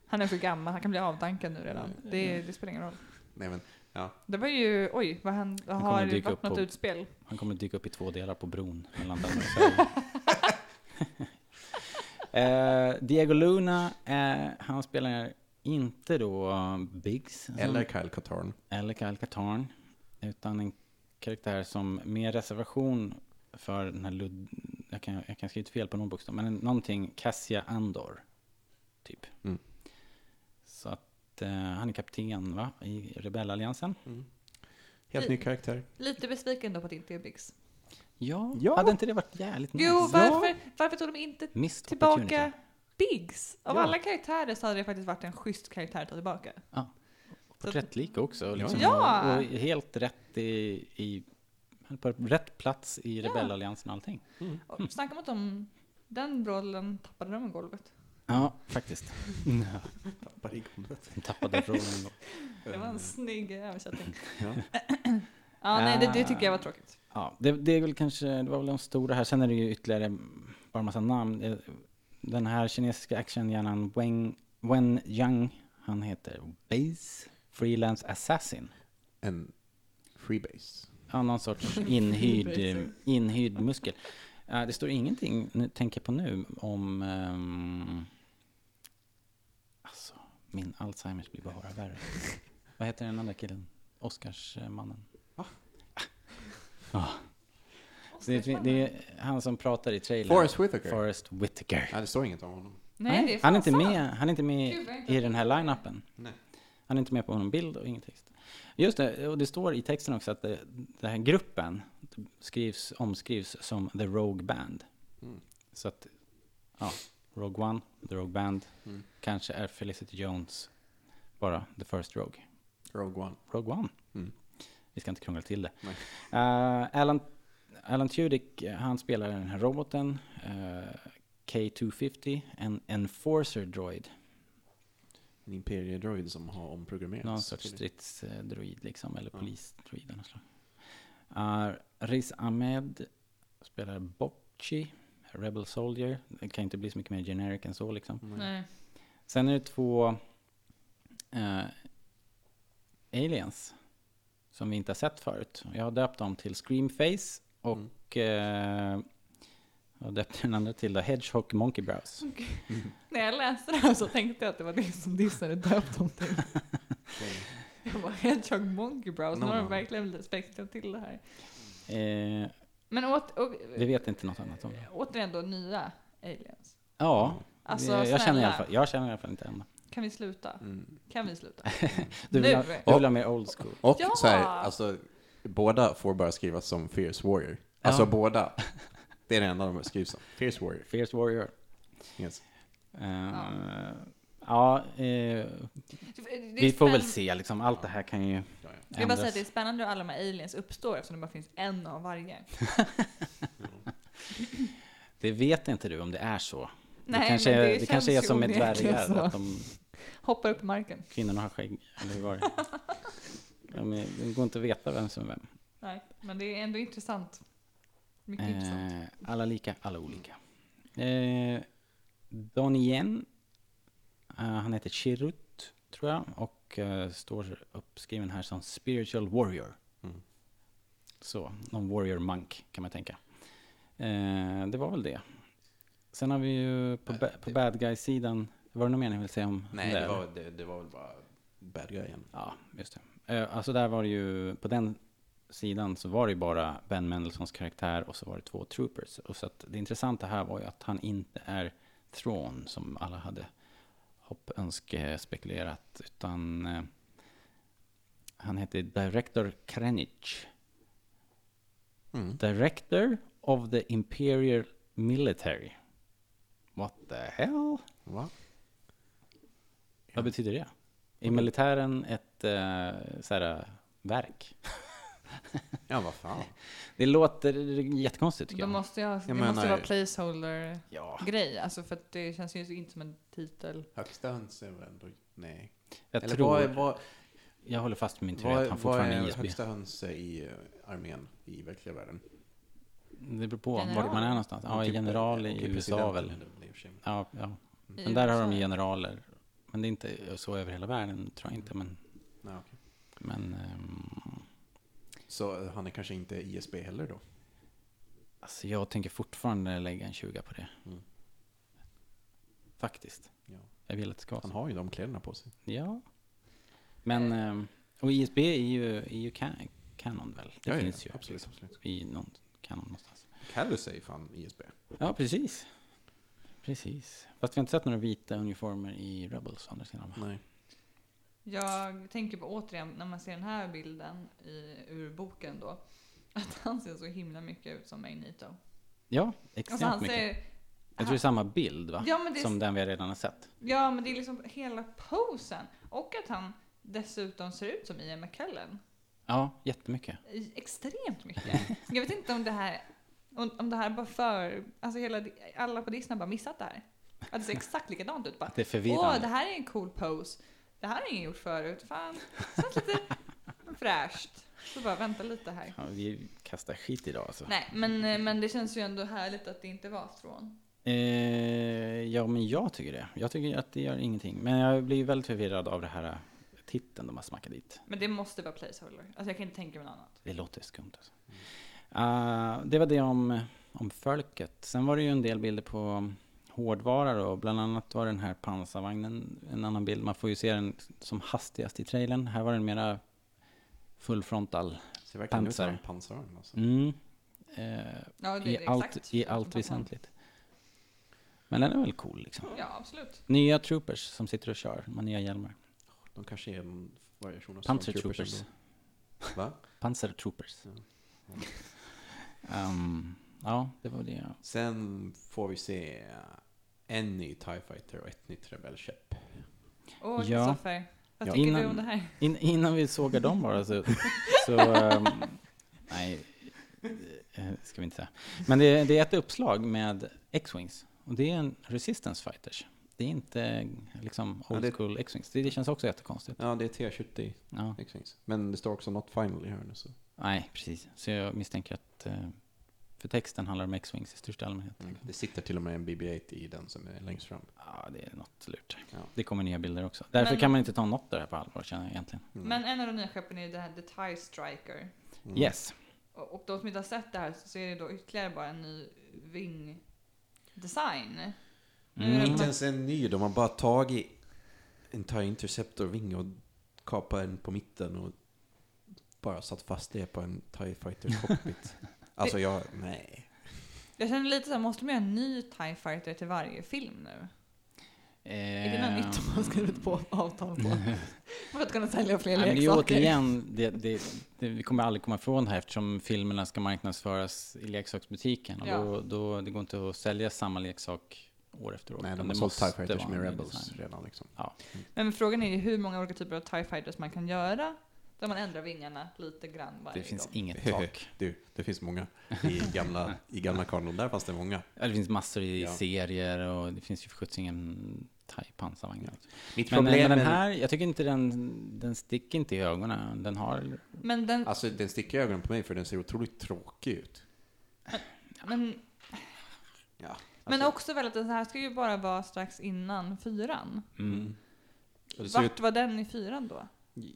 [SPEAKER 4] Han är för gammal, han kan bli avdankad nu redan.
[SPEAKER 2] Mm.
[SPEAKER 4] Det, det spelar ingen roll.
[SPEAKER 3] Nej, men, ja.
[SPEAKER 4] Det var ju, oj, vad hände?
[SPEAKER 2] kommer
[SPEAKER 4] Har det
[SPEAKER 2] dyka
[SPEAKER 4] varit
[SPEAKER 2] upp
[SPEAKER 4] något
[SPEAKER 2] på-
[SPEAKER 4] utspel?
[SPEAKER 2] han kommer dyka upp i två delar på bron mellan Danmark och Sverige. Eh, Diego Luna, eh, han spelar inte då Biggs. som-
[SPEAKER 3] Eller Kyle Katarn.
[SPEAKER 2] eller Kyle Katarn, utan en karaktär som med reservation för den här ludd... Jag kan, jag kan skriva ut fel på någon bokstav, men en- någonting Cassia Andor, typ.
[SPEAKER 3] Mm.
[SPEAKER 2] Så att eh, han är kapten, va, i rebellalliansen.
[SPEAKER 3] Helt ny karaktär.
[SPEAKER 4] Lite besviken då på att det inte är Bix.
[SPEAKER 2] Ja,
[SPEAKER 3] Ja.
[SPEAKER 2] hade inte det varit jävligt
[SPEAKER 4] Jo,
[SPEAKER 2] nice?
[SPEAKER 4] varför, varför tog de inte
[SPEAKER 2] Missed
[SPEAKER 4] tillbaka
[SPEAKER 2] opportunity.
[SPEAKER 4] Biggs? Av
[SPEAKER 3] Ja.
[SPEAKER 4] alla karaktärer så hade det faktiskt varit en schysst karaktär att ta tillbaka.
[SPEAKER 2] Ja. Porträttlik också. Liksom,
[SPEAKER 4] Ja.
[SPEAKER 2] och, och helt rätt i, i... På rätt plats i rebellalliansen och allting. Mm.
[SPEAKER 4] Och snacka om att de, den rollen tappade de i golvet.
[SPEAKER 2] Ja, faktiskt.
[SPEAKER 3] Tappar i golvet.
[SPEAKER 2] Tappade rollen.
[SPEAKER 4] Det var
[SPEAKER 2] Mm.
[SPEAKER 4] en snygg översättning.
[SPEAKER 3] Ja.
[SPEAKER 4] Ja, nej, det, det tycker jag var tråkigt.
[SPEAKER 2] Ja, det, det är väl kanske, det var väl de stora här. Sen är det ju ytterligare bara massa namn. Eh, Den här kinesiska actionhjärnan Wen, Wen Yang, han heter Base Freelance Assassin.
[SPEAKER 3] En freebase.
[SPEAKER 2] Ja, någon sorts inhyrd, eh, inhyrd muskel. Eh, Det står ingenting, nu tänker jag på nu, om... ehm, alltså, min Alzheimers blir bara värre. Vad heter den andra killen? Oscarsmannen. Det, det, det är han som pratar i trailern.
[SPEAKER 3] Forrest Whitaker.
[SPEAKER 2] Forrest Whitaker.
[SPEAKER 3] Nej, det står inget om honom.
[SPEAKER 4] Nej, det är
[SPEAKER 2] han, är
[SPEAKER 4] fan
[SPEAKER 2] inte
[SPEAKER 4] sant.
[SPEAKER 2] med, han är inte med
[SPEAKER 4] Gud, vad jag inte
[SPEAKER 2] i
[SPEAKER 4] har
[SPEAKER 2] den här line-upen.
[SPEAKER 3] Nej.
[SPEAKER 2] Han är inte med på någon bild och ingen text. Just det, och det står i texten också att det, den här gruppen skrivs, omskrivs som The Rogue Band. Så att, ja, Rogue One, The Rogue Band, kanske är Felicity Jones bara The First Rogue.
[SPEAKER 3] Rogue One.
[SPEAKER 2] Rogue One. Vi ska inte krångla till det.
[SPEAKER 3] Nej.
[SPEAKER 2] Eh, Alan, Alan Tudyk, eh, han spelar den här roboten, eh, K250, en enforcer droid.
[SPEAKER 3] En imperiedroid som har omprogrammerats.
[SPEAKER 2] Någon sorts
[SPEAKER 3] till-
[SPEAKER 2] stridsdroid liksom, eller polisdroid av något slag. Eh, Riz Ahmed spelar Bocchi, Rebel Soldier. Det kan inte bli så mycket mer generic än så liksom.
[SPEAKER 3] Mm.
[SPEAKER 4] Nej.
[SPEAKER 2] Sen är det två eh, aliens som vi inte har sett förut. Jag har döpt dem till Screamface
[SPEAKER 3] Mm.
[SPEAKER 2] och eh, jag har döpt den andra till då Hedgehog Monkey Brows.
[SPEAKER 4] När jag läste det här så tänkte jag att det var det som Disney hade döpt dem till. Jag bara, Hedgehog Monkey Brows, nu
[SPEAKER 3] No,
[SPEAKER 4] har de
[SPEAKER 3] no.
[SPEAKER 4] verkligen spexat till det här.
[SPEAKER 2] Eh,
[SPEAKER 4] Men åt, och,
[SPEAKER 2] vi vet inte något annat om det.
[SPEAKER 4] återigen då, nya aliens.
[SPEAKER 2] Ja,
[SPEAKER 4] Alltså,
[SPEAKER 2] eh, jag, känner i alla
[SPEAKER 4] snälla.
[SPEAKER 2] fall, jag känner i alla fall inte än.
[SPEAKER 4] Kan vi sluta?
[SPEAKER 2] Mm.
[SPEAKER 4] Kan vi sluta?
[SPEAKER 2] Du vill,
[SPEAKER 4] Nu.
[SPEAKER 2] ha, du vill ha mer old school.
[SPEAKER 3] Och
[SPEAKER 4] Ja!
[SPEAKER 3] så här, alltså, båda får bara skrivas som Fierce Warrior. Alltså båda. Det är det enda de har skrivit som. Fierce Warrior.
[SPEAKER 2] Fierce Warrior.
[SPEAKER 3] Yes.
[SPEAKER 2] Eh, ja, eh, vi får väl se liksom. Allt det här kan ju
[SPEAKER 4] Jag vill bara säga att
[SPEAKER 2] ändras.
[SPEAKER 4] det är spännande hur alla de här aliens uppstår eftersom det bara finns en av varje.
[SPEAKER 2] Det vet inte du om det är så. det
[SPEAKER 4] Nej,
[SPEAKER 2] kanske,
[SPEAKER 4] men
[SPEAKER 2] är-
[SPEAKER 4] det
[SPEAKER 2] det kanske är
[SPEAKER 4] känns ju
[SPEAKER 2] som med
[SPEAKER 4] onekligen
[SPEAKER 2] dvärgar,
[SPEAKER 4] så.
[SPEAKER 2] att de,
[SPEAKER 4] Hoppar upp i marken.
[SPEAKER 2] kvinnorna har skägg. Eller hur var det? De är- Det går inte att veta vem som är vem.
[SPEAKER 4] Nej, men det är ändå intressant. Mycket intressant.
[SPEAKER 2] Eh, alla lika, alla olika. Eh, Donnie Yen, eh, han heter Chirrut, tror jag, och eh, står uppskriven här som Spiritual Warrior.
[SPEAKER 3] Mm.
[SPEAKER 2] Så, någon Warrior Monk kan man tänka. Eh, det var väl det. Sen har vi ju på, ba- på bad guy-sidan, var det något mer ni ville säga om om
[SPEAKER 3] Nej,
[SPEAKER 2] det,
[SPEAKER 3] det
[SPEAKER 2] eller?
[SPEAKER 3] var, det, det var väl bara bad guy igen.
[SPEAKER 2] Ja, just det. Eh, Alltså där var det ju, på den sidan så var det ju bara Ben Mendelssons karaktär och så var det två troopers. Och så att det intressanta här var ju att han inte är Thrawn som alla hade hoppönske spekulerat, utan eh, han heter Director Krenich. Director of the Imperial Military. What the hell?
[SPEAKER 3] Va?
[SPEAKER 2] Vad betyder det? Är militären ett eh, så här, verk?
[SPEAKER 3] Ja, vad fan.
[SPEAKER 2] Det låter jättekonstigt tycker
[SPEAKER 4] De
[SPEAKER 2] jag.
[SPEAKER 4] måste, jag, det
[SPEAKER 3] menar-
[SPEAKER 4] måste vara placeholder-grej, alltså för att det känns ju inte som en titel.
[SPEAKER 3] Högsta höns är väl ändå... Nej.
[SPEAKER 2] Jag
[SPEAKER 3] Eller
[SPEAKER 2] tror,
[SPEAKER 3] vad är, vad,
[SPEAKER 2] jag håller fast med min teori att
[SPEAKER 3] vad,
[SPEAKER 2] han
[SPEAKER 3] är- vad
[SPEAKER 2] fortfarande är
[SPEAKER 3] är
[SPEAKER 2] ISB.
[SPEAKER 3] högsta höns i eh, armén i verkliga världen?
[SPEAKER 2] Det beror på
[SPEAKER 4] General.
[SPEAKER 2] vart man är någonstans. Ja,
[SPEAKER 3] Typ,
[SPEAKER 2] general
[SPEAKER 3] eh,
[SPEAKER 2] i
[SPEAKER 3] okej,
[SPEAKER 2] USA
[SPEAKER 3] presidenten
[SPEAKER 2] väl.
[SPEAKER 3] är väl i och för sig.
[SPEAKER 2] Ja, ja.
[SPEAKER 4] I
[SPEAKER 2] Men där har de
[SPEAKER 4] USA.
[SPEAKER 2] ju generaler. Men det är inte så över hela världen, tror jag inte. Men,
[SPEAKER 3] Nej, okej.
[SPEAKER 2] men ehm,
[SPEAKER 3] Så eh, han är kanske inte ISB heller då?
[SPEAKER 2] alltså jag tänker fortfarande lägga en 20 på det.
[SPEAKER 3] Mm.
[SPEAKER 2] Faktiskt.
[SPEAKER 3] Ja.
[SPEAKER 2] Jag vill att det ska vara så.
[SPEAKER 3] Han har ju de kläderna på sig.
[SPEAKER 2] Ja. Men,
[SPEAKER 3] Eh.
[SPEAKER 2] ehm, och ISB är ju, är ju ca- canon väl? Det
[SPEAKER 3] Ja, ja,
[SPEAKER 2] finns ju.
[SPEAKER 3] absolut, absolut.
[SPEAKER 2] I någon canon någonstans.
[SPEAKER 3] Callus är ju fan ISB.
[SPEAKER 2] Ja, precis. Precis. Fast vi har inte sett några vita uniformer i Rebels å andra sidan. va?
[SPEAKER 3] Nej.
[SPEAKER 4] Jag tänker på återigen, när man ser den här bilden i, ur boken då, att han ser så himla mycket ut som Magneto.
[SPEAKER 2] Ja,
[SPEAKER 4] Alltså
[SPEAKER 2] extremt
[SPEAKER 4] han
[SPEAKER 2] mycket.
[SPEAKER 4] ser,
[SPEAKER 2] Jag tror det är samma bild va?
[SPEAKER 4] Ja, men det är-
[SPEAKER 2] Som den vi redan har sett.
[SPEAKER 4] ja men det är liksom hela posen. Och att han dessutom ser ut som Ian McKellen.
[SPEAKER 2] Ja, jättemycket.
[SPEAKER 4] I- Extremt mycket. Jag vet inte om det här, om, om det här bara för, alltså hela, alla på Disney har bara missat det här. Att det ser exakt likadant ut. Bara,
[SPEAKER 2] Det är förvirrande.
[SPEAKER 4] Åh, det här är en cool pose. Det här har ingen gjort förut. Fan, det känns lite fräscht. Så bara vänta lite här.
[SPEAKER 2] Ja, vi kastar skit idag alltså.
[SPEAKER 4] Nej, men, men det känns ju ändå härligt att det inte var från.
[SPEAKER 2] Eh, ja, men jag tycker det. Jag tycker att det gör ingenting. Men jag blir väldigt förvirrad av det här eh, titeln de har smackat dit.
[SPEAKER 4] Men det måste vara placeholder. Alltså jag kan inte tänka mig något annat.
[SPEAKER 2] Det låter skumt alltså. Ah, det var det om, om folket. Sen var det ju en del bilder på hårdvara då. Bland annat var den här pansarvagnen en annan bild. Man får ju se den som hastigast i trailern. Här var den mera full frontal.
[SPEAKER 3] Ser verkligen ut som
[SPEAKER 2] Pansar.
[SPEAKER 3] en pansarvagn alltså.
[SPEAKER 2] Mm. Eh,
[SPEAKER 4] Ja, det
[SPEAKER 2] I
[SPEAKER 4] är det exakt.
[SPEAKER 2] allt, i
[SPEAKER 4] Utom
[SPEAKER 2] allt
[SPEAKER 4] pappan.
[SPEAKER 2] väsentligt. Men den är väl cool liksom.
[SPEAKER 4] Ja, absolut.
[SPEAKER 2] Nya troopers som sitter och kör. De har nya hjälmar.
[SPEAKER 3] De kanske är en variation av
[SPEAKER 2] Panzer
[SPEAKER 3] stormtroopers
[SPEAKER 2] troopers.
[SPEAKER 3] ändå. Va?
[SPEAKER 2] Panzertroopers. Ehm, ja, det var det jag
[SPEAKER 3] Sen får vi se en ny TIE Fighter och ett nytt rebellskepp.
[SPEAKER 4] Och
[SPEAKER 2] Ja.
[SPEAKER 4] Kristoffer, vad
[SPEAKER 2] Ja.
[SPEAKER 4] tycker du
[SPEAKER 2] Innan-
[SPEAKER 4] om det här?
[SPEAKER 2] In, innan vi sågar dem bara så... så ehm, nej, eh, ska vi inte säga. Men det, det är ett uppslag med X-Wings. Och det är en Resistance Fighters. Det är inte liksom
[SPEAKER 3] Ja, det-
[SPEAKER 2] old school X-Wings. Det, det känns också jättekonstigt.
[SPEAKER 3] Ja, det är T70
[SPEAKER 2] Ja,
[SPEAKER 3] X-Wings. Men det står också Not Final i hörnet
[SPEAKER 2] Mm.
[SPEAKER 3] så.
[SPEAKER 2] nej, precis. Så jag misstänker att... eh, För texten handlar om X-Wings i största allmänhet.
[SPEAKER 3] Det sitter till och med en BB-8 i den som är längst fram.
[SPEAKER 2] Ja, det är något lurt.
[SPEAKER 3] Ja.
[SPEAKER 2] Det kommer nya bilder också. Därför
[SPEAKER 4] Men-
[SPEAKER 2] kan man inte ta något av det här på allvar, känner jag egentligen.
[SPEAKER 4] Men en av de nya skeppen är ju det här The Tie Striker.
[SPEAKER 3] Mm.
[SPEAKER 2] Yes.
[SPEAKER 4] Och, och de som inte har sett det här så är det då ytterligare bara en ny vingdesign. Nu är
[SPEAKER 2] Mm.
[SPEAKER 4] det
[SPEAKER 3] Inte
[SPEAKER 4] bara-
[SPEAKER 3] ens en ny, de har bara tagit en TIE Interceptor Wing och kapat en på mitten och bara satt fast det på en TIE Fighter cockpit. alltså jag, nej.
[SPEAKER 4] Jag känner lite såhär, måste de göra en ny TIE Fighter till
[SPEAKER 2] Ehm.
[SPEAKER 4] varje film nu? Är det något nytt de har skrivit på avtal på? För att kunna sälja fler
[SPEAKER 2] Nej, men det är ju
[SPEAKER 4] leksaker.
[SPEAKER 2] återigen, det, det, det, vi kommer aldrig komma ifrån det här eftersom filmerna ska marknadsföras i leksaksbutiken. Och
[SPEAKER 4] Ja.
[SPEAKER 2] då, då, det går inte att sälja samma leksak år efter år.
[SPEAKER 3] Nej,
[SPEAKER 2] utan
[SPEAKER 3] de har
[SPEAKER 2] det
[SPEAKER 3] sålt TIE
[SPEAKER 2] måste
[SPEAKER 3] Fighters
[SPEAKER 2] vara en
[SPEAKER 3] med
[SPEAKER 2] ny
[SPEAKER 3] Rebels
[SPEAKER 2] design.
[SPEAKER 3] redan liksom.
[SPEAKER 2] Ja.
[SPEAKER 4] Men frågan är ju hur många olika typer av TIE fighters man kan göra. Där man ändrar vingarna lite grann varje
[SPEAKER 2] Det finns
[SPEAKER 4] gång.
[SPEAKER 2] inget tak.
[SPEAKER 3] Du, det finns många. I gamla, i gamla kanon, där fanns det många.
[SPEAKER 2] Ja, Det finns massor i
[SPEAKER 3] Ja.
[SPEAKER 2] serier och det finns ju för sjuttsingen thai-pansarvagn. alltså.
[SPEAKER 3] Mitt
[SPEAKER 2] Men,
[SPEAKER 3] problem
[SPEAKER 2] men den
[SPEAKER 3] med-
[SPEAKER 2] här, jag tycker inte den, den sticker inte i ögonen. Den har,
[SPEAKER 4] Men, den,
[SPEAKER 3] Alltså den sticker i ögonen på mig för den ser otroligt tråkig ut.
[SPEAKER 4] men,
[SPEAKER 3] Ja.
[SPEAKER 4] men
[SPEAKER 2] alltså-
[SPEAKER 4] också väl att det här ska ju bara vara strax innan fyran.
[SPEAKER 3] Och det ser
[SPEAKER 4] Vart
[SPEAKER 3] ut,
[SPEAKER 4] var den i fyran då? Har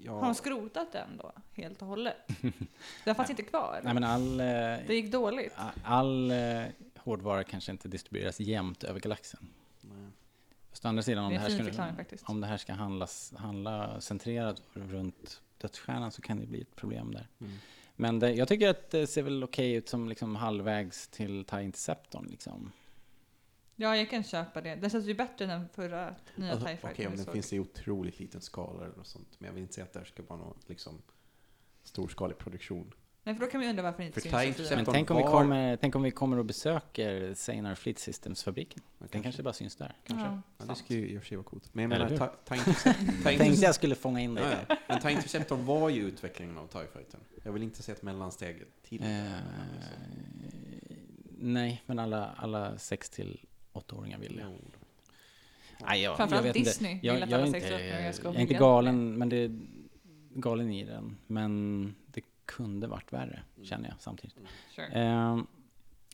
[SPEAKER 3] ja,
[SPEAKER 4] de skrotat den då, helt och hållet? Den fanns inte kvar.
[SPEAKER 2] nej men all, eh,
[SPEAKER 4] Det gick dåligt.
[SPEAKER 2] all eh, hårdvara kanske inte distribueras jämnt över galaxen. Fast å andra sidan, om
[SPEAKER 4] Det
[SPEAKER 2] det,
[SPEAKER 4] är
[SPEAKER 2] här
[SPEAKER 4] en fin
[SPEAKER 2] ska,
[SPEAKER 4] förklaring faktiskt.
[SPEAKER 2] om det här ska handlas, handla centrerat runt dödsstjärnan så kan det bli ett problem där.
[SPEAKER 3] Mm.
[SPEAKER 2] Men det, jag tycker att det ser väl okej ut som liksom halvvägs till TIE Interceptorn. Liksom.
[SPEAKER 4] Ja, jag kan köpa det. Den känns ju bättre än den förra nya
[SPEAKER 3] alltså,
[SPEAKER 4] TIE
[SPEAKER 3] okej
[SPEAKER 4] Fighter
[SPEAKER 3] om
[SPEAKER 4] vi
[SPEAKER 3] den
[SPEAKER 4] såg.
[SPEAKER 3] finns i otroligt liten skala eller något sånt. Men jag vill inte säga att det här ska vara någon liksom, storskalig produktion.
[SPEAKER 4] Nej, för då kan man ju undra varför den inte
[SPEAKER 3] För
[SPEAKER 4] syns i
[SPEAKER 3] TIE
[SPEAKER 4] fyran.
[SPEAKER 2] Men
[SPEAKER 3] Interceptor- Från
[SPEAKER 2] tänk om, vi
[SPEAKER 3] var-
[SPEAKER 2] kommer, tänk om vi kommer och besöker Seinar Fleet Systems-fabriken. Den
[SPEAKER 3] kanske.
[SPEAKER 2] kanske bara syns där.
[SPEAKER 4] Ja.
[SPEAKER 3] Ja, det skulle ju i och för sig vara coolt. Men jag
[SPEAKER 2] Eller
[SPEAKER 3] menar,
[SPEAKER 2] hur?
[SPEAKER 3] ta, ta Intercept- ta
[SPEAKER 2] Jag tänkte
[SPEAKER 3] Intercept-
[SPEAKER 2] jag skulle fånga in dig
[SPEAKER 3] Ja,
[SPEAKER 2] där.
[SPEAKER 3] ja. Men TIE Interceptor var ju utvecklingen av TIE Fighter. Jag vill inte se ett mellansteg till.
[SPEAKER 2] Eh, nej, men alla, alla sex till åttaåringar vill det. Nej, jag,
[SPEAKER 4] Framförallt
[SPEAKER 2] jag vet
[SPEAKER 4] Disney
[SPEAKER 2] inte. Jag,
[SPEAKER 4] vill att
[SPEAKER 2] jag, är
[SPEAKER 4] alla
[SPEAKER 2] inte,
[SPEAKER 4] sexåringar ska
[SPEAKER 2] jag är
[SPEAKER 4] hålla
[SPEAKER 2] inte
[SPEAKER 4] igen.
[SPEAKER 2] galen, men det är galen i den. Men det kunde varit värre, känner jag samtidigt.
[SPEAKER 4] Sure.
[SPEAKER 2] Eh,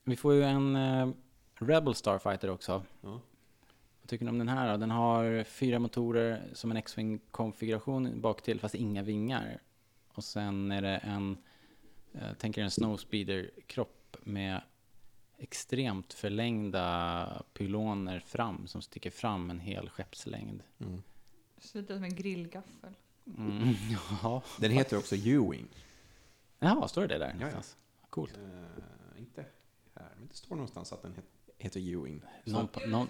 [SPEAKER 2] vi får ju en eh, Rebel Starfighter också.
[SPEAKER 3] Ja.
[SPEAKER 2] Vad tycker ni om den här då? Den har fyra motorer som en X-Wing-konfiguration bak till fast inga vingar. Och sen är det en, eh, tänker en Snowspeeder-kropp med extremt förlängda pyloner fram som sticker fram en hel skeppslängd.
[SPEAKER 4] Ser ut typ som en grillgaffel.
[SPEAKER 2] Mm, ja.
[SPEAKER 3] Den heter också Ewing.
[SPEAKER 2] Jaha, står det det där
[SPEAKER 3] ja.
[SPEAKER 2] någonstans? Coolt.
[SPEAKER 3] Eh, inte här, men det står någonstans att den het- heter Ewing. Så-
[SPEAKER 2] Någon, någon,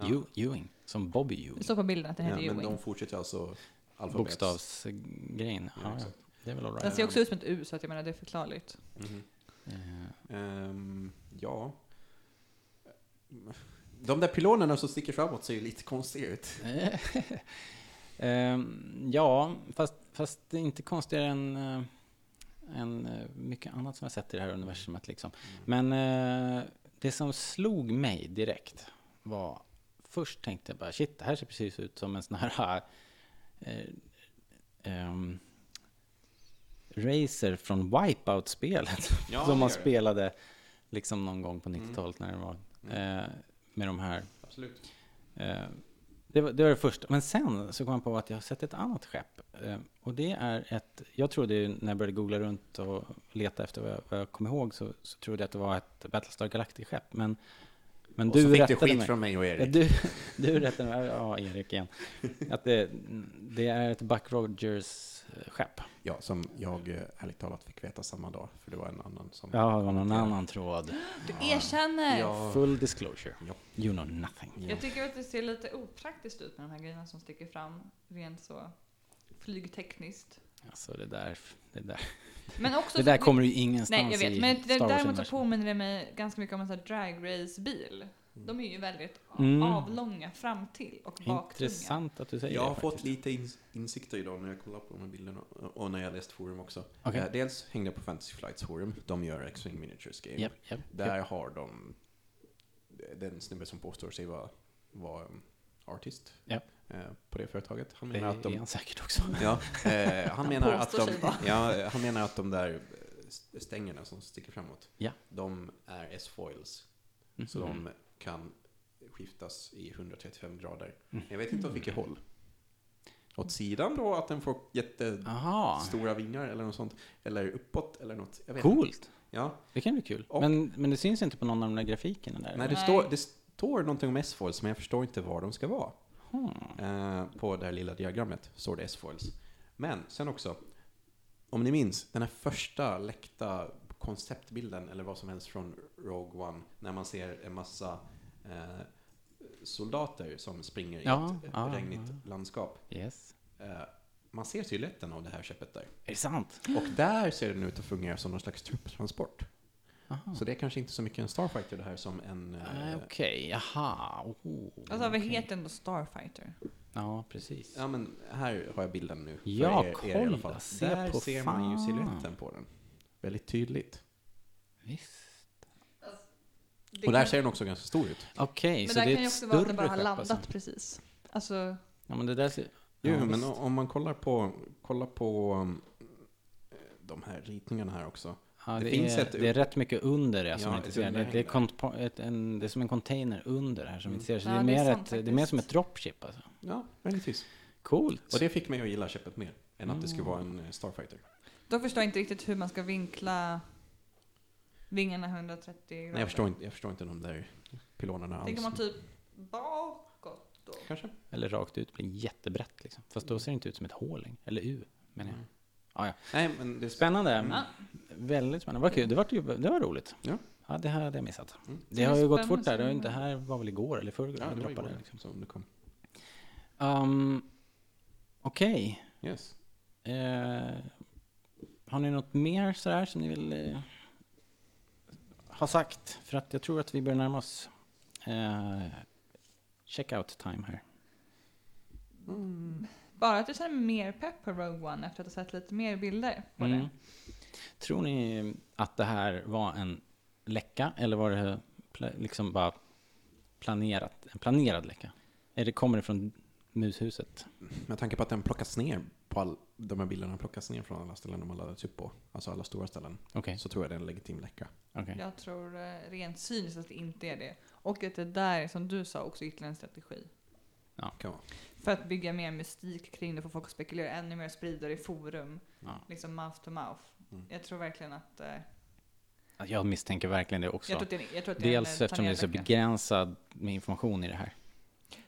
[SPEAKER 2] Ew- Ewing, som Bobby
[SPEAKER 4] Det
[SPEAKER 2] Ewing.
[SPEAKER 4] står på bilden att den
[SPEAKER 3] ja,
[SPEAKER 4] heter
[SPEAKER 3] men
[SPEAKER 4] Ewing.
[SPEAKER 3] de fortsätter alltså alfabets...
[SPEAKER 2] Bokstavsgrejen. Ja, ja.
[SPEAKER 3] exakt.
[SPEAKER 2] Det är väl all
[SPEAKER 4] Den
[SPEAKER 2] right.
[SPEAKER 4] ser också ut som ett U, så att jag menar det är förklarligt.
[SPEAKER 3] Mhm.
[SPEAKER 2] Eh,
[SPEAKER 3] Ehm, ja. De där pylonerna som sticker framåt ser ju lite konstiga ut.
[SPEAKER 2] Ehm, ja, fast, fast det är inte konstigare än, eh, än eh, mycket annat som jag sett i det här universumet. Liksom.
[SPEAKER 3] Mm.
[SPEAKER 2] Men eh, det som slog mig direkt var... Först tänkte jag bara shit, det här ser precis ut som en sån här... Eh, ehm, racer från Wipeout-spelet.
[SPEAKER 3] Ja,
[SPEAKER 2] som man
[SPEAKER 3] det gör det. Mm.
[SPEAKER 2] spelade liksom någon gång på 90-talet när det var... Eh, med de här
[SPEAKER 3] Absolut.
[SPEAKER 2] Eh, Det var, det var det första. Men sen så kom jag på att jag har sett ett annat skepp. Eh, Och det är ett... Jag trodde ju när jag började googla runt och leta efter vad jag, vad jag kom ihåg så, så trodde jag att det var ett Battlestar Galactic-skepp. Men, men
[SPEAKER 3] Och
[SPEAKER 2] du
[SPEAKER 3] så fick du
[SPEAKER 2] rättade
[SPEAKER 3] skit
[SPEAKER 2] mig.
[SPEAKER 3] från mig och
[SPEAKER 2] Ja,
[SPEAKER 3] Erik.
[SPEAKER 2] du, du rättade mig. Ja, Erik igen. Att det, det är ett Buck eh, Rogers-skepp.
[SPEAKER 3] Ja, som jag eh, ärligt talat fick veta samma dag, för det var en annan som...
[SPEAKER 2] Ja, det var någon annan tråd.
[SPEAKER 4] Du erkänner!
[SPEAKER 3] Ja.
[SPEAKER 2] Full disclosure.
[SPEAKER 3] Ja.
[SPEAKER 2] You know nothing.
[SPEAKER 4] Jag tycker att det ser lite opraktiskt ut med de här grejerna som sticker fram, rent så flygtekniskt.
[SPEAKER 2] Alltså det där... Det där,
[SPEAKER 4] Men också...
[SPEAKER 2] det där kommer ju ingenstans
[SPEAKER 4] Nej, jag vet.
[SPEAKER 2] i
[SPEAKER 4] Men det,
[SPEAKER 2] Star Wars
[SPEAKER 4] däremot så
[SPEAKER 2] universum.
[SPEAKER 4] påminner det mig ganska mycket om en sån här dragrace-bil. De är ju väldigt
[SPEAKER 2] Mm.
[SPEAKER 4] avlånga fram till och baktunga.
[SPEAKER 2] Intressant att du säger
[SPEAKER 3] Jag har
[SPEAKER 2] det.
[SPEAKER 3] fått lite ins- insikter idag när jag kollar på de här bilderna och och när jag läst forum också.
[SPEAKER 2] Okej.
[SPEAKER 3] Eh, Dels hängde jag på Fantasy Flights forum, de gör X-Wing Miniatures Game.
[SPEAKER 2] Japp, japp,
[SPEAKER 3] Där
[SPEAKER 2] japp.
[SPEAKER 3] har de den snubbe som påstår sig vara, vara um, artist
[SPEAKER 2] Japp.
[SPEAKER 3] eh, på det företaget. Han
[SPEAKER 2] Det
[SPEAKER 3] menar att
[SPEAKER 2] är
[SPEAKER 3] de...
[SPEAKER 2] han säkert också.
[SPEAKER 3] Ja, eh, han, menar att
[SPEAKER 4] påstår
[SPEAKER 3] de
[SPEAKER 4] sig vara.
[SPEAKER 3] ja, eh, han menar att de där eh, st- stängerna som sticker framåt,
[SPEAKER 2] Ja. Mhm.
[SPEAKER 3] de är S-foils. Så
[SPEAKER 2] Mm.
[SPEAKER 3] de kan skiftas i 135 grader.
[SPEAKER 2] Mm.
[SPEAKER 3] Jag vet inte åt vilket håll. Åt sidan då, att den får jättestora
[SPEAKER 2] Aha,
[SPEAKER 3] vingar eller något sånt. Eller uppåt eller något. Jag vet inte.
[SPEAKER 2] Ah. coolt. Äh.
[SPEAKER 3] Ja.
[SPEAKER 2] Det kan bli kul.
[SPEAKER 3] Och-
[SPEAKER 2] Men, men det syns inte på någon av de där grafikerna där.
[SPEAKER 3] Nej, det,
[SPEAKER 4] Nej.
[SPEAKER 3] Står, det står någonting om S-foils, men jag förstår inte var de ska vara.
[SPEAKER 2] Hmm.
[SPEAKER 3] Eh, på det här lilla diagrammet står det S-foils. Men sen också, om ni minns den här första läckta konceptbilden eller vad som helst från Rogue One, när man ser en massa eh, soldater som springer i
[SPEAKER 2] Ja,
[SPEAKER 3] ett
[SPEAKER 2] ja,
[SPEAKER 3] regnigt landskap.
[SPEAKER 2] Yes.
[SPEAKER 3] Eh, Man ser siluetten av det här skeppet där.
[SPEAKER 2] Är det sant?
[SPEAKER 3] Och där ser den ut att fungera som någon slags trupptransport. Så det är kanske inte så mycket en Starfighter det här som en...
[SPEAKER 2] Nej,
[SPEAKER 3] eh,
[SPEAKER 2] Ah, Okej, jaha. Oh.
[SPEAKER 4] Alltså vad heter ändå Starfighter?
[SPEAKER 2] Ja, precis.
[SPEAKER 3] Ja men här har jag bilden nu. för
[SPEAKER 2] Ja,
[SPEAKER 3] i alla
[SPEAKER 2] kolla,
[SPEAKER 3] fall.
[SPEAKER 2] se
[SPEAKER 3] Där
[SPEAKER 2] på
[SPEAKER 3] ser man ju
[SPEAKER 2] fan.
[SPEAKER 3] siluetten på den. Väldigt tydligt.
[SPEAKER 2] Visst.
[SPEAKER 4] Det
[SPEAKER 3] Och där
[SPEAKER 4] kan-
[SPEAKER 3] ser den också ganska stor ut.
[SPEAKER 2] Okej,
[SPEAKER 4] Men
[SPEAKER 2] så
[SPEAKER 4] där
[SPEAKER 2] det
[SPEAKER 4] kan
[SPEAKER 2] är
[SPEAKER 4] ju
[SPEAKER 2] ett
[SPEAKER 4] också vara att
[SPEAKER 2] större
[SPEAKER 4] den bara har
[SPEAKER 2] skepp
[SPEAKER 4] landat
[SPEAKER 2] alltså.
[SPEAKER 4] precis. Alltså,
[SPEAKER 2] Ja, men det där ser...
[SPEAKER 3] Jo,
[SPEAKER 2] Ja,
[SPEAKER 3] men
[SPEAKER 2] visst.
[SPEAKER 3] o- om man kollar på, kollar på um, de här ritningarna här också.
[SPEAKER 2] Ja, det,
[SPEAKER 3] det finns
[SPEAKER 2] är,
[SPEAKER 3] ett-
[SPEAKER 2] det är rätt mycket under det som
[SPEAKER 3] Ja,
[SPEAKER 2] man inte
[SPEAKER 3] ett
[SPEAKER 2] ser. Det, det, är
[SPEAKER 3] underhäng
[SPEAKER 2] kompa- ett, en, det är som en container under här
[SPEAKER 3] Mm.
[SPEAKER 2] som vi inte ser. Så
[SPEAKER 4] Ja,
[SPEAKER 2] det, är
[SPEAKER 4] det är
[SPEAKER 2] mer
[SPEAKER 4] sant
[SPEAKER 2] ett, det är mer
[SPEAKER 4] faktiskt.
[SPEAKER 2] som ett dropship alltså.
[SPEAKER 3] Ja, möjligtvis.
[SPEAKER 2] Coolt.
[SPEAKER 3] Och det fick mig att gilla skeppet mer än att det skulle vara en eh, Starfighter.
[SPEAKER 4] då förstår jag inte riktigt hur man ska vinkla vingarna 130 grader.
[SPEAKER 3] Nej, jag förstår inte, jag förstår inte de där pylånerna alls.
[SPEAKER 4] Tänker man typ bakåt då?
[SPEAKER 3] Kanske.
[SPEAKER 2] Eller rakt ut blir jättebrett liksom. Fast då ser det inte ut som ett hål längre. Eller U menar jag. Ja, ja.
[SPEAKER 3] Nej, men det är
[SPEAKER 2] Mm. Spännande. Väldigt spännande. Vad kul. Det var, kul. det var roligt.
[SPEAKER 3] Ja.
[SPEAKER 2] Ja, det här hade jag missat. Det
[SPEAKER 4] Det
[SPEAKER 2] har ju
[SPEAKER 4] är
[SPEAKER 2] gått
[SPEAKER 4] spännande
[SPEAKER 2] fort där. Det, har ju
[SPEAKER 4] som-
[SPEAKER 2] inte, det här var väl igår eller förrgår?
[SPEAKER 3] Ja,
[SPEAKER 2] jag
[SPEAKER 3] det var
[SPEAKER 2] droppade
[SPEAKER 3] igår
[SPEAKER 2] liksom.
[SPEAKER 3] som det kom.
[SPEAKER 2] Ehm, Okej.
[SPEAKER 3] Yes.
[SPEAKER 2] Eh, har ni något mer sådär som ni vill eh, ha sagt? För att jag tror att vi börjar närma oss eh, checkout time här.
[SPEAKER 4] Bara att jag känner mig mer pepp på Rogue One efter att ha sett lite mer bilder på
[SPEAKER 2] Mm.
[SPEAKER 4] det.
[SPEAKER 2] Tror ni att det här var en läcka eller var det pla- liksom bara planerat, en planerad läcka? Eller kommer det från mushuset?
[SPEAKER 3] Med tanke på att den plockas ner på all, de här bilderna plockas ner från alla ställen de har laddats upp på, alltså alla stora ställen,
[SPEAKER 2] Okej.
[SPEAKER 3] så tror jag det är en legitim läcka.
[SPEAKER 2] okej.
[SPEAKER 4] Jag tror eh, rent cyniskt att det inte är det. Och att det där, som du sa, också är ytterligare en strategi.
[SPEAKER 3] Kan vara.
[SPEAKER 4] För att bygga mer mystik kring det, få folk att spekulera ännu mer, sprida det i forum.
[SPEAKER 2] Ja. Mm.
[SPEAKER 4] Liksom mouth to mouth. Jag tror verkligen att... eh,
[SPEAKER 2] Jag misstänker verkligen det också.
[SPEAKER 4] jag, tror att det, jag tror att det är en
[SPEAKER 2] Dels
[SPEAKER 4] eh,
[SPEAKER 2] eftersom det är så
[SPEAKER 4] planerad läcka.
[SPEAKER 2] begränsad med information i det här.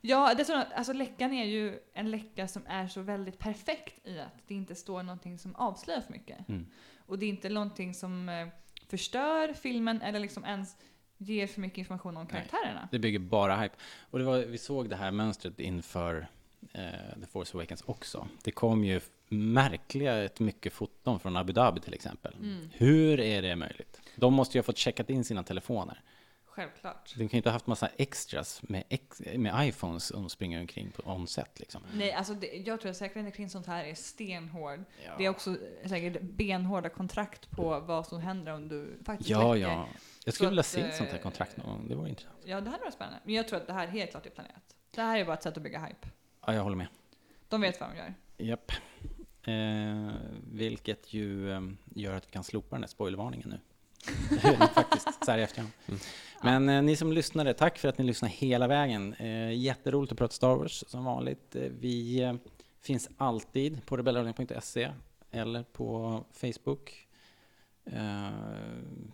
[SPEAKER 4] Ja, dessutom, alltså läckan är ju en läcka som är så väldigt perfekt i att det inte står någonting som avslöjar för mycket.
[SPEAKER 2] Mm.
[SPEAKER 4] Och det är inte någonting som eh, förstör filmen eller liksom ens ger för mycket information om
[SPEAKER 2] Nej.
[SPEAKER 4] karaktärerna.
[SPEAKER 2] Det bygger bara hype. Och det var, vi såg det här mönstret inför eh, The Force Awakens också. Det kom ju märkliga mycket foton från Abu Dhabi till exempel. Hur är det möjligt? De måste ju ha fått checkat in sina telefoner.
[SPEAKER 4] Självklart.
[SPEAKER 2] De kan ju inte ha haft massa extras med, ex, med iPhones som springer omkring på onset liksom.
[SPEAKER 4] Nej, alltså det, jag tror att säkerheten kring sånt här är stenhård. Det är också säkert benhårda kontrakt på vad som händer om du faktiskt
[SPEAKER 2] Ja,
[SPEAKER 4] läcker.
[SPEAKER 2] ja. Jag
[SPEAKER 4] Så
[SPEAKER 2] skulle vilja
[SPEAKER 4] att,
[SPEAKER 2] se ett sånt här
[SPEAKER 4] eh,
[SPEAKER 2] kontrakt någon gång. Det vore intressant.
[SPEAKER 4] Ja, det här var spännande. Men jag tror att det här helt klart är planerat. Det här är bara ett sätt att bygga hype.
[SPEAKER 2] Ja, jag håller med.
[SPEAKER 4] De vet vad de gör.
[SPEAKER 2] Japp. Eh, vilket ju eh, gör att vi kan slopa den där spoilervarningen nu. Faktiskt, så här i efterhand. Men eh, ni som lyssnade, tack för att ni lyssnade hela vägen. Eh, jätteroligt att prata Star Wars som vanligt. Eh, vi eh, finns alltid på rebellradion.se E eller på Facebook. Eh,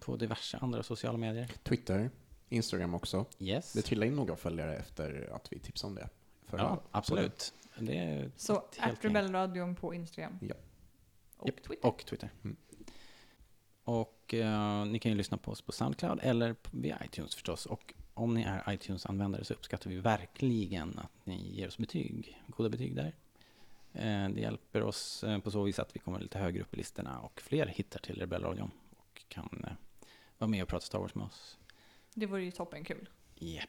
[SPEAKER 2] på diverse andra sociala medier.
[SPEAKER 3] Twitter, Instagram också.
[SPEAKER 2] Yes.
[SPEAKER 3] Det trillade in några följare efter att vi tipsade om det. förra
[SPEAKER 2] ja,
[SPEAKER 3] podden.
[SPEAKER 2] absolut. Det är
[SPEAKER 4] Så,
[SPEAKER 2] ett helt
[SPEAKER 4] att
[SPEAKER 2] gäng.
[SPEAKER 4] Rebellradion på Instagram.
[SPEAKER 3] Ja.
[SPEAKER 4] Och
[SPEAKER 2] Japp,
[SPEAKER 4] Twitter.
[SPEAKER 2] Och Twitter. Mm. Och eh, ni kan ju lyssna på oss på Soundcloud eller på- via iTunes förstås. Och om ni är iTunes-användare så uppskattar vi verkligen att ni ger oss betyg, goda betyg där. Eh, det hjälper oss eh, på så vis att vi kommer lite högre upp i listorna och fler hittar till Rebellradion och kan eh, vara med och prata Star Wars med oss.
[SPEAKER 4] Det vore ju toppenkul.
[SPEAKER 2] Japp.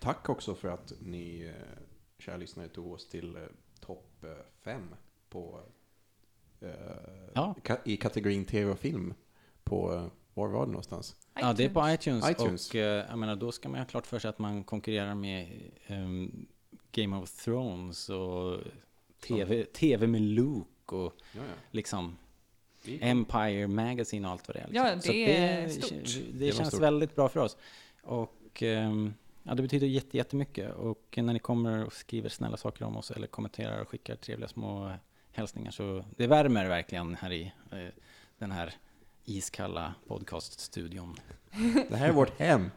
[SPEAKER 3] Tack också för att ni, eh, kära lyssnare, tog oss till eh, topp 5 på, eh,
[SPEAKER 2] Ja.
[SPEAKER 3] ka- i kategorin tv och film på, eh, var var det någonstans?
[SPEAKER 2] Ja, det är på iTunes.
[SPEAKER 3] iTunes.
[SPEAKER 2] Och eh, jag menar, då ska man ju ha klart för sig att man konkurrerar med ehm, Game of Thrones och TV, TV med Luke och
[SPEAKER 3] Ja, ja.
[SPEAKER 2] liksom
[SPEAKER 3] Vi-
[SPEAKER 2] Empire Magazine och allt vad det är. Liksom.
[SPEAKER 4] Ja, det
[SPEAKER 2] Så
[SPEAKER 4] är stort.
[SPEAKER 2] Det,
[SPEAKER 3] var
[SPEAKER 2] känns
[SPEAKER 3] stort.
[SPEAKER 2] väldigt bra för oss. Och ehm, ja, det betyder jätte- jättemycket. Och när ni kommer och skriver snälla saker om oss eller kommenterar och skickar trevliga små hälsningar så det värmer verkligen här i eh, den här iskalla podcaststudion.
[SPEAKER 3] Det här är vårt hem.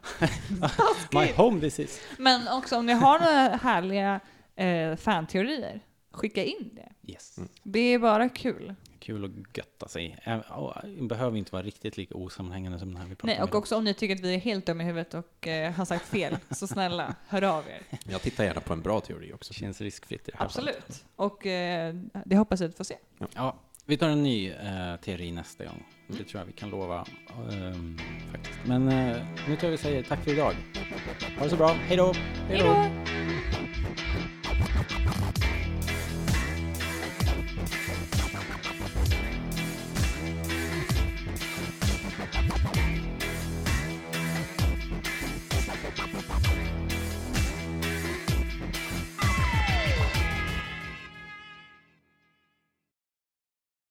[SPEAKER 2] My home this is.
[SPEAKER 4] Men också om ni har några härliga eh, fanteorier, skicka in det.
[SPEAKER 2] Yes.
[SPEAKER 4] Det är bara kul.
[SPEAKER 2] Kul att götta sig. Ä- och Det behöver inte vara riktigt lika osammanhängande som den här vi pratar
[SPEAKER 4] Nej,
[SPEAKER 2] om
[SPEAKER 4] och
[SPEAKER 2] idag.
[SPEAKER 4] också om ni tycker att vi är helt dumma i huvudet och eh, har sagt fel, så snälla, hör av er.
[SPEAKER 3] Jag tittar gärna på en bra teori också.
[SPEAKER 2] Känns riskfritt i det här fallet.
[SPEAKER 4] Absolut. Och eh, det hoppas jag att vi får se.
[SPEAKER 2] Ja, vi tar en ny eh, teori nästa
[SPEAKER 4] Mm.
[SPEAKER 2] gång. Det tror jag vi kan lova. ehm, faktiskt. Men eh, nu tror jag vi säger tack för idag. Ha det så bra. Hej då!
[SPEAKER 4] Hej då!